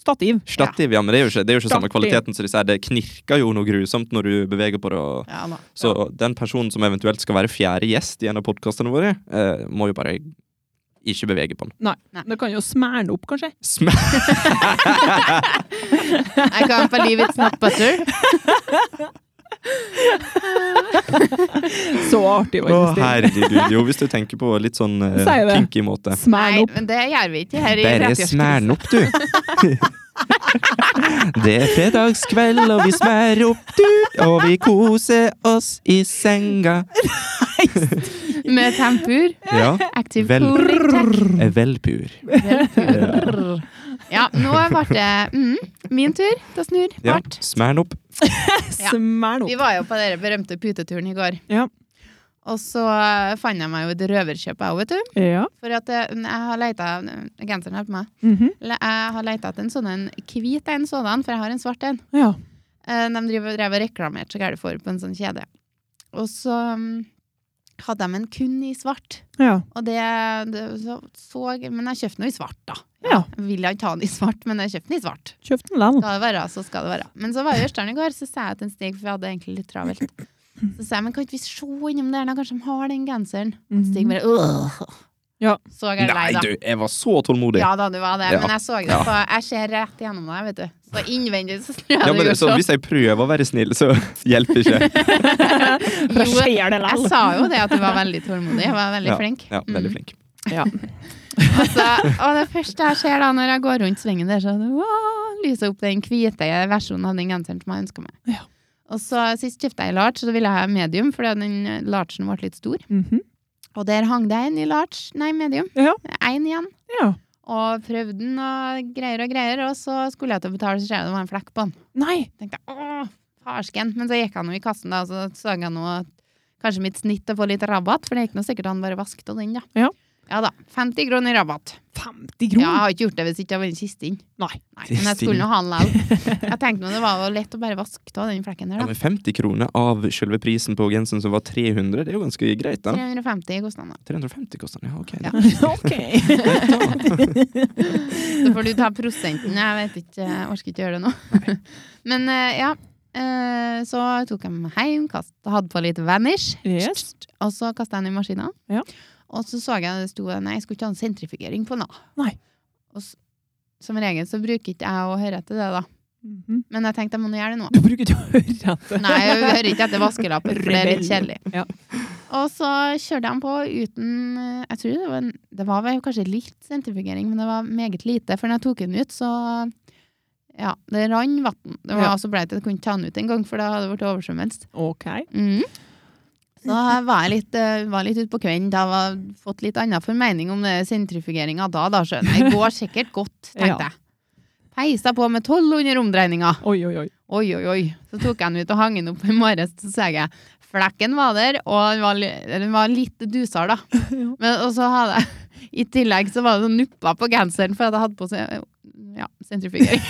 Speaker 2: stativ.
Speaker 3: Stativ, ja, men det er jo ikke, det er jo ikke samme
Speaker 2: Stativ.
Speaker 3: kvaliteten som de sier. Det knirker jo noe grusomt når du beveger på det. Og...
Speaker 1: Ja, da.
Speaker 3: Så den personen som eventuelt skal være fjerde gjest i en av podkastene våre, eh, må jo bare ikke bevege på den.
Speaker 2: Det kan jo smerne opp, kanskje.
Speaker 3: Sm
Speaker 1: I can't believe it's not butter.
Speaker 2: Så artig,
Speaker 3: Å,
Speaker 2: faktisk. det.
Speaker 3: herregud. Jo, hvis du tenker på litt sånn eh,
Speaker 2: Sier det.
Speaker 3: kinky måte.
Speaker 1: Nei,
Speaker 2: Smerne opp.
Speaker 1: men det gjør vi ikke her i
Speaker 3: Bare
Speaker 1: 30-årskrisen.
Speaker 3: smæren opp, du. Det er fredagskveld, og vi smærer opp, du. Og vi koser oss i senga.
Speaker 1: Med tempur.
Speaker 3: Ja.
Speaker 1: Active
Speaker 3: Vel-
Speaker 1: cooling tech.
Speaker 3: er Velpur.
Speaker 1: Velpur. Ja, nå ble det mm, min tur til å snurre
Speaker 3: Ja.
Speaker 1: bart.
Speaker 3: Smæren opp.
Speaker 1: Ja.
Speaker 2: Smerne
Speaker 1: Vi
Speaker 2: opp.
Speaker 1: var jo på den berømte puteturen i går.
Speaker 2: Ja.
Speaker 1: Og så eh, fant jeg meg jo et røverkjøp òg, vet du.
Speaker 2: Ja.
Speaker 1: For at eh, jeg har leita Genseren her på meg.
Speaker 2: Mhm.
Speaker 1: Le- Jeg har leita etter en sånn en hvit en sådan, for jeg har en svart en.
Speaker 2: ja.
Speaker 1: Eh, De driver, drev og reklamerte så gærent for på en sånn kjede. Og så mm, hadde de en kun i svart.
Speaker 2: Ja.
Speaker 1: Og det, det så, så Men jeg kjøpte den jo i svart, da.
Speaker 2: Ja.
Speaker 1: Jeg ville ikke ha den i svart, men jeg kjøpte den i svart.
Speaker 2: Kjøpt den lell.
Speaker 1: Skal det være, så skal det være. Men så var jeg i Ørstein i går, så sa jeg til en Stig, for vi hadde egentlig litt travelt. Så sa jeg, men kan ikke vi se innom der, da? Kanskje de har den genseren? Stig bare «Åh».
Speaker 2: Ja.
Speaker 1: Så gærent
Speaker 3: Nei,
Speaker 1: lei, da.
Speaker 3: du, jeg var så tålmodig.
Speaker 1: Ja da, du var det.
Speaker 3: Ja.
Speaker 1: Men jeg så det på Jeg ser rett gjennom deg, vet du. Så innvendig så snur jeg
Speaker 3: Ja,
Speaker 1: det
Speaker 3: men
Speaker 1: går
Speaker 3: så
Speaker 1: sånn.
Speaker 3: Hvis jeg prøver å være snill, så hjelper ikke.
Speaker 2: For
Speaker 1: Jo,
Speaker 2: jeg ser det
Speaker 1: Jeg
Speaker 2: lell.
Speaker 1: sa jo det at du var veldig tålmodig. Jeg var veldig
Speaker 3: Ja,
Speaker 1: flink.
Speaker 3: Ja, veldig
Speaker 1: Mm.
Speaker 3: flink.
Speaker 2: Ja.
Speaker 1: Altså, og det første jeg ser da når jeg går rundt svingen der, så er det, «Wow», lyser opp den hvite versjonen av den genseren som jeg ønsker meg.
Speaker 2: Ja.
Speaker 1: Og så sist kjøpte jeg i large, så da ville jeg ha medium, fordi den largen ble litt stor.
Speaker 2: Mhm.
Speaker 1: Og der hang det en i large, nei, medium.
Speaker 2: Ja.
Speaker 1: En igjen.
Speaker 2: ja.
Speaker 1: Og prøvde den og greier og greier, og så skulle jeg til å betale, så ser jeg det var en flekk på den.
Speaker 2: Nei.
Speaker 1: tenkte jeg, åh, farsken. Men så gikk han jo i kassen da, og så så jeg nå at kanskje mitt snitt å få litt rabatt, for det er ikke noe sikkert han bare vasket av den da.
Speaker 2: Ja.
Speaker 1: Ja da, 50 kroner i rabatt.
Speaker 2: 50
Speaker 1: Ja, jeg
Speaker 2: kroner.
Speaker 1: har ikke gjort det hvis ikke jeg var en kiste inn.
Speaker 2: Nei.
Speaker 1: Nei, men jeg skulle nå ha den likevel. Jeg tenkte nå det var jo lett å bare vaske av den flekken der
Speaker 3: Ja,
Speaker 1: da.
Speaker 3: men 50 kroner av selve prisen på genseren som var 300, det er jo ganske greit, da.
Speaker 1: 350 kostene da.
Speaker 3: 350 koster den, ja, ok.
Speaker 1: Ja.
Speaker 2: Ok.
Speaker 1: Så får du ta prosenten, jeg vet ikke, jeg orker ikke gjøre det nå. Men eh, ja, eh, Eh, så tok jeg meg hjem, kast, hadde på litt vanish,
Speaker 2: Yes.
Speaker 1: og så kasta jeg den i maskina.
Speaker 2: Ja.
Speaker 1: Og så så jeg det sto Nei, jeg skulle ikke ha en sentrifugering på noe.
Speaker 2: Nei.
Speaker 1: Og s- som regel så bruker ikke jeg å høre etter det, da.
Speaker 2: Mhm.
Speaker 1: Men jeg tenkte jeg må nå gjøre det nå.
Speaker 2: Du bruker ikke å høre etter.
Speaker 1: Nei, jeg hører ikke etter vaskelappen, for det er litt
Speaker 2: Rebell.
Speaker 1: kjedelig.
Speaker 2: Ja.
Speaker 1: Og så kjørte han på uten eh, Jeg tror det var, en, det var vel kanskje litt sentrifugering, men det var meget lite. For når jeg tok den ut, så Ja, det rant vann. Det var
Speaker 2: Ja.
Speaker 1: så bleit at jeg kunne ta den ut en gang, for det hadde blitt oversvømmelse.
Speaker 2: OK.
Speaker 1: Mm. Så var jeg litt, eh, var litt ute på kvelden. Da var fått litt annen formening om sentrifugeringa da, da, skjønner jeg. Det går sikkert godt,
Speaker 2: Ja.
Speaker 1: tenkte jeg. Peisa på med 1200 omdreininger.
Speaker 2: Oi, oi, oi.
Speaker 1: Oi, oi, oi. Så tok jeg den ut og hang den opp i morges. Så sa jeg flekken var der, og den var, li- den var litt dusere, da.
Speaker 2: Ja.
Speaker 1: Men, og så hadde jeg I tillegg så var det noen nupper på genseren, for at jeg hadde på seg ja, sentrifugering.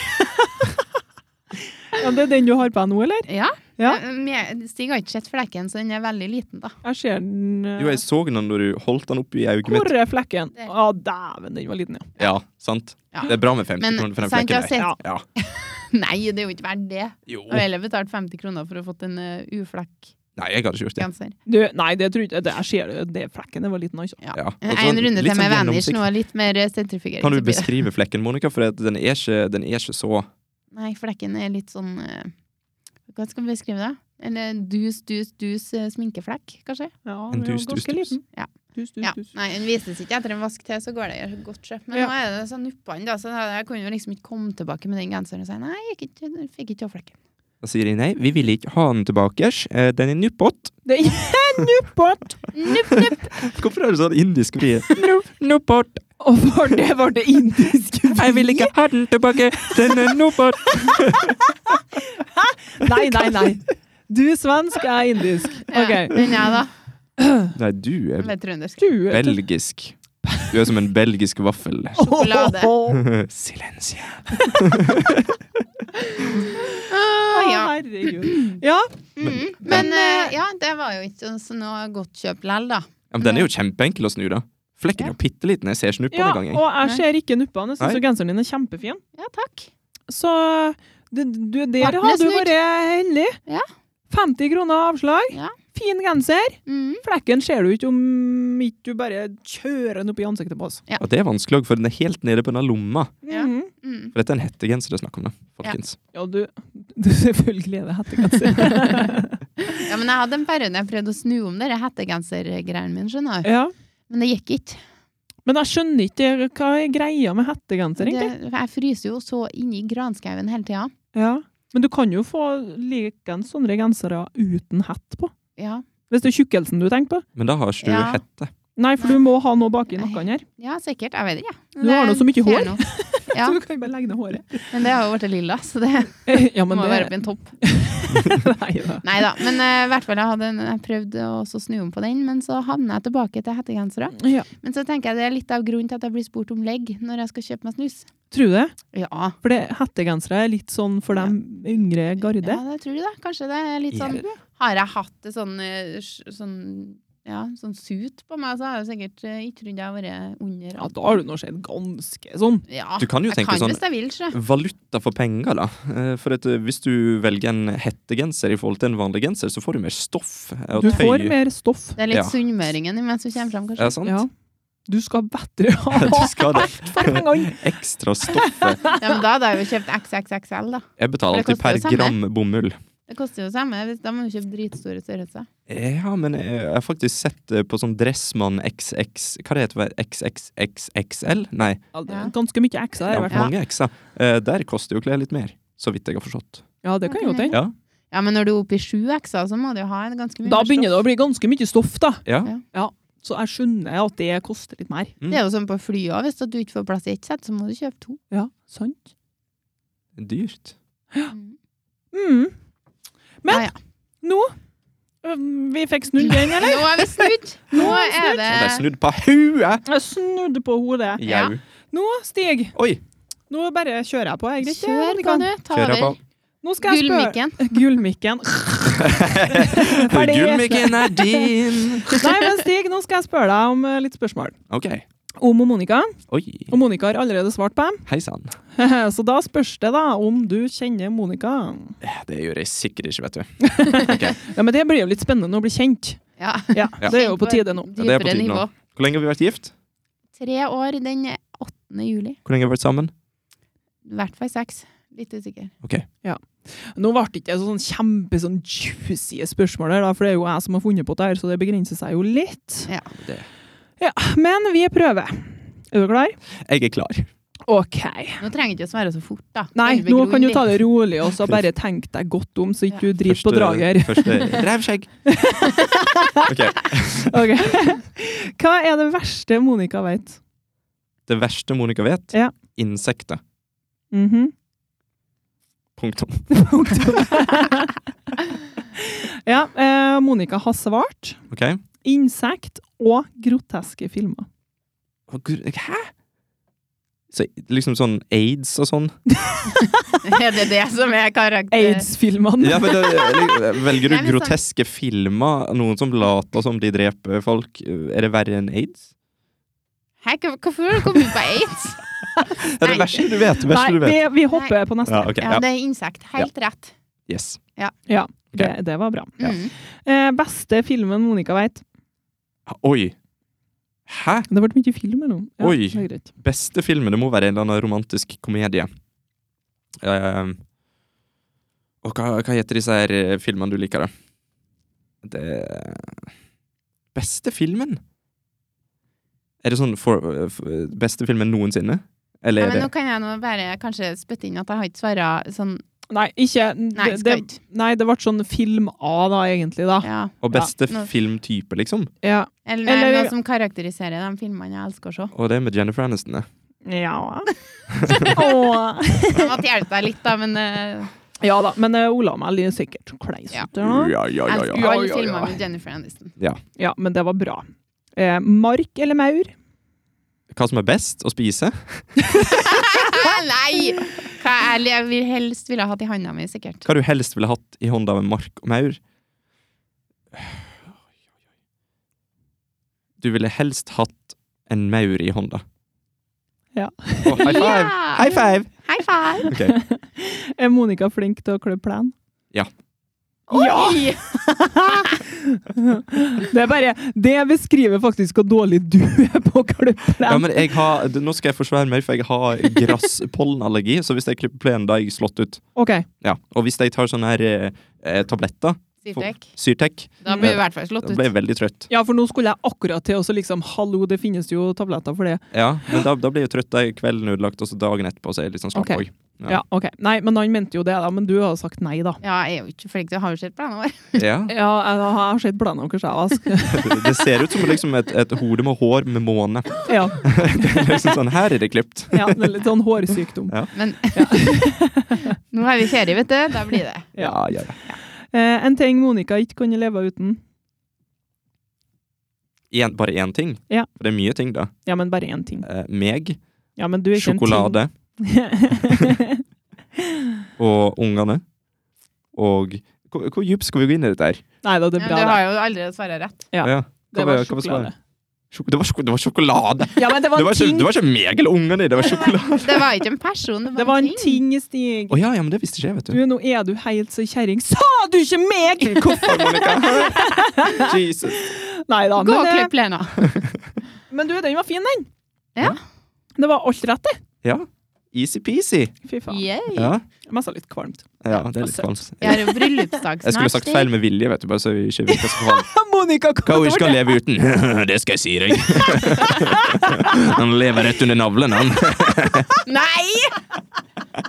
Speaker 2: Ja, det er den du har på deg nå, eller?
Speaker 1: Ja.
Speaker 2: Ja.
Speaker 1: Men jeg- Stig har ikke sett flekken, så den er veldig liten, da.
Speaker 2: Jeg ser den eh,
Speaker 3: Jo, jeg så den når du holdt den oppi auget mitt.
Speaker 2: Hvor er flekken?
Speaker 1: Der.
Speaker 2: Å, dæven, den var liten, ja.
Speaker 3: Ja, sant?
Speaker 1: Ja.
Speaker 3: Det er bra med 50
Speaker 1: Men
Speaker 3: kroner for den
Speaker 1: sant, jeg
Speaker 3: flekken
Speaker 1: har
Speaker 3: der.
Speaker 1: sett
Speaker 2: Ja.
Speaker 3: Ja.
Speaker 1: Nei, det er jo ikke verdt det.
Speaker 3: Jo.
Speaker 1: Jeg har heller betalt 50 kroner for å ha fått en uh, uflekk
Speaker 3: Nei, jeg hadde ikke gjort det.
Speaker 1: genser.
Speaker 2: Du, nei, det tror jeg ikke. Det- Jeg ser det, det flekken den var liten, altså.
Speaker 1: Ja.
Speaker 3: Ja. Og
Speaker 1: En
Speaker 3: sånn,
Speaker 1: runde
Speaker 3: litt
Speaker 1: til med
Speaker 3: sånn
Speaker 1: vanish nå,
Speaker 3: gjennomsikt.
Speaker 1: litt mer eh, sentrifugering.
Speaker 3: Kan
Speaker 1: så
Speaker 3: du
Speaker 1: blir det-
Speaker 3: beskrive flekken, Monica? For at den er ikke, den er ikke så
Speaker 1: Nei, flekken er litt sånn eh, Hva skal vi beskrive det? Eller dus, dus, dus eh, sminkeflekk, kanskje?
Speaker 2: Ja, den
Speaker 3: En
Speaker 2: var
Speaker 3: dus, dus,
Speaker 2: ganske
Speaker 3: dus.
Speaker 2: liten.
Speaker 1: Ja.
Speaker 2: Dus, dus,
Speaker 1: Ja.
Speaker 2: dus.
Speaker 1: Nei, den vises ikke etter en vask til, så går det i godt sjø. Men
Speaker 2: Ja.
Speaker 1: nå er det sånn nuppene, da, så jeg kunne jo liksom ikke komme tilbake med den genseren og si nei, jeg gikk ikke, jeg fikk ikke hårflekken.
Speaker 3: Da sier de nei, vi vil ikke ha den tilbake. Eh, Den er nuppåt.
Speaker 2: Det er nuppert!
Speaker 1: Nupp, nupp!
Speaker 3: Hvorfor er det sånn indisk vri? Nuppåt.
Speaker 2: Og for det var det indisk
Speaker 3: Jeg vil ikke ha den tilbake. Den er nuppåt.
Speaker 2: Nei, nei, nei. Du svensk, jeg er indisk.
Speaker 1: Ja,
Speaker 2: OK.
Speaker 1: den er da.
Speaker 3: Nei, du er
Speaker 1: Litt trøndersk.
Speaker 2: Du er
Speaker 3: belgisk. Du er som en belgisk vaffel.
Speaker 1: Sjokolade.
Speaker 2: Å,
Speaker 3: Silensia.
Speaker 1: ja.
Speaker 2: herregud. Ja.
Speaker 1: Mm. Men eh, ja, det var jo ikke sånn- så noe godt kjøp lell, da.
Speaker 3: Ja, men den er jo kjempeenkel å snu, da. Flekken er jo bitte liten. Jeg ser ikke nuppene
Speaker 2: ja,
Speaker 3: engang. jeg.
Speaker 2: og jeg ser ikke nuppene. Jeg
Speaker 3: Nei.
Speaker 2: syns genseren din er kjempefin.
Speaker 1: Ja, takk.
Speaker 2: Så du, du,
Speaker 1: Verden
Speaker 2: der
Speaker 1: er
Speaker 2: har du
Speaker 1: snudd.
Speaker 2: vært heldig.
Speaker 1: Ja.
Speaker 2: 50 kroner avslag.
Speaker 1: Ja.
Speaker 2: Fin genser.
Speaker 1: Mm.
Speaker 2: Flekken ser du ikke om ikke du bare kjører den opp i ansiktet på oss.
Speaker 3: Og det er vanskelig også, for den er helt nede på den lomma.
Speaker 1: Ja.
Speaker 2: Mhm.
Speaker 1: Mm.
Speaker 3: For dette er en hettegenser det er snakk om, da, folkens.
Speaker 2: Ja, du, du selvfølgelig er det hettegenser.
Speaker 1: Ja, men jeg hadde en periode jeg prøvde å snu om dere hettegensergreiene mine, skjønner du.
Speaker 2: ja.
Speaker 1: Men det gikk ikke.
Speaker 2: Men jeg skjønner ikke hva er greia med hettegenser, egentlig.
Speaker 1: Det, jeg fryser jo så inni granskauen hele tida.
Speaker 2: Ja. Men du kan jo få likens sånne gensere uten hett på.
Speaker 1: Ja.
Speaker 2: Hvis det er tjukkelsen du tenker på.
Speaker 3: Men da har ikke du
Speaker 1: Ja.
Speaker 3: hette.
Speaker 2: Nei, for du må ha noe baki nakken her.
Speaker 1: ja, eh, sikkert. Jeg vet ikke.
Speaker 2: Du har nå så mye hår.
Speaker 1: Ja,
Speaker 2: Så du kan bare legge ned håret.
Speaker 1: men det har jo blitt lilla, så det
Speaker 2: Ja, men
Speaker 1: må jo være oppi
Speaker 2: det
Speaker 1: en topp.
Speaker 2: Nei da.
Speaker 1: Nei da, men eh, i hvert fall jeg hadde en, jeg prøvde å også snu om på den, men så havner jeg tilbake til hettegensere.
Speaker 2: Ja.
Speaker 1: Men så tenker jeg det er litt av grunnen til at jeg blir spurt om legg når jeg skal kjøpe meg snus.
Speaker 2: Tror du det?
Speaker 1: Ja,
Speaker 2: For det, hettegensere er litt sånn for dem yngre garde.
Speaker 1: ja det tror du det. Kanskje det er litt sånn
Speaker 2: Ja.
Speaker 1: Har jeg hatt det sånn, eh, s- sånn ja, sånn sut på meg, så har jeg jo sikkert eh, ikke trodd jeg har vært under
Speaker 2: ja, da har du nå sett ganske sånn.
Speaker 1: Ja,
Speaker 3: Du kan jo
Speaker 1: jeg
Speaker 3: tenke
Speaker 1: kan
Speaker 3: sånn-
Speaker 1: hvis jeg vil, sjø.
Speaker 3: Valuta for penger, da. Eh, For at eh, hvis du velger en hettegenser i forhold til en vanlig genser, så får du mer stoff eh, og
Speaker 2: Du
Speaker 3: tøy.
Speaker 2: får mer stoff.
Speaker 1: Det er litt
Speaker 3: Ja.
Speaker 1: sunnmøringen imens du kommer fram,
Speaker 3: Ja,
Speaker 1: kanskje.
Speaker 3: sant?
Speaker 2: Ja. Du skal bedre ha
Speaker 3: Du skal det.
Speaker 2: for pengene!
Speaker 3: Ekstra stoffet.
Speaker 1: Ja, men da hadde jeg jo kjøpt XXXL, da.
Speaker 3: Jeg betaler
Speaker 1: For det
Speaker 3: alltid per
Speaker 1: koster jo samme.
Speaker 3: gram bomull.
Speaker 1: Det koster jo samme. hvis- Da må du kjøpe dritstore størrelser.
Speaker 3: Ja, men eh, jeg har faktisk sett eh, på sånn Dressmann XX Hva det heter det? XXXXL? Nei,
Speaker 2: Ja, det
Speaker 1: Ja.
Speaker 2: er ganske mye X her, i
Speaker 3: ja,
Speaker 2: hvert fall.
Speaker 3: mange X-er. Eh, Der koster jo klær litt mer, så vidt jeg har forstått.
Speaker 2: Ja, det kan jo hende.
Speaker 3: Ja,
Speaker 1: Ja, men når du er oppe i sju X-er, så må du jo ha en ganske mye
Speaker 2: Da begynner det å bli ganske mye stoff, da.
Speaker 3: ja.
Speaker 1: Ja.
Speaker 2: Så jeg skjønner at det koster litt mer.
Speaker 1: Det er jo sånn på flyet òg. Hvis at du ikke får plass i ett sett, så må du kjøpe to.
Speaker 2: Ja, sant.
Speaker 3: Dyrt.
Speaker 1: Mm.
Speaker 2: Mm. Men
Speaker 1: Ja, ja.
Speaker 2: nå øhm, Vi fikk snudd den, eller?
Speaker 1: Nå er vi snudd! Nå er
Speaker 3: Det er
Speaker 1: det
Speaker 3: snudd på huet!
Speaker 2: Jeg snudde på hodet.
Speaker 1: Eh. Ja.
Speaker 3: Jau.
Speaker 2: Nå, Stig,
Speaker 3: Oi!
Speaker 2: nå bare kjører jeg på. Er det greit?
Speaker 1: Kjør på, du. Ta
Speaker 3: Kjør jeg på.
Speaker 1: over.
Speaker 2: Nå skal jeg spørre
Speaker 1: Gullmikken.
Speaker 2: Gullmikken. Ferdig.
Speaker 3: Gullmikken er din!
Speaker 2: Nei, men Stig, nå skal jeg spørre deg om eh, litt spørsmål.
Speaker 3: OK.
Speaker 2: om og Monica.
Speaker 3: Oi.
Speaker 2: Og Monica har allerede svart på dem.
Speaker 3: Hei sann.
Speaker 2: Så da spørs det da om du kjenner Monica.
Speaker 3: Eh, Det gjør jeg sikkert ikke, vet du.
Speaker 2: Ja, men Det blir jo litt spennende å bli kjent.
Speaker 1: Ja.
Speaker 2: Ja,
Speaker 3: Ja.
Speaker 2: Det er jo på tide nå.
Speaker 3: Ja, det er på
Speaker 1: Dypere
Speaker 3: tide nå.
Speaker 1: nivå.
Speaker 3: Hvor lenge har vi vært gift?
Speaker 1: Tre år den 8. juli.
Speaker 3: Hvor lenge har vi vært sammen?
Speaker 1: I hvert fall seks. Litt usikker.
Speaker 2: Nå ble det ikke sånn kjempe sånn juicy spørsmål her, da, for det er jo jeg som har funnet på det her, så det begrenser seg jo litt.
Speaker 1: Ja.
Speaker 3: Det-
Speaker 2: Ja, men vi prøver. Er du klar?
Speaker 3: Jeg er klar.
Speaker 2: OK.
Speaker 1: Nå trenger jeg ikke å svare så fort, da.
Speaker 2: Nei,
Speaker 1: Bare
Speaker 2: nå
Speaker 1: begrunn
Speaker 2: kan du
Speaker 1: litt.
Speaker 2: ta det rolig og så bare tenk deg godt om, så ikke du driter på draget her.
Speaker 3: Første revskjegg. Ok,
Speaker 2: Ok. Hva er det verste Monica vet?
Speaker 3: Det verste Monica vet?
Speaker 2: Ja.
Speaker 3: Insekter.
Speaker 2: Mhm.
Speaker 3: Punktum.
Speaker 2: ja, eh, Monica har svart
Speaker 3: Ok?
Speaker 2: insekt og groteske filmer.
Speaker 3: Å, Gud, hæ? Så, liksom sånn aids og sånn?
Speaker 1: Er det det som er karakter...
Speaker 2: Aids-filmene.
Speaker 3: Ja, men det,
Speaker 1: Nei,
Speaker 3: Velger du
Speaker 1: men sånn-
Speaker 3: groteske filmer? Noen som later som de dreper folk? Er det verre enn aids?
Speaker 1: Hæ, hva- hvorfor har du kommet på aids?
Speaker 3: Det er det
Speaker 1: Nei.
Speaker 3: verste du vet. Det verste
Speaker 2: Nei,
Speaker 3: du vet.
Speaker 2: vi, vi hopper på neste.
Speaker 3: Ja, ok.
Speaker 1: Ja,
Speaker 3: Ja.
Speaker 1: det er insekt. Helt rett.
Speaker 3: Yes.
Speaker 2: Det, det var bra.
Speaker 3: Ja.
Speaker 1: Mm.
Speaker 2: Eh, beste filmen Monica vet.
Speaker 3: Oi. Hæ?
Speaker 2: Det ble mye film her nå. Ja,
Speaker 3: Oi.
Speaker 2: Det er greit.
Speaker 3: Beste filmen, det må være en eller annen romantisk komedie. Ehm, og hva, hva heter disse her eh, filmene du liker, da? Det Beste filmen? Er det sånn for, eh, for, beste filmen noensinne? Eller
Speaker 1: Nei,
Speaker 3: er
Speaker 1: men nå
Speaker 3: det
Speaker 1: kan jeg nå bare kanskje spytte inn at jeg har ikke svaret sånn
Speaker 2: Nei, ikke
Speaker 1: Nei,
Speaker 2: det-
Speaker 1: skal
Speaker 2: det,
Speaker 1: ikke.
Speaker 2: nei, det ble sånn film A, da, egentlig. da.
Speaker 1: Ja.
Speaker 3: Og beste
Speaker 1: Ja, nå-
Speaker 3: filmtype, liksom?
Speaker 2: Ja.
Speaker 1: Eller, nei,
Speaker 2: Eller-
Speaker 1: noe som karakteriserer de filmene jeg elsker å se.
Speaker 3: Og det er med Jennifer Aniston, det.
Speaker 2: Ja. Åh.
Speaker 1: Jeg måtte hjelpe deg litt, da, men eh,
Speaker 2: ja da, men eh, Ola og meg er sikkert kleis
Speaker 1: Ja.
Speaker 2: ut der nå.
Speaker 3: ja, ja,
Speaker 1: jeg
Speaker 3: ja,
Speaker 1: elsker
Speaker 3: ja.
Speaker 1: jo alle
Speaker 2: Ja, ja,
Speaker 1: filmer
Speaker 2: ja.
Speaker 1: med Jennifer Aniston.
Speaker 2: Ja, men det var bra. Eh, mark eller maur?
Speaker 3: Hva som er best å spise?
Speaker 1: nei! Hva jeg, jeg vil helst ville ha hatt i handa mi, sikkert.
Speaker 3: Hva du helst ville hatt i hånda med mark og maur? Du ville helst hatt en maur i hånda.
Speaker 2: Ja.
Speaker 3: Å, high five!
Speaker 1: Ja!
Speaker 3: High five!
Speaker 1: High five!
Speaker 3: Ok,
Speaker 2: Er Monica flink til å klø plen?
Speaker 1: Oi!
Speaker 2: Det er bare, det beskriver faktisk hvor dårlig du er på å klø
Speaker 3: ja,
Speaker 2: plen.
Speaker 3: men jeg har, du, Nå skal jeg forsvare meg, for jeg har grasspollenallergi. Så hvis jeg klipper plenen, da er jeg slått ut.
Speaker 2: Ok,
Speaker 3: Ja, Og hvis jeg tar sånne her eh, eh, tabletter,
Speaker 1: Sirtek.
Speaker 3: Syrtec,
Speaker 1: Da blir du i hvert fall slått
Speaker 3: da
Speaker 1: ut.
Speaker 3: ble jeg veldig trøtt.
Speaker 2: ja, for nå skulle jeg akkurat til å så liksom, hallo, det finnes jo tabletter for det.
Speaker 3: Ja, Men da, da blir jeg trøtt, da er kvelden ødelagt, og så dagen etterpå så er jeg litt sånn slapp
Speaker 2: Ok.
Speaker 3: òg. Ja.
Speaker 2: Ja, ok. Nei, men han mente jo det, da. Men du har sagt nei, da.
Speaker 1: Ja, jeg er jo ikke flink til å ha sett planene våre.
Speaker 3: Ja.
Speaker 2: Ja, jeg jeg har sett bladene deres, jeg. altså.
Speaker 3: Det ser ut som liksom et, et hode med hår med måne.
Speaker 2: Ja,
Speaker 3: liksom sånn, her er det klipt.
Speaker 2: ja, det er litt sånn hårsykdom.
Speaker 1: Men nå har vi ferie, vet du. Da blir det.
Speaker 2: Ja.
Speaker 3: ja, ja.
Speaker 2: Eh, en ting Monica ikke kunne leve uten.
Speaker 3: En, bare én ting?
Speaker 2: Ja.
Speaker 3: For det er mye ting, da.
Speaker 2: Ja, men bare én ting.
Speaker 3: Eh, meg,
Speaker 2: Ja, men du er ikke en ting.
Speaker 3: sjokolade og ungene. Og Hvor, hvor dypt skal vi gå inn i dette her?
Speaker 2: nei da, det
Speaker 1: Men
Speaker 2: er
Speaker 1: du
Speaker 2: bra.
Speaker 1: har jo allerede svara rett.
Speaker 2: Ja.
Speaker 3: Hva
Speaker 2: det var
Speaker 3: var- hva var
Speaker 2: sjokolade.
Speaker 3: svaret? Sjok- Det var, sjok- det var sjokolade!
Speaker 2: Ja, men det var
Speaker 3: Det var,
Speaker 2: en
Speaker 3: ikke,
Speaker 2: ting.
Speaker 3: det var ikke meg eller ungene, det var sjokolade!
Speaker 1: Det var ikke en person, det var,
Speaker 2: Det var en ting, Stig.
Speaker 3: Å ja, ja, men det visste ikke jeg, vet
Speaker 2: Du,
Speaker 3: du.
Speaker 2: nå er du helt så kjerring. Sa du ikke meg?!
Speaker 3: Hvorfor, Monica? Jesus.
Speaker 2: Nei da,
Speaker 1: Gå og
Speaker 2: men,
Speaker 1: klipp plena.
Speaker 2: eh, men du, den var fin, den.
Speaker 1: Ja.
Speaker 2: Det var alt rett, det.
Speaker 3: Ja. Easy-peasy.
Speaker 2: Fy faen.
Speaker 1: Yeah.
Speaker 3: Ja.
Speaker 2: Jeg messa litt kvalmt.
Speaker 3: ja, det er litt
Speaker 2: Søtt.
Speaker 3: kvalmt.
Speaker 1: Jeg har jo bryllupsdag
Speaker 3: Jeg skulle sagt feil med vilje, vet du, bare så vi ikke virker så kvalmt.
Speaker 2: Monica, kom
Speaker 3: Hva hun
Speaker 2: over
Speaker 3: ikke kan leve uten? Det skal jeg si deg. Han lever rett under navlen, han.
Speaker 1: Nei!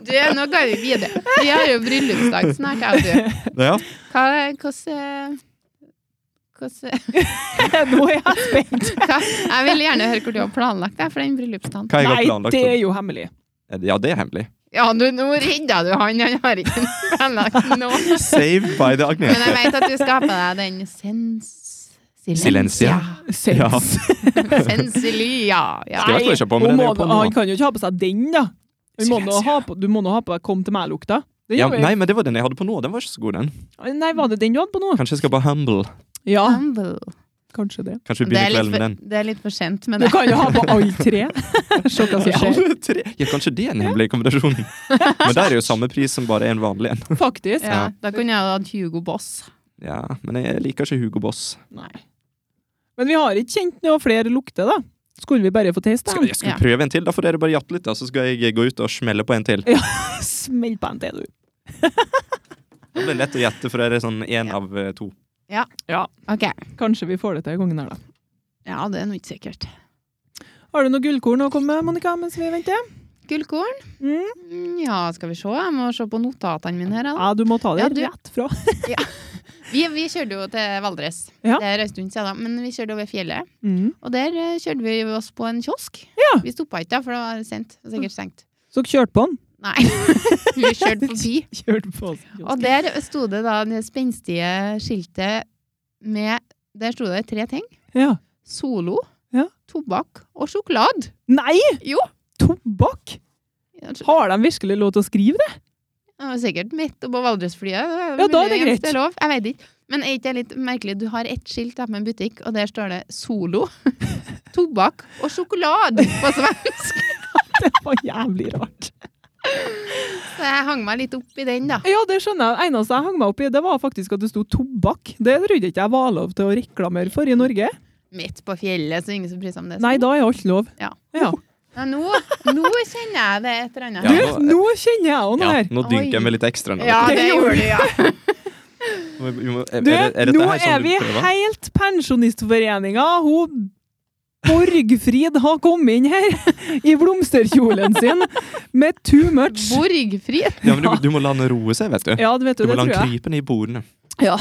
Speaker 1: Du, nå går vi videre. Vi har jo bryllupsdag snart, jeg og du.
Speaker 3: Ja.
Speaker 1: Hva, hvordan hvordan-
Speaker 2: det. Nå er jeg spent.
Speaker 1: hva? Jeg vil gjerne høre hvor du har planlagt deg for den bryllupsdagen.
Speaker 3: Hva jeg har
Speaker 2: Nei,
Speaker 3: planlagt?
Speaker 2: det er
Speaker 3: for-
Speaker 2: jo hemmelig.
Speaker 3: Ja, det er hemmelig.
Speaker 1: Ja, du, nå redda du han. Han har ikke planlagt noe.
Speaker 3: Saved by the
Speaker 1: Men jeg
Speaker 3: Agnete.
Speaker 1: vet at du skal ha på deg den sens...
Speaker 3: Silencia.
Speaker 2: Sens.
Speaker 3: Ja.
Speaker 1: Sensilia. Ja.
Speaker 3: Skal jeg vel ikke ha på, men
Speaker 2: hun
Speaker 3: den er
Speaker 2: må-
Speaker 3: jo på nå.
Speaker 2: Han kan jo ikke ha på seg den, da. Hun må nå
Speaker 3: Silencia.
Speaker 2: ha på, du må nå ha på deg 'Kom til meg'-lukta. Det
Speaker 3: Ja,
Speaker 2: gjør vi.
Speaker 3: nei, men det var den jeg hadde på nå. Den var ikke så god, den.
Speaker 2: Nei, var det den du hadde på nå?
Speaker 3: Kanskje jeg skal bare humble.
Speaker 2: Ja.
Speaker 1: Humble.
Speaker 2: Kanskje det.
Speaker 3: Kanskje vi
Speaker 1: Det er litt
Speaker 3: begynner kvelden med
Speaker 1: for,
Speaker 3: den.
Speaker 1: det er litt for sent, men
Speaker 2: Du kan jo ha på alle tre. Se hva som skjer.
Speaker 3: Alle tre. Ja, kanskje det er en hemmelig kombinasjon. Men der er jo samme pris som bare en vanlig en.
Speaker 2: Faktisk.
Speaker 1: ja, Da kunne jeg hatt Hugo Boss.
Speaker 3: Ja, men jeg liker ikke Hugo Boss.
Speaker 2: Nei. Men vi har ikke kjent noe flere lukter, da. Skulle vi bare få teste
Speaker 3: Skal
Speaker 2: den?
Speaker 3: jeg skal
Speaker 1: Ja.
Speaker 3: vi prøve en til? Da får dere bare jatte litt, da, så skal jeg gå ut og smelle på en til.
Speaker 2: Smell på en til, du.
Speaker 3: Det blir lett å gjette, for det er sånn én av eh, to.
Speaker 1: Ok.
Speaker 2: Kanskje vi får det til gangen her, da.
Speaker 1: Ja, det er nå ikke sikkert.
Speaker 2: Har du noe gullkorn å komme med, Monica, mens vi venter?
Speaker 1: Gullkorn?
Speaker 2: Mm.
Speaker 1: Mm, Ja, skal vi se. Jeg må se på notatene mine her. da.
Speaker 2: Ja, du må ta det
Speaker 1: Ja, du-
Speaker 2: rett fra.
Speaker 1: Vi, vi kjørte jo til Valdres.
Speaker 2: Ja.
Speaker 1: Det er en stund siden, da. Men vi kjørte over fjellet.
Speaker 2: Mm.
Speaker 1: Og der eh, kjørte vi oss på en kiosk.
Speaker 2: Ja.
Speaker 1: Vi stoppa ikke, da, for det var sent. Det var Sikkert stengt.
Speaker 2: Så dere kjørte på den?
Speaker 1: Nei. vi kjørte forbi.
Speaker 2: Kjørte på den.
Speaker 1: Og der sto det da det spenstige skiltet med Der sto det tre ting.
Speaker 2: Ja.
Speaker 1: Solo,
Speaker 2: Ja.
Speaker 1: tobakk og sjokolade.
Speaker 2: Nei!
Speaker 1: Jo.
Speaker 2: Tobakk!
Speaker 1: Ja, så-
Speaker 2: Har de virkelig lov til å skrive det?
Speaker 1: Det var sikkert midt oppå Valdresflyet.
Speaker 2: Ja, da er det
Speaker 1: muligens
Speaker 2: greit.
Speaker 1: er lov. Jeg vet ikke. Men er ikke det litt merkelig? Du har ett skilt da med en butikk, og der står det Solo, tobakk og sjokolade på svensk.
Speaker 2: Det var jævlig rart.
Speaker 1: Så jeg hang meg litt opp i den, da.
Speaker 2: Ja, det skjønner jeg. Eneste jeg hang meg opp i, det var faktisk at det sto tobakk. Det trodde jeg ikke jeg var lov til å reklamere for i Norge.
Speaker 1: Midt på fjellet, så ingen som bryr seg om det.
Speaker 2: Nei, da er alt lov.
Speaker 1: Ja.
Speaker 2: ja.
Speaker 1: Ja, nå, nå kjenner jeg det er et eller annet.
Speaker 3: Ja.
Speaker 2: Du, nå kjenner jeg òg noe
Speaker 3: Ja,
Speaker 2: her.
Speaker 3: nå dynker jeg med litt ekstra. Nå.
Speaker 1: Ja, det
Speaker 2: Det
Speaker 1: gjorde
Speaker 2: gjorde
Speaker 1: du, ja.
Speaker 3: Vi må- er-
Speaker 2: Du,
Speaker 3: er- er dette
Speaker 2: nå
Speaker 3: her sånn
Speaker 2: er
Speaker 3: du
Speaker 2: vi
Speaker 3: prøver?
Speaker 2: helt Pensjonistforeninga. Hun Borgfrid har kommet inn her i blomsterkjolen sin med too much.
Speaker 1: Borgfri.
Speaker 3: Ja, men du, du må la den roe seg, vet du.
Speaker 2: Ja, det vet
Speaker 3: Du
Speaker 2: du,
Speaker 3: må
Speaker 2: det
Speaker 3: la
Speaker 2: tror
Speaker 3: den
Speaker 2: jeg.
Speaker 3: krype ned i bordene.
Speaker 2: Ja,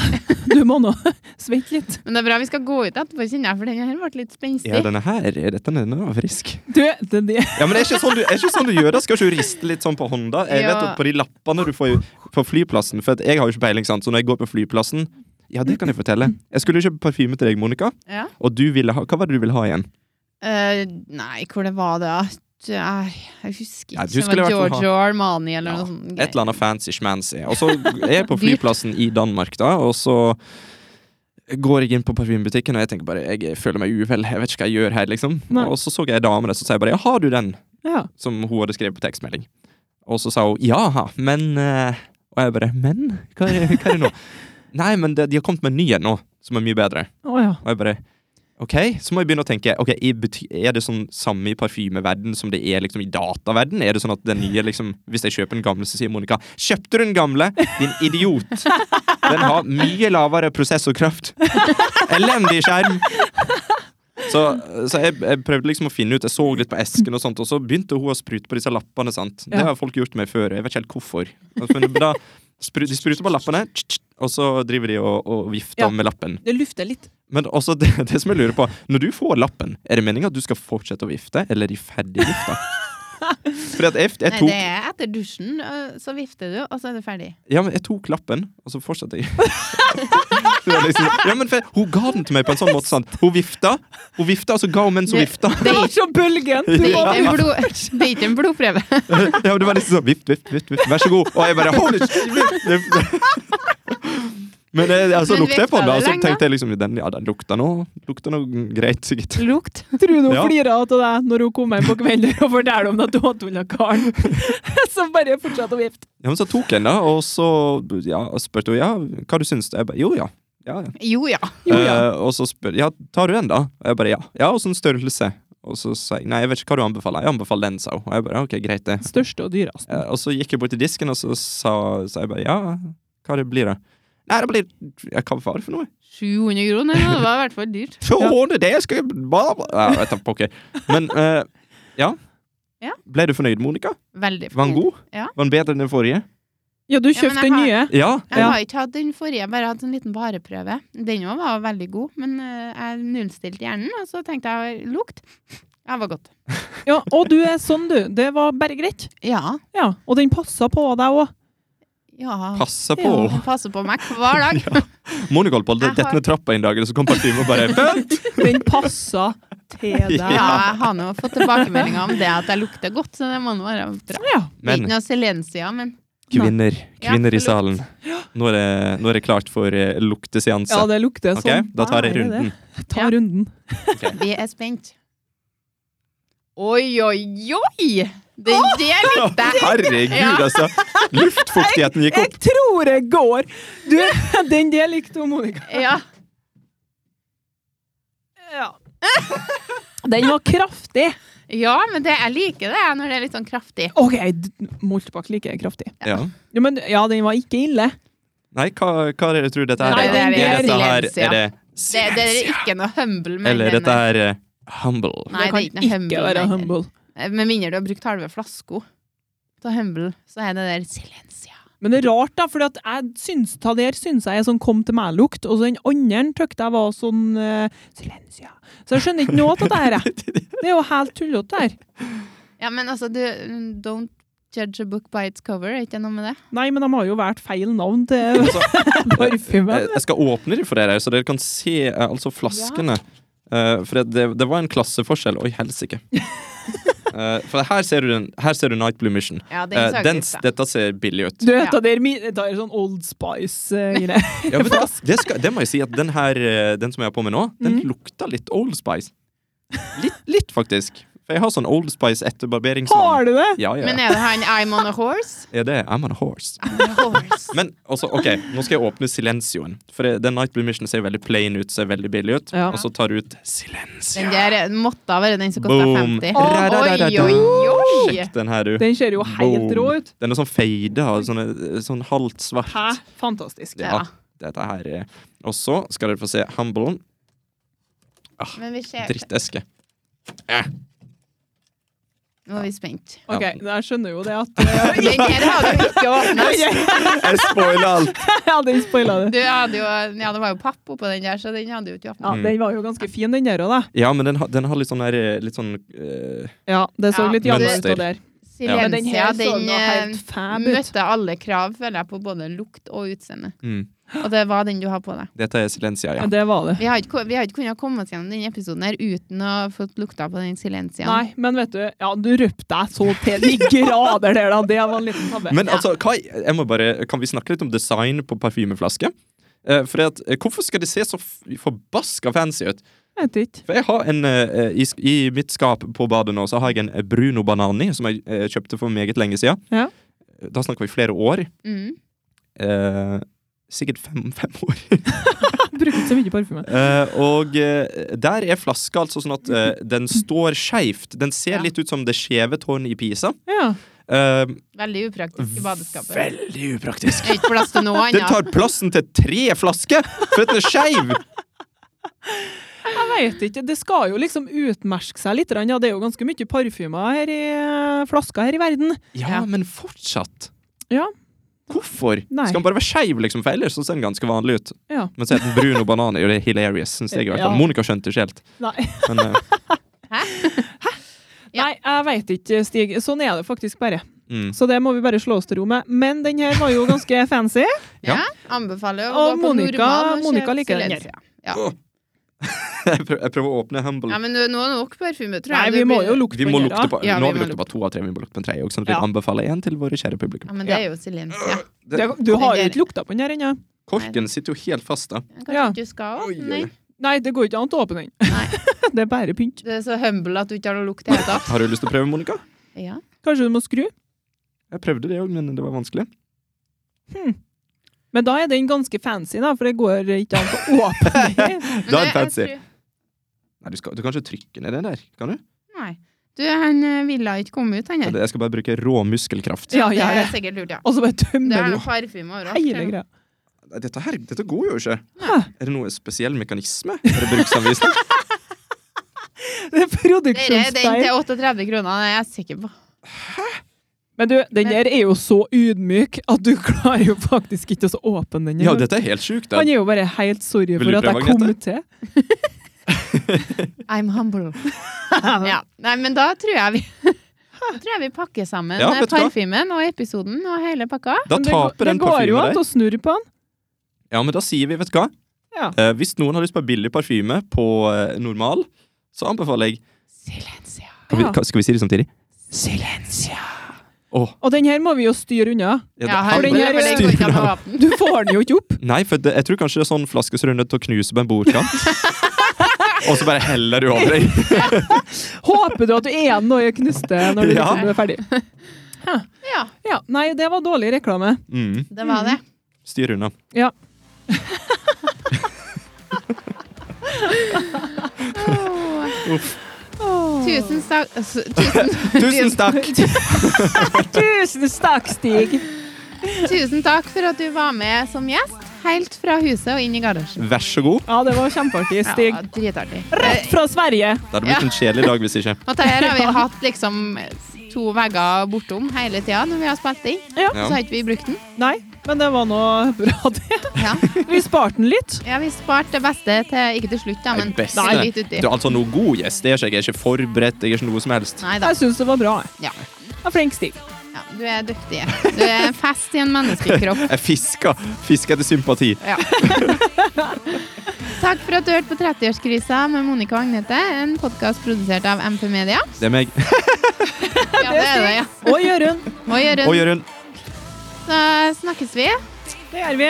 Speaker 2: du må nå svette litt.
Speaker 1: Men det er bra vi skal gå ut etterpå, kjenner jeg, for denne her ble litt spenstig.
Speaker 3: Ja, denne her dette er den var frisk.
Speaker 2: Du, det, det.
Speaker 3: Ja, men det er ikke sånn du, er ikke sånn du gjør det. Skal ikke du riste litt sånn på hånda? Jeg vet
Speaker 1: Ja.
Speaker 3: at på de lappene du får på flyplassen For at jeg har jo ikke peiling, sant? så når jeg går på flyplassen Ja, det kan jeg fortelle. Jeg skulle kjøpe parfyme til deg, Monica,
Speaker 1: Ja.
Speaker 3: og du ville ha Hva var det du ville ha igjen?
Speaker 1: Eh, nei, hvor det var det at Nei, Jeg husker ikke.
Speaker 3: Nei, du
Speaker 1: det
Speaker 3: skulle
Speaker 1: var
Speaker 3: i hvert fall
Speaker 1: Giorgio Armani eller
Speaker 3: Ja,
Speaker 1: noe sånt.
Speaker 3: Et eller annet fancy schmancy. Og så er jeg på flyplassen i Danmark, da, og så går jeg inn på parfymebutikken, og jeg tenker bare Jeg føler meg uvel, jeg vet ikke hva jeg gjør her, liksom.
Speaker 2: Nei.
Speaker 3: Og så så jeg ei dame der, så sa jeg bare Ja, har du den?
Speaker 2: Ja.
Speaker 3: som hun hadde skrevet på tekstmelding. Og så sa hun ja, men eh», Og jeg bare men? Hva er, det- hva er det nå? Nei, men det, de har kommet med en ny en nå, som er mye bedre.
Speaker 2: Å ja.
Speaker 3: Og jeg bare OK, så må jeg begynne å tenke. ok, i bety Er det sånn samme i parfymeverden som det er liksom i dataverden? Er det sånn at den nye liksom Hvis jeg kjøper den gamle, så sier Monica 'Kjøpte du den gamle, din idiot'? Den har mye lavere prosessorkraft. Elendig skjerm. Så, så jeg, jeg prøvde liksom å finne ut Jeg så litt på esken, og sånt Og så begynte hun å sprute på disse lappene. sant? Det
Speaker 2: Ja.
Speaker 3: har folk gjort med før. Jeg vet ikke helt hvorfor. Men da, spru- de spruter på lappene, og så driver de og, og vifter
Speaker 2: Ja.
Speaker 3: med lappen.
Speaker 2: Det lufter litt.
Speaker 3: Men også det, det som jeg lurer på Når du får lappen, er det meningen at du skal fortsette å vifte, eller er de ferdig vifta? Fordi at jeg, jeg,
Speaker 1: Nei,
Speaker 3: tok,
Speaker 1: det er etter dusjen, øh, så vifter du, og så er det ferdig.
Speaker 3: ja, men jeg tok lappen, og så fortsatte jeg. Så jeg liksom, ja, men for, hun ga den til meg på en sånn måte. Sant? Hun vifta, hun vifta, og så ga hun mens hun
Speaker 1: Det-
Speaker 3: vifta.
Speaker 2: Det var så bølgen!
Speaker 1: Det
Speaker 2: Du
Speaker 1: er ikke
Speaker 2: var
Speaker 1: en, blod, det er ikke en blodprøve.
Speaker 3: Ja, men det var liksom sånn vift, vift, vift, vift. vær så god. Og jeg bare holy shit! vift, vift. Men eh, altså,
Speaker 1: Men
Speaker 3: lukte jeg på
Speaker 1: vifta
Speaker 3: den, og
Speaker 1: det
Speaker 3: så
Speaker 1: lenge?
Speaker 3: tenkte jeg liksom den, Ja, den lukta nå Lukta nå greit, sikkert.
Speaker 1: Lukt.
Speaker 2: Tror du hun
Speaker 3: Ja.
Speaker 2: flirer av deg når hun kommer hjem på kvelden og forteller om at du hadde unna karen? Så bare fortsett å vifte.
Speaker 3: Ja, men så tok jeg den, da, og så ja, og spurte hun ja, hva du syns. Jeg bare jo, ja. ja, ja.
Speaker 1: Jo ja.
Speaker 2: Jo, ja.
Speaker 3: Eh, og så spør ja, tar du den, da? Og jeg bare ja. Ja, Åssen størrelse? Og så sa jeg nei, jeg vet ikke hva du anbefaler. Jeg anbefaler den, sa hun. Og jeg bare ok, greit, det.
Speaker 2: Største og dyreste.
Speaker 3: Eh, og så gikk jeg bort til disken, og så sa, sa jeg bare ja, hva det blir da? Nei, det blir ja, Hva var det for noe?
Speaker 1: 700 kroner, ja, det var i hvert fall dyrt.
Speaker 3: Tjone, det skal jeg bla, bla. Ja, jeg tar pokker. Men eh, ja.
Speaker 1: Ja.
Speaker 3: Ble du fornøyd, Monica?
Speaker 1: Veldig
Speaker 3: Var den
Speaker 1: fornøyd.
Speaker 3: god?
Speaker 1: Ja.
Speaker 3: Var den bedre enn den forrige?
Speaker 2: Ja, du
Speaker 1: Ja, men
Speaker 2: kjøpte
Speaker 1: jeg
Speaker 2: den
Speaker 1: har-
Speaker 2: nye.
Speaker 3: Ja.
Speaker 1: Jeg
Speaker 2: Ja.
Speaker 1: har ikke hatt den forrige, jeg har bare hatt en liten vareprøve. Den òg var veldig god, men øh, jeg nullstilte hjernen, og så tenkte jeg lukt. Ja, det var godt.
Speaker 2: Ja, og du er sånn, du. Det var bare greit.
Speaker 1: Ja.
Speaker 2: Ja, og den passa på deg òg.
Speaker 1: ja.
Speaker 3: Passa på.
Speaker 2: Ja.
Speaker 1: Den passer på meg hver dag.
Speaker 3: Monica holdt på å
Speaker 1: Jeg
Speaker 3: dette
Speaker 1: har-
Speaker 3: ned trappa en dag, og så kom parfyme og bare Vent!
Speaker 2: Den passa til deg.
Speaker 1: Ja, jeg har nå fått tilbakemeldinger om det at jeg lukter godt, så det må nå være bra.
Speaker 2: Ja.
Speaker 1: Det er
Speaker 3: Men
Speaker 1: Ikke noe silensia, men
Speaker 3: Kvinner. Kvinner
Speaker 1: Ja,
Speaker 3: i salen. Nå er, det, nå er det klart for eh, lukteseanse.
Speaker 2: Ja, det lukter
Speaker 3: Ok,
Speaker 2: sånn.
Speaker 3: Da tar
Speaker 2: Nei, det er
Speaker 3: jeg runden.
Speaker 2: det. Ta
Speaker 1: Ja.
Speaker 2: runden.
Speaker 1: Vi er spent. Oi, oi, oi! Den der likte jeg. Ja.
Speaker 3: Herregud, altså! Luftfuktigheten gikk
Speaker 2: Jeg
Speaker 3: opp.
Speaker 2: tror det går! Du, den der likte hun, Monica.
Speaker 1: Ja.
Speaker 2: Ja. Den var kraftig.
Speaker 1: ja, men det, jeg liker det når det er litt sånn kraftig.
Speaker 2: OK, d- Moltebakk liker jeg kraftig.
Speaker 3: Ja.
Speaker 2: Ja, men, ja, den var ikke ille.
Speaker 3: Nei, hva, hva er det dere tror dette her
Speaker 1: Nei,
Speaker 3: er?
Speaker 1: det er
Speaker 3: er,
Speaker 1: det
Speaker 3: dette her
Speaker 1: silensia.
Speaker 3: er det
Speaker 1: Det, det er ikke noe humble med
Speaker 3: Eller
Speaker 1: den
Speaker 3: dette
Speaker 1: der.
Speaker 3: er eh, humble.
Speaker 1: Nei, det er
Speaker 2: kan
Speaker 1: ikke noe
Speaker 2: ikke
Speaker 1: humble.
Speaker 2: være
Speaker 1: med-
Speaker 2: humble.
Speaker 1: Med mindre du har brukt halve flaska av humble, så er det der silencia.
Speaker 2: Men det er rart, da, for jeg syns ta der syns jeg er sånn kom til meg-lukt, og så den andre tykte jeg var sånn eh, silencia. Så jeg skjønner ikke noe av det her. jeg. Det er jo helt tullete det her.
Speaker 1: Ja, men altså, du mm, Don't judge a book by its cover, er ikke det noe med det?
Speaker 2: Nei, men de har jo valgt feil navn til
Speaker 3: Altså,
Speaker 2: parfymen.
Speaker 3: Eh, Jeg skal åpne dem for dere, så dere kan se eh, altså flaskene. Eh, for det, det var en klasseforskjell. Oi, helsike. Eh, for her ser du, den, her ser du Night Blue Mission.
Speaker 1: Ja, den
Speaker 3: Eh,
Speaker 1: så jeg
Speaker 3: den,
Speaker 1: ut, da.
Speaker 3: dette ser billig ut.
Speaker 2: Du
Speaker 1: Ja.
Speaker 2: vet, det er mi- det er sånn Old Spice-greie.
Speaker 3: Ja, vet du hva? det, skal, det må jeg si at den her eh, Den som jeg har på med nå, den lukta litt Old Spice. Litt, litt faktisk. For jeg har sånn Old Spice etter
Speaker 2: Har
Speaker 3: barberingsmann.
Speaker 2: du det?
Speaker 3: Sånn. Ja, ja.
Speaker 1: Men er det han I'm on a horse?
Speaker 3: Er det I'm on a horse?
Speaker 1: I'm on a horse.
Speaker 3: Men også, ok, nå skal jeg åpne silencioen. For det- den Night Blue Mission ser veldig plain ut, ser veldig billig ut.
Speaker 2: Ja.
Speaker 3: Og så tar du ut silencio.
Speaker 1: Den der eh, måtte ha vært den som kosta
Speaker 3: Boom.
Speaker 1: 50.
Speaker 3: Ra, ra, ra, ra,
Speaker 1: Oi,
Speaker 3: ra.
Speaker 1: oi, oi!
Speaker 3: Sjekk den her, du.
Speaker 2: Den ser jo helt
Speaker 3: Boom.
Speaker 2: rå ut.
Speaker 3: Den er sånn fade og sånn, sånn halvt svart.
Speaker 2: Hæ? Fantastisk.
Speaker 3: Ja. Dette her er Og så skal dere få se Humble.
Speaker 1: Men vi ser
Speaker 3: Dritteske.
Speaker 1: Nå er vi spent.
Speaker 2: Ok, jeg skjønner jo det at eh,
Speaker 1: Den der hadde du ikke åpna.
Speaker 3: Jeg spoiler alt!
Speaker 2: Ja, den spoila det.
Speaker 1: Du hadde jo, ja, det var jo papp oppå den der, så den hadde jo ikke åpna.
Speaker 2: Ja,
Speaker 3: Mm.
Speaker 2: den var jo ganske fin, den der òg, da.
Speaker 3: Ja, men den, har- den har litt sånn der, litt sånn eh,
Speaker 2: Ja, det så
Speaker 1: Ja.
Speaker 2: litt jammen ut
Speaker 3: Mønster.
Speaker 2: av der.
Speaker 3: Ja.
Speaker 2: Men den
Speaker 1: Silencia,
Speaker 2: her så
Speaker 1: den
Speaker 2: noe
Speaker 1: eh,
Speaker 2: helt fab ut.
Speaker 1: møtte alle krav, føler jeg, på både lukt og utseende.
Speaker 3: mm.
Speaker 1: Og det var den du har på deg.
Speaker 3: Dette er silencia,
Speaker 2: Ja,
Speaker 3: ja.
Speaker 2: det var det.
Speaker 1: Vi har ikke, vi har ikke kunnet komme oss gjennom denne episoden her uten å ha fått lukta på den silenciaen.
Speaker 2: Nei, men vet du, ja, du røpte deg så til de grader der, da. Det var en liten tabbe.
Speaker 3: Men altså, hva, jeg må bare, kan vi snakke litt om design på parfymeflaske? Eh, for at, eh, hvorfor skal det se så f- forbaska fancy ut?
Speaker 2: Jeg vet ikke.
Speaker 3: For jeg har en, eh, i, sk- I mitt skap på badet nå så har jeg en eh, Bruno Banani, som jeg eh, kjøpte for meget lenge siden. Eh,
Speaker 2: Ja.
Speaker 3: Da snakker vi flere år.
Speaker 1: Mm.
Speaker 3: Eh, sikkert fem, fem år.
Speaker 2: Brukte ikke så mye parfyme.
Speaker 3: Eh, og eh, der er flaska altså sånn at eh, den står skeivt. Den
Speaker 1: Ja.
Speaker 3: ser litt ut som det skjeve tårnet i Pisa.
Speaker 2: Ja.
Speaker 3: Eh,
Speaker 1: Veldig upraktisk i badeskapet.
Speaker 3: veldig upraktisk.
Speaker 1: Det er ikke plass til noe
Speaker 3: Den
Speaker 1: annet.
Speaker 3: tar plassen til tre flasker, for at den er skeiv!
Speaker 2: Jeg vet ikke. Det skal jo liksom utmerke seg litt. Ja, det er jo ganske mye parfymer her i flaska her i verden.
Speaker 3: Ja, men fortsatt.
Speaker 2: Ja.
Speaker 3: Hvorfor?
Speaker 2: Nei.
Speaker 3: Skal den bare være skeiv, liksom, for ellers så ser den ganske vanlig ut.
Speaker 2: Ja.
Speaker 3: Men så heter den brun og banan, og det er hilarious, syns jeg. i hvert fall.
Speaker 2: Ja.
Speaker 3: Monica skjønte ikke helt.
Speaker 2: Nei.
Speaker 3: Men eh,
Speaker 1: Ja.
Speaker 2: Nei, jeg veit ikke, Stig. Sånn er det faktisk bare.
Speaker 3: mm.
Speaker 2: Så det må vi bare slå oss til ro med. Men den her var jo ganske fancy.
Speaker 3: Ja.
Speaker 1: Ja, anbefaler å
Speaker 2: Og
Speaker 1: gå på
Speaker 2: Monica-
Speaker 1: normal og
Speaker 2: Monica
Speaker 1: kjøpe
Speaker 2: liker den
Speaker 1: Silencia. Ja.
Speaker 3: jeg, prøver, jeg prøver å åpne Humble.
Speaker 1: ja, men nå nå er det nok parfyme, tror
Speaker 2: Nei,
Speaker 1: jeg.
Speaker 2: vi
Speaker 1: Det
Speaker 2: må
Speaker 1: blir-
Speaker 2: jo lukte
Speaker 3: vi må
Speaker 2: på den
Speaker 3: lukte
Speaker 2: her. da.
Speaker 3: på,
Speaker 1: Ja,
Speaker 3: nå har
Speaker 1: vi
Speaker 3: vi
Speaker 1: må
Speaker 3: lukta på to av tre, vi må lukte på en tredje òg, sånn at vi
Speaker 2: Ja.
Speaker 3: anbefaler en til våre kjære publikum.
Speaker 1: Ja, men det er jo silencia.
Speaker 3: Det,
Speaker 2: Det- Du har jo
Speaker 1: Den der-
Speaker 2: ikke lukta på den her ennå.
Speaker 3: korken sitter jo helt fast, da.
Speaker 1: Kanskje
Speaker 2: Ja.
Speaker 1: ikke du skal
Speaker 3: Oi, oi.
Speaker 1: åpne den?
Speaker 2: Nei, det går ikke an å åpne den.
Speaker 1: Nei.
Speaker 2: Det er bare pynt.
Speaker 1: Du er så humble at du ikke har noe lukt i det hele tatt.
Speaker 3: Har du lyst til å prøve, Monica?
Speaker 1: Ja.
Speaker 2: Kanskje du må skru?
Speaker 3: Jeg prøvde det òg, men det var vanskelig.
Speaker 2: Men da er den ganske fancy, da, for det går ikke an å åpne
Speaker 1: Men
Speaker 2: den.
Speaker 3: Da
Speaker 1: jeg-
Speaker 3: er det fancy.
Speaker 1: jeg tror-
Speaker 3: Nei, du, skal, du kan ikke trykke ned den der, kan du?
Speaker 1: Nei. Du, han eh, ville ikke komme ut, han her.
Speaker 3: Jeg skal bare bruke rå muskelkraft.
Speaker 2: Ja,
Speaker 1: det
Speaker 2: gjør
Speaker 1: er
Speaker 2: det.
Speaker 1: sikkert lurt, ja.
Speaker 2: Og så bare
Speaker 1: Det er noe
Speaker 2: tømmer du
Speaker 1: parfyme overalt.
Speaker 2: hele greia.
Speaker 3: Nei, Dette her, dette går jo ikke.
Speaker 2: Hæ?
Speaker 3: Er det noe spesiell mekanisme? Er det bruksanvisning?
Speaker 2: Det er
Speaker 1: Dere, den til
Speaker 2: produksjonsfeil. 38
Speaker 1: kroner, den er jeg sikker på.
Speaker 2: Men du, den der er jo så ydmyk at du klarer jo faktisk ikke å åpne den.
Speaker 3: Ja, dette er helt sjukt. da.
Speaker 2: Han er jo bare helt sorry
Speaker 3: Vil du
Speaker 2: for at
Speaker 3: prøve,
Speaker 2: jeg kom til.
Speaker 1: I'm humble. ja. Nei, men da tror jeg vi Da tror jeg vi pakker sammen
Speaker 3: Ja,
Speaker 1: eh,
Speaker 3: vet du hva?
Speaker 1: parfymen og episoden og hele pakka.
Speaker 3: Da
Speaker 2: Men det går-
Speaker 3: taper den
Speaker 2: Det går jo
Speaker 3: parfymen
Speaker 2: an
Speaker 3: der.
Speaker 2: å snurre på den.
Speaker 3: Ja, men da sier vi, vet du hva?
Speaker 2: Ja.
Speaker 3: Eh, hvis noen har lyst på billig parfyme på eh, normal, så anbefaler jeg
Speaker 1: Silencia.
Speaker 3: kan vi,
Speaker 2: Ja.
Speaker 3: kan, Skal vi si det samtidig?
Speaker 1: Silencia.
Speaker 3: Åh,
Speaker 2: Og den her må vi jo styre unna.
Speaker 3: ja, det-
Speaker 1: Ja,
Speaker 2: for den
Speaker 1: helvete,
Speaker 2: her
Speaker 1: for det går ikke an å åpne.
Speaker 2: Du får den jo ikke opp.
Speaker 3: Nei, for det, jeg tror kanskje det er sånn flaske som du er nødt til å knuse på en bordkant. og så bare heller du over deg.
Speaker 2: Håper du at du er igjen og knuste når du
Speaker 3: Ja.
Speaker 2: liksom er ferdig.
Speaker 1: Ja,
Speaker 2: Ja, nei, det var dårlig reklame.
Speaker 3: Mm.
Speaker 1: det var det.
Speaker 3: Styr unna.
Speaker 2: Ja.
Speaker 1: Tusen takk altså, tusen,
Speaker 3: Tusen takk!
Speaker 2: Tusen takk, Stig.
Speaker 1: tusen takk for at du var med som gjest. Helt fra huset og inn i garasjen.
Speaker 3: Vær så god.
Speaker 2: Ja, det var kjempeartig, Stig.
Speaker 1: Ja, dritartig.
Speaker 2: Rett fra Sverige.
Speaker 3: Det hadde blitt en kjedelig dag hvis ikke.
Speaker 1: Og dette her har vi hatt liksom to vegger bortom hele tida når vi har spilt inn.
Speaker 2: Ja.
Speaker 1: Så har ikke vi brukt den.
Speaker 2: Nei, men det var nå bra, det.
Speaker 1: Ja,
Speaker 2: Vi sparte den litt.
Speaker 1: ja vi sparte det beste til Ikke til slutt, da, men
Speaker 3: Det beste.
Speaker 1: til litt uti.
Speaker 3: Du er altså noe god gjest. Det er ikke jeg. Jeg er ikke forberedt. Jeg er ikke noe som helst.
Speaker 1: Nei da.
Speaker 2: Jeg syns det var bra. jeg.
Speaker 1: Ja.
Speaker 2: Jeg var flink, Stig.
Speaker 1: ja. Du er dyktig. Du er fest i en menneskekropp.
Speaker 3: Jeg fisker. Fisker etter sympati.
Speaker 1: Ja. Takk for at du hørte på 30-årskrisa med Monica og Agnete, en podkast produsert av MP Media.
Speaker 3: Det er meg.
Speaker 1: Ja, det er det, ja.
Speaker 2: Og Jørund.
Speaker 1: Og
Speaker 3: Og
Speaker 1: Jørund.
Speaker 3: Jørund.
Speaker 1: Så snakkes vi.
Speaker 2: Det gjør vi.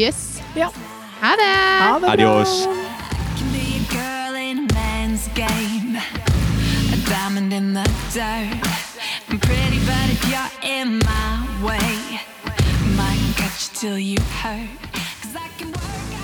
Speaker 1: Yes.
Speaker 2: Ja.
Speaker 1: Ha det.
Speaker 2: Ha det bra.
Speaker 3: Adios.
Speaker 4: can be a girl in a man's game. A diamond in the dirt. I'm pretty, but if you're in my way, might catch you till you hurt. Cause I can work out.